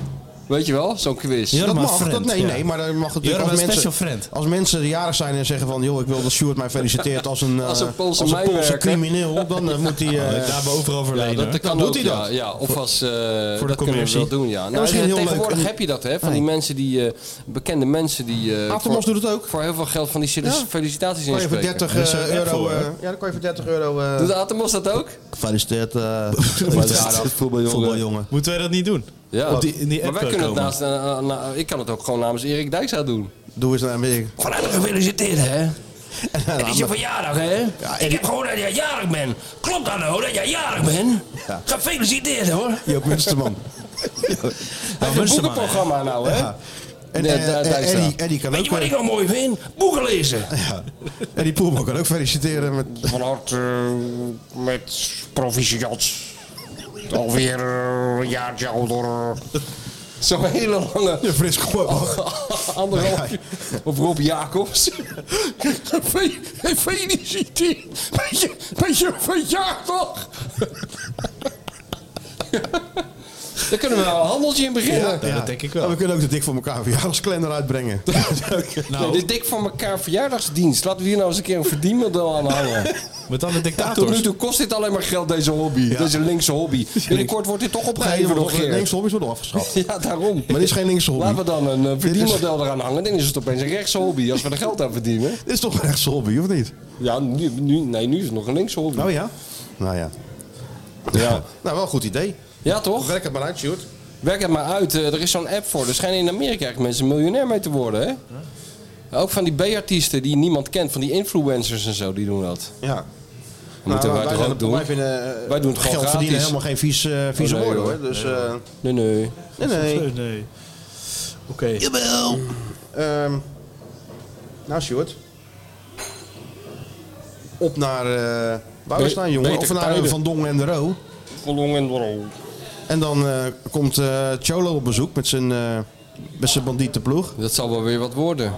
Weet je wel? Zo'n quiz. dat maar mag. friend, dat, nee, ja. nee, maar dan mag het You're natuurlijk my als mensen, special friend. als mensen jarig zijn en zeggen van... joh, ik wil dat Stuart mij feliciteert als een, eh, Als een Poolse als een Poolse mijnwerker. crimineel... dan eh, moet hij... eh, Daar boven overleden. Ja, dat, Dan kan doet ook, hij ja, dat. Ja, of als, eh, de dat kunnen we commercie. wel doen, ja. Nou, misschien eh, heel leuk. tegenwoordig En- heb je dat, hè? Van die mensen die, eh, bekende mensen die... eh, Atemos voor, doet het ook. Voor heel veel geld van die solic- Ja. felicitaties kan je voor inspreken. 30 Er is eh, een app euro... voor, hè? eh, ja, dan kan je voor 30 euro... eh, Doet Atemos dat ook? Gefeliciteerd, uh, voetbaljongen. voetbaljongen. Moeten wij dat niet doen? Ja. Op die- in die app maar wij kunnen het komen. naast... eh, eh, na- ik kan het ook gewoon namens Erik Dijkstra doen. Doe eens naar Amerika. Van harte gefeliciteerd, hè. Het is je verjaardag, hè? ik heb gehoord dat jij jarig bent. Klopt dat nou, dat jij jarig bent? Ja. Gefeliciteerd, hoor. Joop Munsterman. Hij heeft een boekenprogramma nou, hè? Ja. En, Nee, eh, daar- daar eh, is Eddie, dat. Eddie kan Weet ook... je wat eh, ik nou mooi vind? Boeken lezen. ja. Eddie Poelman kan ook feliciteren met... Van harte eh, met proficiat. Alweer eh, een jaartje ouder. eh. Zo'n hele lange... Ja, fris gewoon. Oh, Anderhalf uur. Of Rob Jacobs. Gefe- Gefeliciteerd met je, met je verjaardag. Daar kunnen we nou een handeltje in beginnen. Ja, dat denk ik wel. En we kunnen ook de dik voor elkaar verjaardagskalender uitbrengen. nou. Nee, dit dik van elkaar verjaardagsdienst. Laten we hier nou eens een keer een verdienmodel aan hangen. Met alle Tot dictators. nu toe kost dit alleen maar geld, deze hobby. Deze linkse hobby. Binnenkort wordt dit toch Nee, opgegeven wordt door nog Geert. linkse hobby's worden afgeschaft. Ja, daarom. Maar dit is geen linkse hobby. Laten we dan een eh, is- verdienmodel eraan hangen. Dan is het opeens een rechtse hobby. Als we er geld aan verdienen. Dit is toch een rechtse hobby, of niet? Ja, nu, nu, nee, nu is het nog een linkse hobby. Nou ja. Nou ja. Ja. Nou, wel een goed idee. Ja, toch? Werk het maar uit, Sjoerd. Werk het maar uit. Eh, er is zo'n app voor. Er schijnen in Amerika echt mensen miljonair mee te worden, hè? Ook van die B-artiesten die niemand kent, van die influencers en zo, die doen dat. Ja. Nou, Dat moeten wij toch ook doen? Nou, Wij, vinden, eh, Wij doen het gewoon geld verdienen gratis. helemaal geen vies, eh, vieze Oh, nee, woorden, hoor. hoor. Dus, eh Nee, nee. nee, nee. Nee, nee. Oké. Jawel. Ehm, nou, Sjoerd. Op naar... eh waar we Be- staan, jongen. beter Of naar tijden. Van Dongen en de Roo. Verlong en rol. En dan eh, komt eh Cholo op bezoek met zijn, eh met zijn bandietenploeg. Dat zal wel weer wat worden.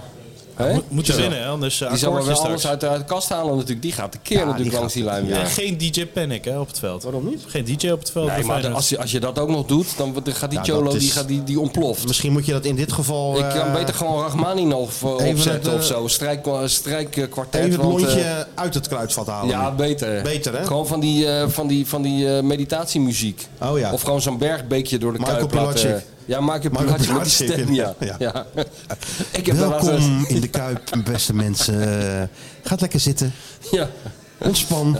Hè? Moet- moet je Zo. winnen, hè? Anders, eh, die zal wel akkoordje alles straks. uit de, uit de kast halen natuurlijk. Die gaat de keer Ja, natuurlijk die langs gaat- die lijn weer. En geen DJ Panic hè, op het veld. Waarom niet? Geen DJ op het veld. Nee, bij maar Feyenoord. als je, als je dat ook nog doet, dan wordt- dan gaat die Ja, Cholo dat is- die, gaat, die, die ontploft. Misschien moet je dat in dit geval... Ik kan eh, beter gewoon Rachmaninov eh, even opzetten het, of eh, zo. Strijk, strijk eh, kwartet. Even het want, eh, lontje uit het kruidvat halen. ja, beter. Beter, hè? Gewoon van die, eh, van die, van die eh, meditatiemuziek. Oh ja. Of gewoon zo'n bergbeekje door de Marco Kuip laten- Pilatschik. Ja, Marco Marco Pilatschik met die Pilatschik, stem, ja. ja. ja. Ik heb daar laatst- Welkom in de Kuip, beste mensen. Gaat lekker zitten. Ja. Ontspan.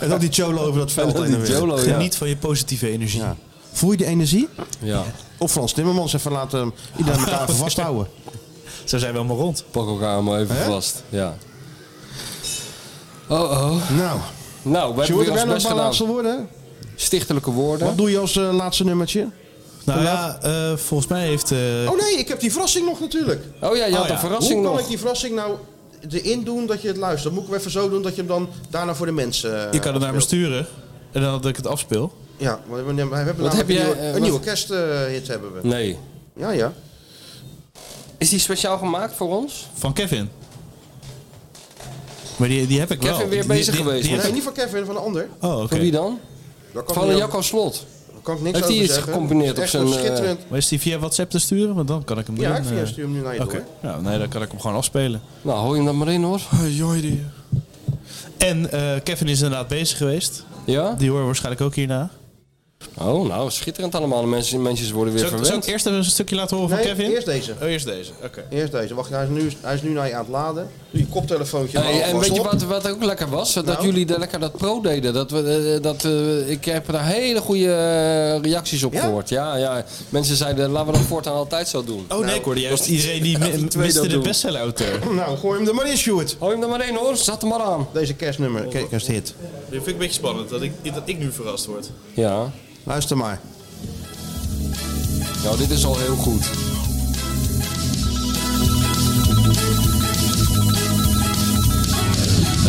En dan die cholo over dat veld. En dan heen en die weer. cholo, ja. Geniet van je positieve energie. Ja. Voel je de energie? Ja. Of Frans Timmermans even laten hem- iedereen elkaar even vasthouden. Zo zijn we allemaal rond. Pak elkaar maar even Hè? vast. Ja. Oh, oh. Nou, Nou, we Sjoerd, hebben weer heb ons jij nog een best paar gedaan. laatste woorden? Stichtelijke woorden. Wat doe je als eh, laatste nummertje? Nou ja, eh, volgens mij heeft... eh, Oh nee, ik heb die verrassing nog natuurlijk. Oh ja, je Oh had ja. een Hoe verrassing kan nog. ik die verrassing nou erin doen dat je het luistert? Moet ik hem even zo doen dat je hem dan daarna voor de mensen... eh, je kan het naar me afspeelt? sturen. En dan dat ik het afspeel. Ja, we, we, we hebben namelijk heb een, jij, nieuwe, eh, een wat- nieuwe kersthit hebben we. Nee. Ja, ja. Is die speciaal gemaakt voor ons? Van Kevin. Maar die, die heb ik Kevin wel. weer Die- bezig die- die geweest heb met- Nee, ik- niet van Kevin, van een ander. Oh, oké. Van wie dan? Daar kan, ik Van niet Jacco Slot. over- daar kan ik niks Heeft hij over iets zeggen. gecombineerd Het is op echt zijn, eh, een schitterend... Maar is die via WhatsApp te sturen? Want dan kan ik hem Ja, doen. ik eh. stuur hem nu naar je Oké. door. Nou, nee, dan kan ik hem gewoon afspelen. Nou, hou je hem dan maar in hoor. En eh, Kevin is inderdaad bezig geweest. Ja? Die horen we waarschijnlijk ook hierna. Oh, nou, schitterend allemaal. De mensen, mensen worden weer Zal ik, zal verwend. ik eerst even een stukje laten horen Nee, van Kevin? eerst deze. Oh, eerst deze. Oké. Eerst deze. Wacht, hij is nu, hij is nu naar je aan het laden. Die koptelefoontje. Hey, maar en alvast weet je op. wat, wat ook lekker was? Dat Oh, Nou? jullie daar lekker dat pro deden. Dat we, eh, dat, eh, ik heb daar hele goede eh, reacties op Ja? gehoord. Ja, ja. Mensen zeiden, laten we dat voortaan altijd zo doen. Oh nee, ik hoorde juist iedereen die mi- twee miste dat de doen. bestseller-auteur. Nou, gooi hem er maar in, Stuart. Hou je hem er maar in hoor, zat hem maar aan. Deze kerstnummer, ke- kersthit. Dat vind ik een beetje spannend, dat ik, dat ik nu verrast word. Ja, Luister maar. nou dit is al heel goed.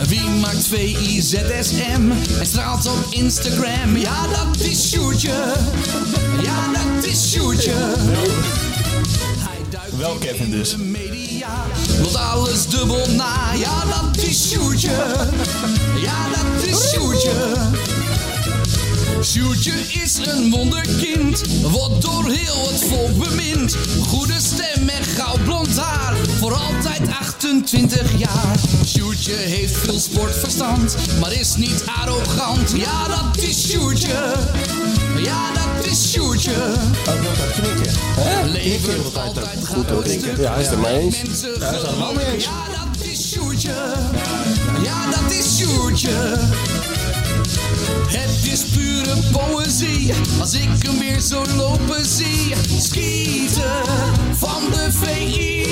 Wie maakt VIZSM? Hij straalt op Instagram. Ja, dat is Sjoerdje. Ja, dat is Sjoerdje. Hij duikt Wel Kevin dus. in de media. Loopt alles dubbel na. Ja, dat is Sjoerdje. Ja, dat is Sjoerdje. Sjoerdje is een wonderkind, wordt door heel het volk bemind. Goede stem en gauw blond haar, voor altijd 28 jaar. Sjoerdje heeft veel sportverstand, maar is niet arrogant. Ja, dat is Sjoerdje. Ja, dat is Sjoerdje. Levert altijd goud stuk. Ja, hij is het er mee eens. Mensen geloven. Ja, dat is Sjoerdje. Ja, dat is Sjoerdje. Het is pure poëzie als ik hem weer zo lopen zie. Skieten van de VI.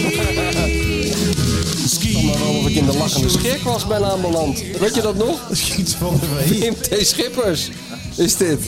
Maar Skieten. waarom ik in de lachende scheerkwast ben aanbeland. Weet je dat nog? Schiet van de week. Wim T. Schippers is dit.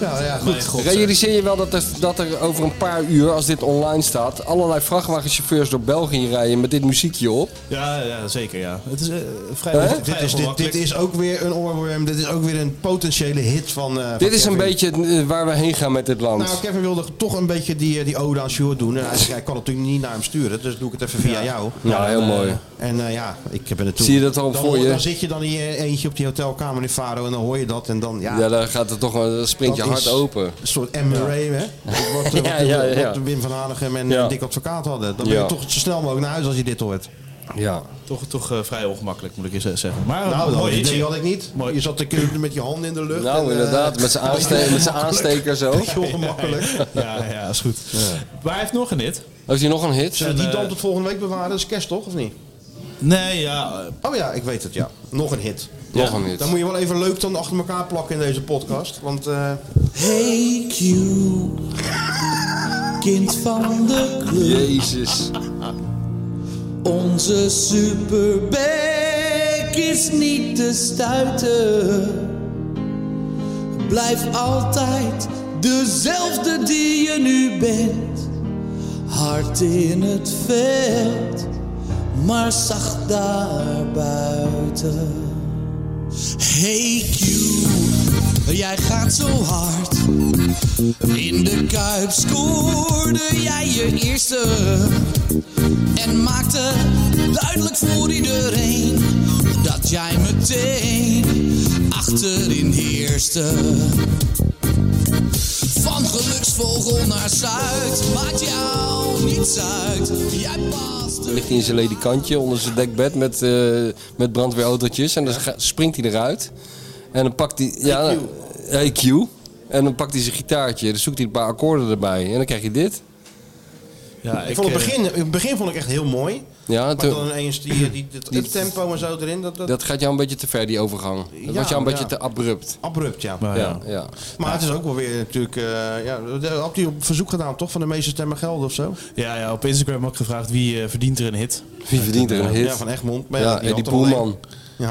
Ja, ja, goed. Realiseer je wel dat er, dat er over een paar uur, als dit online staat, allerlei vrachtwagenchauffeurs door België rijden met dit muziekje op. Ja, ja, zeker ja. Het is eh, vrij, Hè? vrij Dit is, dit, dit ongemakkelijk. is ook weer een oorworm. Dit is ook weer een potentiële hit van. eh, van Dit is een Kevin. beetje eh, waar we heen gaan met dit land. Nou, Kevin wilde toch een beetje die, eh, die ode aan Sjoerd doen. En hij, hij kan natuurlijk niet naar hem sturen, dus doe ik het even via jou. Oh, Ja, heel mooi. En eh, ja, ik ben er toen. Zie je dat al dan, voor je? Dan zit je dan in je eentje op die hotelkamer in Faro en dan hoor je dat. En dan, ja, Ja, dan gaat het toch wel- dan springt je Dat hart is open. Een soort MRA, hè? Wat, wat, Ja, ja, ja, ja. wat Wim van Hanegem en Ja. eh, Dick Advocaat hadden. Dan ben Ja. je toch zo snel mogelijk naar huis als je dit hoort. Ja. Toch, toch eh, vrij ongemakkelijk moet ik eens eh, zeggen. Maar een Nou, dat mooi idee liedje. had ik niet. Mooi. Je zat te kunnen met je handen in de lucht. en, Nou, eh, inderdaad, met zijn aanste- met zijn aansteker zo. Heel gemakkelijk. Ja, ja, is goed. Maar hij heeft nog een hit. Heeft hij nog een hit? Zullen we die dan tot volgende week bewaren? Dat is kerst toch, of niet? Nee, ja. eh, Oh ja, ik weet het, ja. Nog een hit. Nog een hit. Dan moet je wel even leuk dan achter elkaar plakken in deze podcast. Want eh, Hey Q, kind van de club. Jezus. Onze superbek is niet te stuiten. Blijf altijd dezelfde die je nu bent. Hard in het veld, maar zacht daarbuiten. Hey Q, jij gaat zo hard. In de Kuip scoorde jij je eerste. En maakte duidelijk voor iedereen dat jij meteen achterin heerste. Van geluksvogel naar Zuid, maakt jou niets uit. Jij past Dan ligt hij in zijn ledikantje onder zijn dekbed met, eh met brandweerautootjes. En dan ga- springt hij eruit. En dan pakt hij... E Ja, EQ. En dan pakt hij zijn gitaartje. Dan zoekt hij een paar akkoorden erbij. En dan krijg je dit. Ja, eh, ik vond het begin, in het begin vond ik echt heel mooi. Ja, Maar toen- dan ineens die, die, dat Die- tempo en zo erin. Dat, dat, Dat gaat jou een beetje te ver, die overgang. Dat Ja, was jou een beetje ja. te abrupt. Abrupt, ja. Ja, Oh, ja. Maar het is ook wel weer natuurlijk... eh ja, dat had hij op verzoek gedaan toch? Van de meeste stemmen gelden of zo? Ja, ja, op Instagram ook gevraagd wie eh, verdient er een hit. Wie verdient er een hit? Ja, van Egmond. Maar Ja, ja, die Eddie had er wel Poelman. één.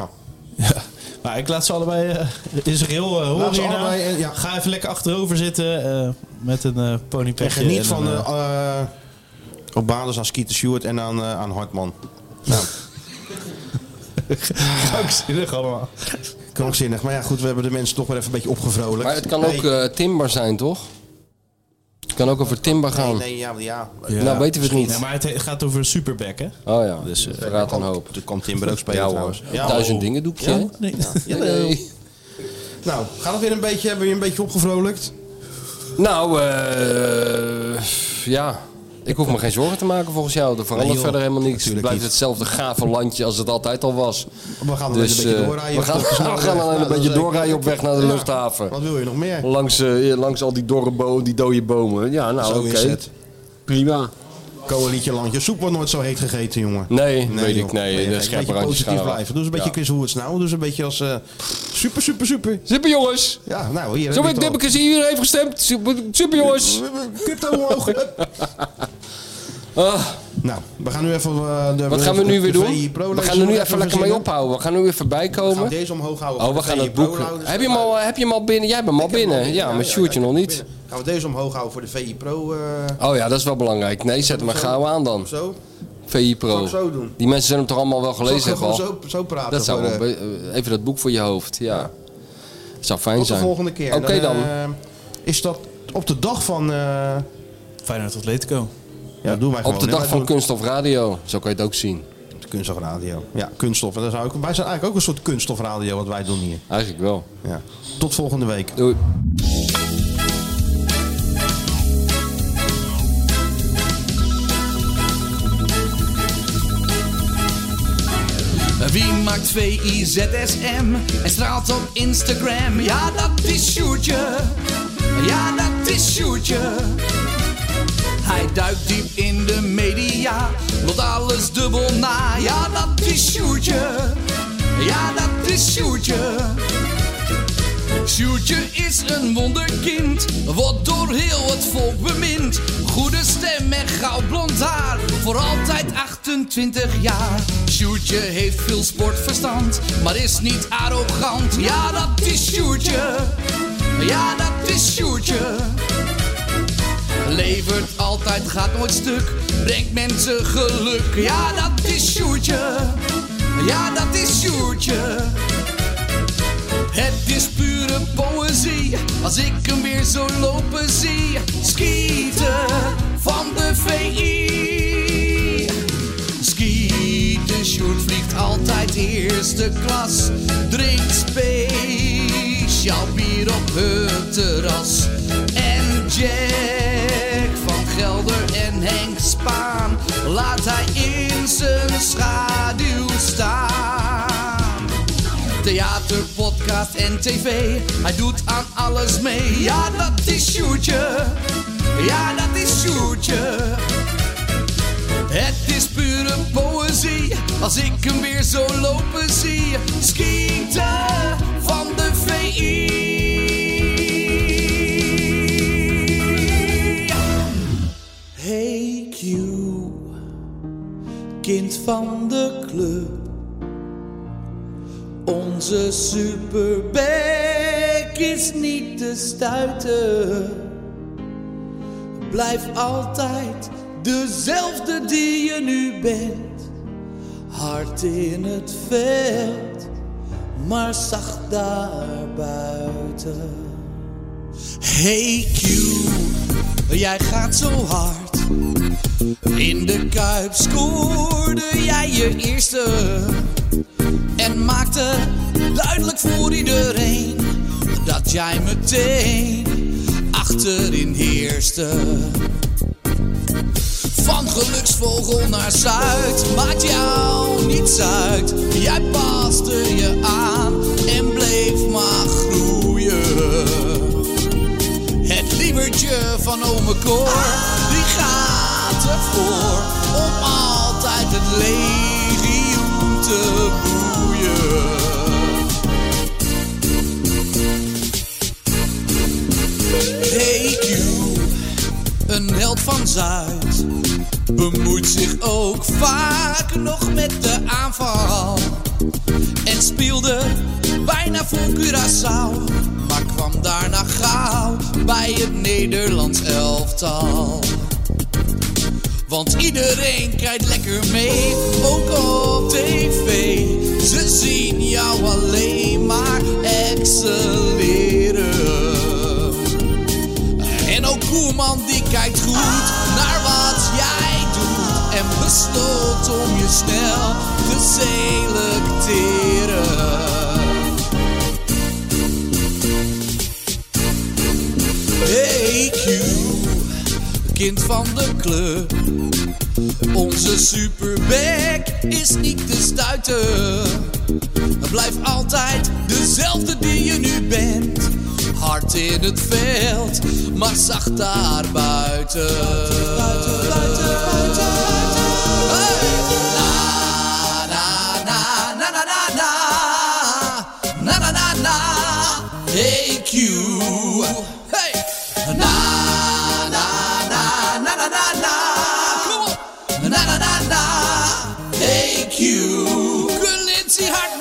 Ja. Maar ik laat ze allebei eh, in zijn geheel eh, horen. Laat ze hierna. allebei, eh, ja. Ga even lekker achterover zitten eh, met een eh En ponypetje. geniet en van een, de, eh, eh op basis aan Skeeter Stewart en aan, eh, aan Hartman. Nou. Krankzinnig allemaal. Krankzinnig. Maar ja, goed, we hebben de mensen toch weer even een beetje opgevrolijkt. Maar het kan ook Nee, eh, timber zijn, toch? Het kan ook over timber gaan. nee, ja, ja. Nou, weten we het niet. Ja, maar het he- gaat over Superback, hè? Oh ja, dus, verraadt een hoop. Toen kwam Timber ook spelen Ja, hoor. trouwens. Duizend oh. dingen doekje, hè? Nee. Ja, nee. Nou, gaat het weer een beetje, hebben we je een beetje opgevrolijkt? Nou, eh, ja. Ik hoef me geen zorgen te maken volgens jou. Er verandert Nee, joh. verder helemaal niks. Het Natuurlijk blijft niet. hetzelfde gave landje als het altijd al was. We gaan alleen dus, een beetje eh, doorrijden. We gaan, Tot snel we gaan weg. alleen Nou, een dat beetje is zeker. doorrijden op weg naar de Ja. luchthaven. Wat wil je nog meer? Langs, eh, langs al die dorre bomen, die dode bomen. Ja, nou Zo oké. is het. Prima. Coalietje landje. Soep wordt nooit zo heet gegeten, jongen. Nee, weet joh. ik. Nee, de een beetje scherpe randjes gaan positief eraf. blijven. Doe eens een beetje Ja. Chris hoe het nou. Doe eens een beetje als eh, super, super, super. Super jongens. Ja, nou hier. Zo heb ik je het al. Dibbekes hier heeft gestemd. Super, super jongens. Crypto omhoog. Ah, nou, we gaan nu even... eh, de, wat gaan we nu weer de VI doen? Pro We League gaan er nu even even lekker mee verzinnen. ophouden. We gaan er nu even Gaan we bijkomen. deze omhoog houden. Oh, we voor de gaan VI het boek. Pro houden. Heb je hem al, heb je hem al binnen? Jij hebt hem al binnen. Ja, maar Sjoerdje nog niet. Gaan we deze omhoog houden voor de VI Pro? eh, Oh ja, dat is wel belangrijk. Nee, zet hem maar gauw aan dan. zo? VI Pro. Zal ik zo doen? Die mensen zullen hem toch allemaal wel Zal ik gelezen hebben gewoon al. zo, zo praten? Dat zou voor, wel eh, be- eh, even dat boek voor je hoofd. Ja. Het zou fijn Tot de zijn. volgende keer. Oké dan. eh, is dat op de dag van... eh, Feyenoord Atletico. Ja, doen wij gewoon. Op de hè? dag Wij van doen- Kunststof Radio. Zo kan je het ook zien. De kunststofradio. Ja, kunststof. En dat is ook, wij zijn eigenlijk ook een soort kunststofradio wat wij doen hier. Eigenlijk wel. Ja. Tot volgende week. Doei. Wie maakt VIZSM en straalt op Instagram? Ja, dat is Sjoertje. Ja, dat is Sjoertje. Hij duikt diep in de media, loopt alles dubbel na. Ja, dat is Sjoertje. Ja, dat is Sjoertje. Sjoertje is een wonderkind, wordt door heel het volk bemind. Goede stem en gauw blond haar, voor altijd 28 jaar. Sjoertje heeft veel sportverstand, maar is niet arrogant. Ja, dat is Sjoertje. Ja, dat is Sjoertje. Levert altijd, gaat nooit stuk. Brengt mensen geluk. Ja, dat is Sjoertje. Ja, dat is Sjoertje. Het is pure poëzie als ik hem weer zo lopen zie. Skieten van de VI. Skieten, Sjoerd vliegt altijd eerste klas. Drinkt speciaal bier op het terras. En Jack van Gelder en Henk Spaan laat hij in zijn schaduw staan. Theater, podcast en tv. Hij doet aan alles mee. Ja, dat is Sjoertje. Ja, dat is Sjoertje. Het is pure poëzie als ik hem weer zo lopen zie. Skieten van de VI. Hey Q, kind van de club. Onze superback is niet te stuiten. Blijf altijd dezelfde die je nu bent. Hard in het veld, maar zag daar buiten. Hey Q, jij gaat zo hard. In de kuip scoorde jij je eerste. En maakte duidelijk voor iedereen dat jij meteen achterin heerste. Van geluksvogel naar Zuid maakt jou niets uit. Jij paste je aan en bleef maar groeien. Het lievertje van ome Cor, die gaat ervoor om altijd het legioen te boeien. Hey Q, een held van Zuid, bemoeit zich ook vaak nog met de aanval. En speelde bijna voor Curaçao, maar kwam daarna gauw bij het Nederlands elftal. Want iedereen kijkt lekker mee, ook op tv. Ze zien jou alleen maar excelleren. En ook Koeman die kijkt goed naar wat jij doet en besloot om je snel te selecteren. Hey Q, kind van de club. Onze superback is niet te stuiten. Blijf altijd dezelfde die je nu bent. Hard in het veld, maar zacht daar buiten. Buiten, buiten, buiten, buiten. Hey! Na, na, na, na, na, na. Na, na, na, na. Hey, Q. Hey! Na, na, na, na, na, na, na. Kom op! Na, na, na, na. Hey, Q. Lindsay Hartman.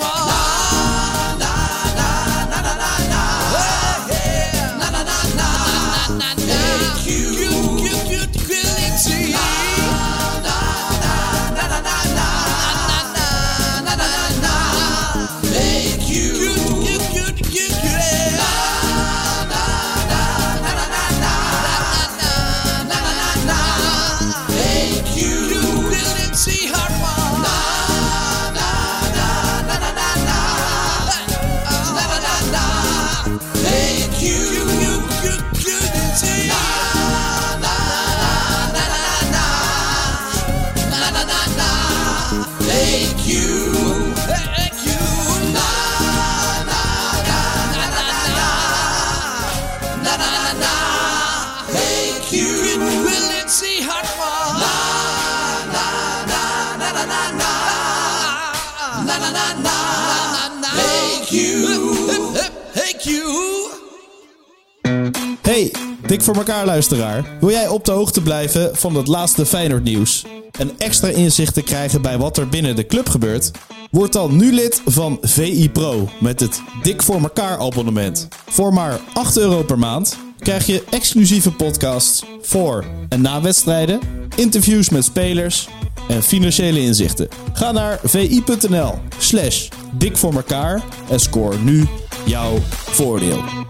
Hey, dik voor elkaar luisteraar. Wil jij op de hoogte blijven van het laatste Feyenoord nieuws? En extra inzicht te krijgen bij wat er binnen de club gebeurt? Word dan nu lid van VI Pro met het Dik voor elkaar abonnement. Voor maar 8 euro per maand krijg je exclusieve podcasts voor en na wedstrijden, interviews met spelers en financiële inzichten. Ga naar vi.nl slash dik voor elkaar en score nu jouw voordeel.